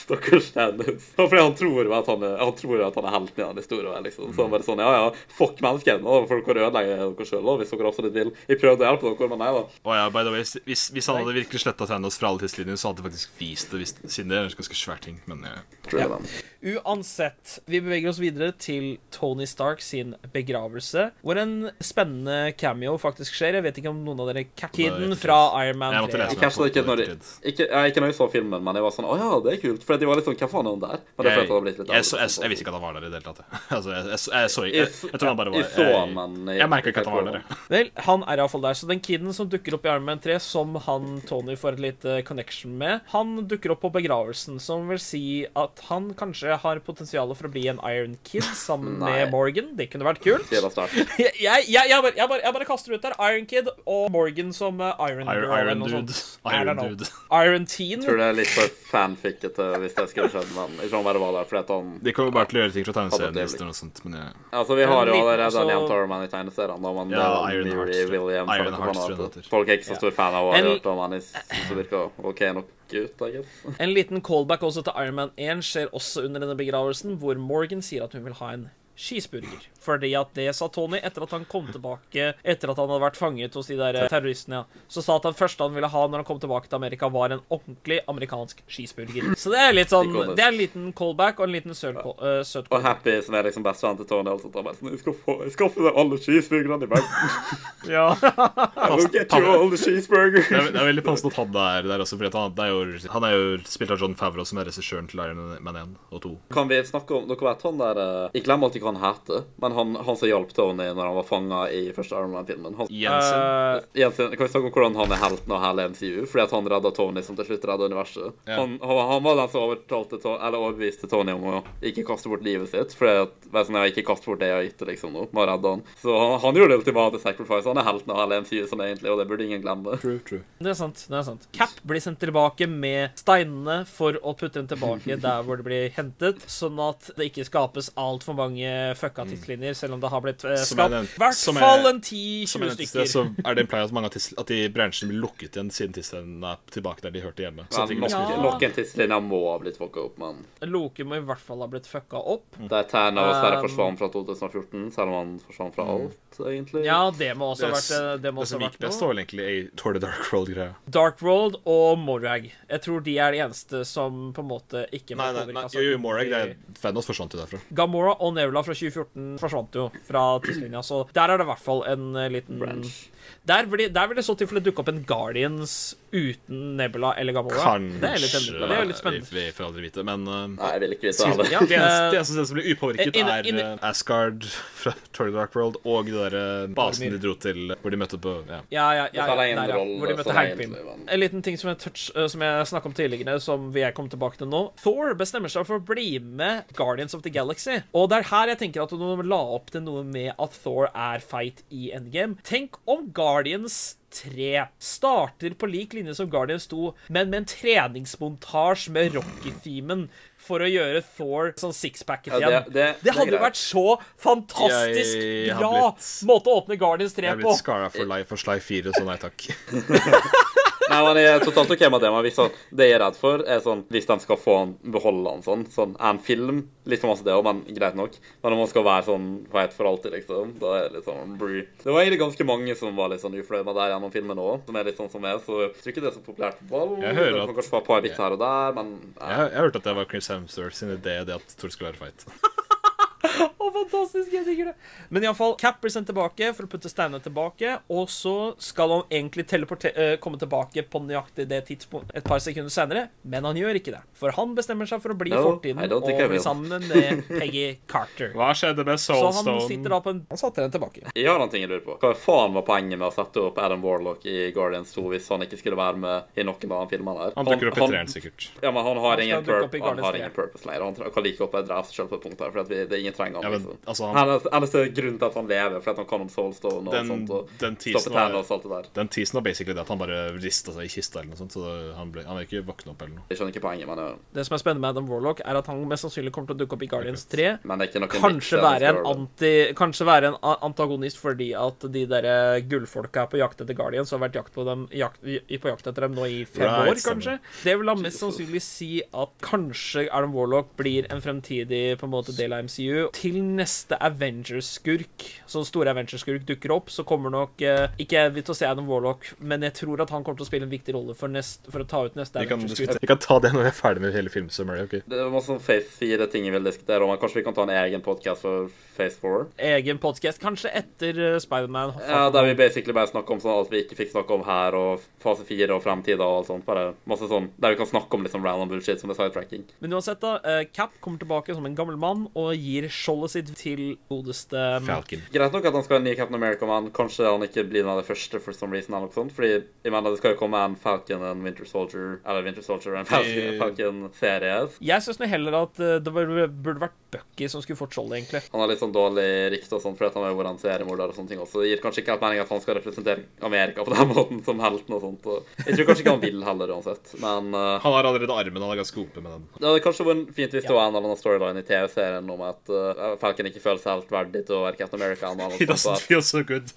A: Stakkars Thanos. Ja, Fordi han tror jo at han er, han tror jo at han er helten i den historien. her, Liksom. Så han bare sånn Ja, ja, fuck menneskene. Og folk kan ødelegge dere sjøl hvis dere absolutt vil. Jeg prøvde å hjelpe dere, men nei da.
D: Å oh, ja, by the way, hvis, hvis han hadde virkelig sletta Thanos fra alle tidslinjer, så hadde jeg faktisk vist det, hvis, siden det er en ganske svær ting. Men eh,
A: Tror jeg
E: Ja.
A: det.
E: Uansett, vi beveger oss videre til Tony Stark sin begravelse, hvor en spennende cameo faktisk skjer. Jeg vet ikke om noen av dere Kid-en fra Iron Man
D: jeg måtte
E: 3.
D: lese
A: Jeg catchet det
D: meg
A: ikke
D: på
A: når
D: det.
A: jeg,
D: ettertid.
A: ikke, jeg, ikke når jeg så filmen, men jeg var sånn Å ja, det er kult. For jeg var litt sånn Hva faen er han der? Men det
D: Jeg,
A: følte jeg hadde blitt litt
D: jeg, så- jeg, jeg visste ikke at han var der i det hele tatt. jeg. Altså, jeg, jeg, jeg så ikke jeg, jeg, tror han bare var
A: Jeg så han, men
D: Jeg merka ikke at han var der. jeg.
E: Vel, han er iallfall der. Så den kiden som dukker opp i Iron Man 3, som han Tony får et lite connection med, han dukker opp på begravelsen, som vil si at han kanskje har potensial for å bli en Iron Kid sammen
A: Nei.
E: med Morgan. Det kunne vært kult.
A: Sier det sterkt.
E: Jeg, jeg, jeg, jeg, bare, jeg, bare, jeg bare kaster ut der Iron Kid og Morgan som eh, Iron,
D: Iron,
E: Girl eller
D: Iron
E: noe
D: Dude.
E: sånt. I don't
D: Iron
E: know.
D: Dude.
E: Iron Teen.
A: Tror det er litt for fanfickete hvis det skulle skjedd, men jeg tror han bare var der fordi at han
D: De kommer bare til å gjøre ting fra tegneseriene
A: Adoptivt.
D: hvis det er noe sånt, men jeg
A: Altså, vi har jo
E: Men
A: allerede
E: liten, så-
A: nevnt Ironman i tegneseriene, da, men
D: Ja,
A: det er
D: Iron
A: Miri
D: Hearts, tror jeg.
A: Williams,
D: Iron
A: han
D: Hearts,
A: kan
D: tror jeg
A: ha
D: det
A: det.
D: heter.
A: Folk er ikke så stor fan av å ha
E: En-
A: hørt om han i som virker OK nok ut, I guess.
E: En liten callback også til Iron Man 1 skjer også under denne begravelsen, hvor Morgan sier at hun vil ha en cheeseburger. Fordi at det sa Tony etter at han kom tilbake etter at han hadde vært fanget hos de der eh, terroristene. ja. Så sa at han første han ville ha når han kom tilbake til Amerika, var en ordentlig amerikansk cheeseburger. Så det er litt sånn Det er en liten callback og en liten søt call- eh, søt
A: Og Happy, som er liksom bestevennen til Tony, altså, tar bare sånn Jeg skal få, jeg skal få deg alle cheeseburgerne i verden.
E: Ja.
A: I will get you all the cheeseburger.
D: det er, det er veldig passende at han er der også, for han, det er jo- han er jo spilt av John Favreau, som er regissøren til Iron Man 1 og 2.
A: Kan vi snakke om Dere vet han der eh, Jeg glemmer alltid hva han heter, men han, han som hjalp Tony når han var fanga i første Ironman-filmen. Han
D: Jensen. Eh,
E: Eh,
A: Jensen, kan vi snakke om hvordan han er helten av hele MCU? Fordi at han redda Tony, som til slutt redda universet.
D: Ja.
A: Han, han, han var den som overtalte To- eller overbeviste Tony om å ikke kaste bort livet sitt. Fordi at, vær sånn, jeg har ikke kastet bort det jeg har gitt, liksom, nå. Må redde han. Så han, han gjorde det ultimate sacrifice. Han er helten av hele MCU, sånn egentlig, og det burde ingen glemme.
D: True, true.
E: Det er sant. det er sant Cap blir sendt tilbake med steinene for å putte den tilbake der hvor det blir hentet, sånn at det ikke skapes altfor mange fucka tidslinjer, selv om det har blitt eh,
D: Mm. Som jeg
E: skapt
D: nevnte-
E: i hvert
D: som jeg-
E: fall en
D: Som jeg nevnte
E: 10-20
D: i sted,
E: stykker.
D: så er det en pleie at mange av tids, at de bransjene blir lukket igjen siden tidslinjene er tilbake der de hørte hjemme. Så ting blir
A: Men
D: smidt
A: nok-
D: igjen.
A: Nok en tidslinje må ha blitt fucka opp, men
E: Loke må i hvert fall ha blitt fucka opp.
D: Mm.
A: der Terna og Sverre
E: Um,
A: forsvant fra 2014, selv om han forsvant
D: Mm.
A: fra alt, egentlig.
E: Ja, det må også ha vært, eh,
D: Det,
E: det må også
D: som
E: ha
D: gikk
E: vært
D: best,
E: noe.
D: var vel egentlig ei Tour the Dark World-greia.
E: Dark World og Morag. Jeg tror de er de eneste som på en måte ikke
D: Nei, nei,
E: påvirket
D: nei,
E: av
D: jo, jo,
E: saken.
D: Morag, det er Thanos forsvant jo derfra.
E: Gamora og Nebula fra 2014 forsvant jo fra tidslinja, så der er det i hvert fall en eh, liten
A: Branch.
E: Der vil, der vil det så tilfelle dukke opp en Guardians uten Nebula eller Gamora.
D: Kanskje
E: Det er litt, spennende. det er jo litt spennende.
D: Vi, vi får aldri vite, men uh,
A: Nei, jeg vil ikke vite det heller.
E: Ja,
D: det eneste,
E: eh,
D: det eneste stedet som blir upåvirket,
E: Inn-
D: er
E: inn-
D: eh, Asgard fra Tory Dark World og de der eh, basen de dro til hvor de møtte på ja.
E: Ja, ja, ja,
A: Det var
E: ja,
A: en
E: der, ja.
A: rolle
E: Hvor de møtte
A: som
E: Hagpim.
A: egentlig var-
E: En liten ting som jeg, touch, eh, som jeg snakket om tidligere, som jeg kom tilbake til nå. Thor bestemmer seg for å bli med Guardians of the Galaxy. Og det er her jeg tenker at de la opp til noe med at Thor er feit i endgame. Tenk om Guardians 3 starter på lik linje som Guardians 2, men med en treningsmontasje med Rocky-themen. For å gjøre Thor sånn sixpacket
A: Ja,
E: igjen.
A: det- det- det er
E: hadde jo
A: greit.
E: vært så fantastisk
D: Jeg har
E: bra
D: blitt-
E: måte å åpne Guardians 3
D: Jeg er
E: på.
D: blitt skara for, Li- for Sly 4, så nei takk.
A: Nei, men jeg er totalt ok med det, men hvis han, det jeg er redd for, er sånn Hvis de skal få han, beholde han sånn, sånn er en film Litt for masse det òg, men greit nok. Men om han skal være sånn feit for alltid, liksom, da er det litt sånn brr. Det var egentlig ganske mange som var litt sånn ufløyd med det her gjennom filmen òg, som er litt sånn som meg, så jeg tror ikke det er så populært. Val.
D: Jeg hører
A: Du
D: at-
A: kan kanskje få et par bits her og der, men
D: Jeg,
A: nei.
D: jeg hørte at det var Chris Hemsworth sin idé, det at Thor skulle være feit.
E: Å, fantastisk, jeg digger det. Men iallfall, Cap blir sendt tilbake for å putte steinene tilbake, og så skal han egentlig teleporte- eh, komme tilbake på nøyaktig det tidspunktet et par sekunder senere, men han gjør ikke det. For han bestemmer seg for å bli i
A: No, I
E: fortiden
A: don't
E: og
A: think I
E: bli
A: will.
E: sammen med Peggy Carter.
D: Hva skjedde med
E: Så han sitter
D: Soulstone?
E: da på en
B: Han satte den tilbake.
A: Jeg har en ting jeg lurer på. Hva faen var poenget med å sette opp Adam Warlock i Guardians 2 hvis han ikke skulle være med i noen av filmene her?
D: Han dukker opp i treeren, sikkert.
A: Ja, men han har,
E: skal
A: ingen,
E: dukke opp i
A: purp han
E: Guardians
A: har
E: tre.
A: ingen purpose lenger. Han tre- kan like godt bare drepe seg selv på et punkt her, for at vi, det er ingen trenger
D: Ja,
A: han.
D: men,
A: liksom.
D: altså, han,
A: Hennes, eneste grunn til at han lever, fordi at han kan om Soulstone og
D: Den-
A: sånt, og
D: den teasen
A: stoppe
D: var-
A: tærne og alt det der.
D: den teasen var basically det at han bare rista seg i kista eller noe sånt, så han, ble, han vil ikke våkne opp eller noe.
A: Jeg skjønner ikke poenget, men, øh, det-
E: Det som er spennende med Adam Warlock, er at han mest sannsynlig kommer til å dukke opp i Guardians 3.
A: men det er ikke noe
E: Kanskje
A: nytt,
E: være, en
A: det er
E: anti, kanskje være en a- antagonist fordi at de der eh, gullfolka er på jakt etter Guardians og har vært jakt på, dem, jakt, i- på jakt etter dem nå i fem
D: Right,
E: år, kanskje. Det vil da mest sannsynlig si at kanskje Adam Warlock blir en fremtidig på en måte del av MCU. Til neste Avengers-skurk, sånn store Avengers-skurk dukker opp, så kommer nok eh, Ikke jeg vil til å se Adam Warlock, men jeg tror at han kommer til å spille en viktig rolle for, nest, for å ta ut neste
D: Vi kan,
E: Avengers-skurk.
D: diskutere- vi kan ta det når vi er ferdig med hele filmsummeren. ok?
A: Det er masse sånn Phase 4 ting jeg vil diskutere, men kanskje vi kan ta en egen podcast for Phase 4?
E: Egen podcast, kanskje etter eh, Spider-Man
A: Ja, der vi basically bare snakker om sånn alt vi ikke fikk snakke om her, og fase 4 og fremtiden og alt sånt. Bare masse sånn, der vi kan snakke om liksom random bullshit som er sidetracking.
E: Men uansett, da. eh, Cap kommer tilbake som en gammel mann og gir skjoldet sitt til godeste
D: Falcon.
A: Greit nok at han skal ha en ny Captain America, men kanskje han ikke blir den av det første for some reason. eller noe sånt, fordi jeg mener det skal jo komme en Falcon, en Winter Soldier, eller Winter Soldier, en Falcon, en Falcon-serie.
E: Jeg syns heller at eh, det var- burde vært Bucky som skulle fått skjoldet, egentlig.
A: Han har litt sånn dårlig rykte og sånn, fordi at han har vært en seriemorder og sånne ting også. Det gir kanskje ikke helt mening at han skal representere Amerika på den måten som helten og sånt. og Jeg tror kanskje ikke han vil heller uansett, men eh,
D: Han har allerede armen, han er ganske OP med den.
A: det hadde kanskje vært fint hvis det var en eller annen storyline i TV-serien om at eh, Falcon ikke føler seg helt verdig til å være Captain America. eller noe
D: He
A: sånt, så
D: doesn't
A: at-
D: feel so good.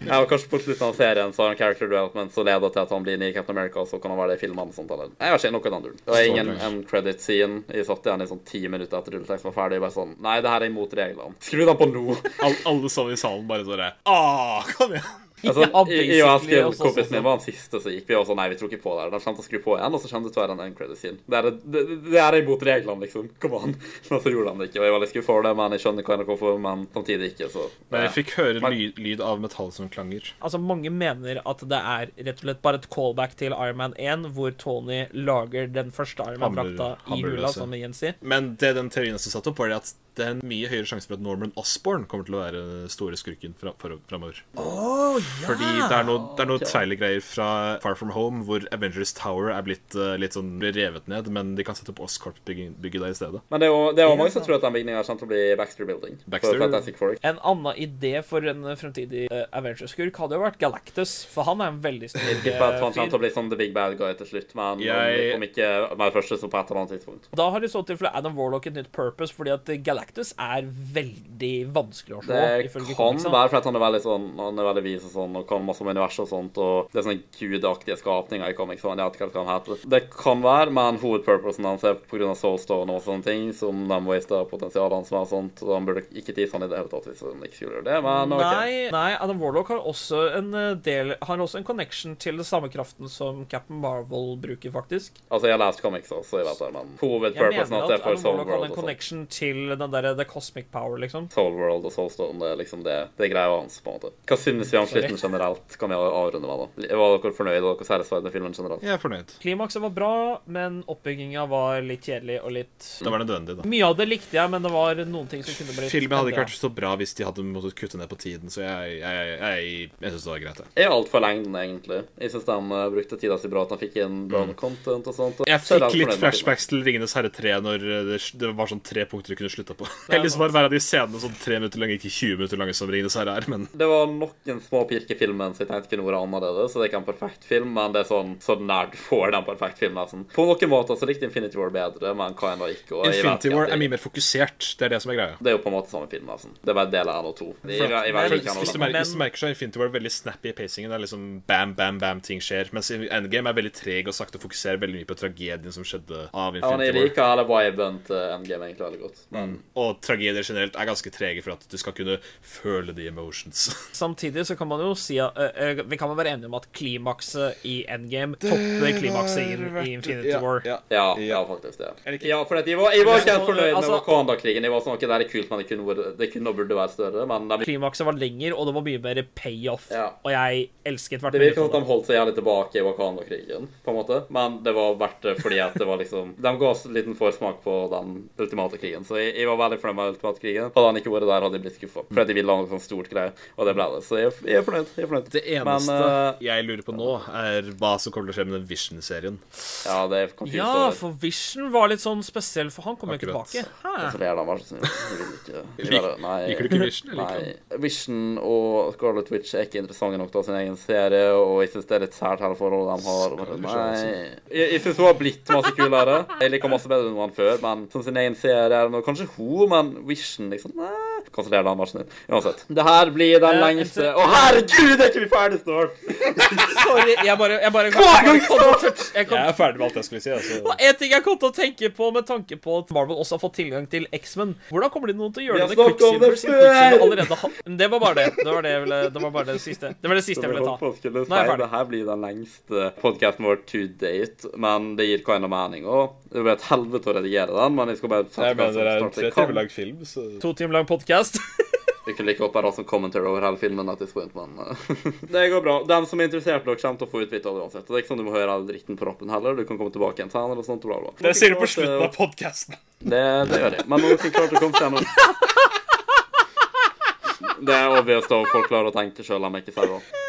A: Ja, og kanskje på slutten av serien så har han character development som leder til at han blir ny Captain America, og så kan han være det i filmene og sånt. Eller. Jeg har ikke noe annet. Det var ingen en credit scene. Jeg satt igjen i sånn ti minutter etter rulleteksten var ferdig, og bare sånn Nei, det her er imot reglene. Skru den på nå!
D: Alle, alle sammen i salen bare sånn Ah, kom igjen!
A: Altså,
E: Ja,
A: jeg, jeg og
E: basically,
A: Askild,
E: også-
A: kompisen min, var den siste som gikk. Vi var sånn Nei, vi tror ikke på det her. De kommer til å skru på igjen, og så kommer det til å være en end credit scene. Det er, det, det- det er imot reglene, liksom. Kom an. Men så gjorde de det ikke, og jeg var litt skuffet over det, men jeg skjønner hva NRK får, men samtidig ikke, så
D: Men jeg fikk høre
A: Men-
D: ly, lyd av metall som klanger.
E: Altså, Mange mener at det er rett og slett bare et callback til Iron Man 1, hvor Tony lager den første Iron Man-drakta
D: Hammer-
E: i hula,
A: altså.
D: hammerløse.
E: som Jens sier.
D: Men det den teorien som satt opp, var det at det er en mye høyere sjanse for at Norman Osborn kommer til å være den store skurken fra, for, framover. Fordi det er noe, det er noe trailergreier fra Far From Home hvor Avengers Tower er blitt eh, litt sånn blir revet ned, men de kan sette opp Oscorp-bygget der i stedet.
A: Men det er jo, det er jo mange som tror at den bygningen her kommer til å bli Baxter Building.
D: Baxter-
A: For Fantastic Four.
E: En annen idé for en fremtidig eh, Avengers-skurk hadde jo vært Galactus, for han er en veldig stor
A: Tipper at han
E: eh,
A: kommer til å bli sånn the big bad guy til slutt, men
D: Jeg-
A: om ikke hver første, så på et eller annet tidspunkt.
E: Da har i så tilfelle Adam Warlock et nytt purpose, fordi at Galactus er veldig vanskelig å slå.
A: Det kan
E: ifølge comicsene.
A: være fordi at han er veldig sånn, han er veldig vis og sånn, og kan masse om universet og sånt, og det er sånne gudaktige skapninger i comics, og jeg vet ikke helt hva han heter. Det kan være, men hovedpurposen hans er på grunn av Soulstone og sånne ting, som de waster potensialet hans med og sånt, og han burde ikke tise han i det hele tatt hvis han ikke skulle gjøre det, men ok.
E: Nei, nei, Adam Warlock har også en eh, del Har også en connection til den samme kraften som Captain Marvel bruker, faktisk.
A: Altså, jeg har lest comics også, så jeg vet det, men
E: Jeg mener
A: hovedpurposen hans
E: at
A: er for
E: Adam
A: Soul
E: Warlock har
A: World
E: en
A: og sånt.
E: connection til den der derre The Cosmic Power, liksom.
A: Soul World og Soulstone, det er liksom det, det er greia hans, på en måte. Hva synes vi om slutten generelt? Kan vi avrunde med da? Var dere fornøyde og dere satisfied med filmen generelt?
D: Jeg er fornøyd.
E: Klimakset var bra, men oppbygginga var litt kjedelig og litt
D: Det var nødvendig, da.
E: Mye av det likte jeg, men det var noen ting som kunne blitt
D: Filmen hadde ikke vært så bra hvis de hadde måttet kutte ned på tiden, så jeg, jeg, jeg, jeg, jeg syns det var greit, jeg.
A: Jeg er alt for lengden, egentlig. Jeg synes de eh, brukte tida si bra, at de fikk inn bra content og sånt. og
D: Mm. Jeg
A: så er
D: fikk
A: alt
D: litt
A: fornøyd med filmen.
D: flashbacks til 'Ringenes herre 3' når det, det var sånn tre punkter du kunne slutta på. Heldigvis var hver av de scenene sånn tre minutter lange, ikke 20 minutter lange som 'Ringenes herre' er, men
A: Det var noen små pirk i filmen som jeg tenkte kunne vært annerledes, så det er ikke en perfekt film, men det er sånn så nær du får den perfekte filmen, nesten. På noen måter så likte Infinity War bedre, men hva enn da ikke. og jeg vet
D: Infinity
A: ikke
D: War
A: at
D: er
A: jeg-
D: mye mer fokusert. Det er det som er greia.
A: Det er jo på en måte samme film, nesten. Det er bare del av én og to. Jeg- jeg- jeg vet ikke hva
D: Hvis du,
A: noe-
D: merker, hvis du merker så er Infinity War veldig snappy i pacingen. Det er liksom bam, bam, bam, ting skjer. Mens Endgame er veldig treg og sakte og fokuserer veldig mye på tragedien som skjedde
A: Ja,
D: av
A: men jeg
D: Infinity War.
A: liker hele viben til Endgame egentlig veldig godt. Men
D: Og tragedier generelt er ganske trege for at du skal kunne føle the emotions.
E: Samtidig så kan man jo si at eh, eh, Vi kan vel være enige om at klimakset i Endgame topper klimakset i, i Infinity War.
I: Ja, ja.
A: ja, ja, faktisk det. Ja, for at jeg var, jeg var ikke helt fornøyd med Wakanda-krigen. Jeg var sånn, ok, Det her er kult, men det kunne, vært- det kunne og burde være større. Men de,
E: Klimakset var lenger, og det var mye mer payoff.
A: Ja.
E: Og jeg elsket hvert
A: det virker som at
E: minutt av
D: sånn,
A: de holdt seg jævlig tilbake i Wakanda-krigen, på en måte. Men det var verdt det fordi at det var liksom De ga oss en liten forsmak på den ultimate krigen. Så jeg, jeg var veldig fornøyd med ultimate krigen. Hadde han ikke vært der, hadde jeg blitt skuffa. For at jeg ville ha noe sånt stort greie, og det ble det. Så jeg, jeg er fornøyd. Jeg er fornøyd.
D: Det eneste
A: Men, eh,
D: jeg lurer på nå, er hva som kommer til å skje med den Vision-serien.
A: eh, ja, det er
E: det.
A: confused
E: Ja,
A: over.
E: for Vision var litt sånn spesiell, for han kom jo ikke
D: Akkurat.
E: tilbake. Hæ?
A: Så ler de, vær så snill. Jeg vil ikke- jeg vil bare- Nei.
D: Liker du ikke Vision? Jeg liker den.
A: Nei. Vision og Scarlet Witch er ikke interessante nok til å ha sin egen serie, og jeg syns det er litt sært hele forholdet de har.
D: Scarlet Witch er
A: Nei. Jeg, jeg syns hun har blitt masse kulere. Jeg liker masse bedre enn hun før, men som sin egen serie er nå kanskje hun, men Vision liksom Nei. Kanskje det er vær så snill. Uansett. Det her blir den
E: Eh,
A: lengste Å, herregud, er ikke vi ferdig snart?
E: Sorry, jeg bare, jeg bare
A: Hver gang
E: jeg kom,
D: Jeg er ferdig med alt jeg skulle si. Altså.
E: En ting jeg kom til å tenke på med tanke på at Marvel også har fått tilgang til X-Men Hvordan kommer de noen
A: Vi
E: til å gjøre
A: har
E: det når
A: snakket om det
E: Quicksilver siden
A: før!
E: Quicksilver allerede har Det var bare det. Det var, det, jeg ville, det var bare det siste Det var det siste jeg ville ta.
A: Skulle
E: Nå er jeg
A: si,
E: ferdig.
A: det her blir den lengste podcasten vår to date, men det gir hva enn mening. Og det blir et helvete å redigere den, men jeg skal bare sette
I: Jeg
A: meg
I: mener
A: som
I: det er en
A: snart
I: tre
A: jeg
I: timer
A: kan.
I: lang film, så
E: To timer lang podkast.
A: Vi kunne like godt bare hatt sånn commentary over hele filmen at this point, men eh, Det går bra. Dem som er interessert, dere kommer til å få utbytte av det uansett. Det er ikke sånn du må høre all dritten på rappen heller. Du kan komme tilbake igjen senere og sånt. Bla, bla.
D: Det sier du på slutten av podkasten.
A: Det, det gjør jeg. Men noen som klarte å komme seg gjennom Det er obvious da folk klarer å tenke sjøl om jeg ikke sier det.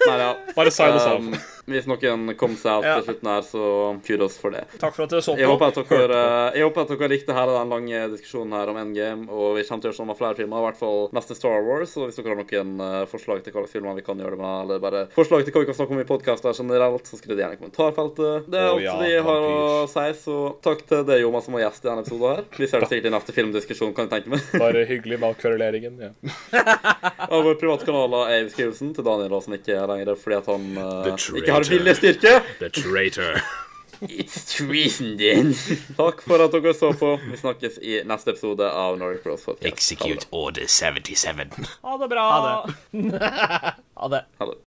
A: Nei, ja.
D: Bare sign oss av.
A: Um, hvis noen kom seg av til slutten her, så kudos for det.
E: Takk for at dere så
A: Jeg
E: på.
A: håper, at dere, jeg håper at dere likte her den lange diskusjonen her om Endgame. Og vi kommer til å gjøre sånn med flere filmer, i hvert fall neste Star Wars. Og hvis dere har noen eh, forslag til hva slags filmer vi kan gjøre det med, eller bare forslag til hva vi kan snakke om i podkaster generelt, så skriv det gjerne i kommentarfeltet. Det er
D: Å
A: alt
D: ja,
A: vi har å
D: vampyr.
A: si, så takk til deg, Jonas, som var gjest i denne episoden her. Vi ser det sikkert i neste filmdiskusjon, kan jeg tenke meg.
I: bare hyggelig med all kveruleringen. Ja.
A: Og vår private kanaler er i beskrivelsen til Daniel, da, som ikke er lenger fordi at han eh,
D: The traitor.
A: ikke har viljestyrke.
D: The Traitor.
A: It's treason din. Takk for at dere så på. Vi snakkes i neste episode av Nordic Bros Podcast. Ha det bra.
D: Order 77.
E: Ha det bra. Ha det.
A: Ha det.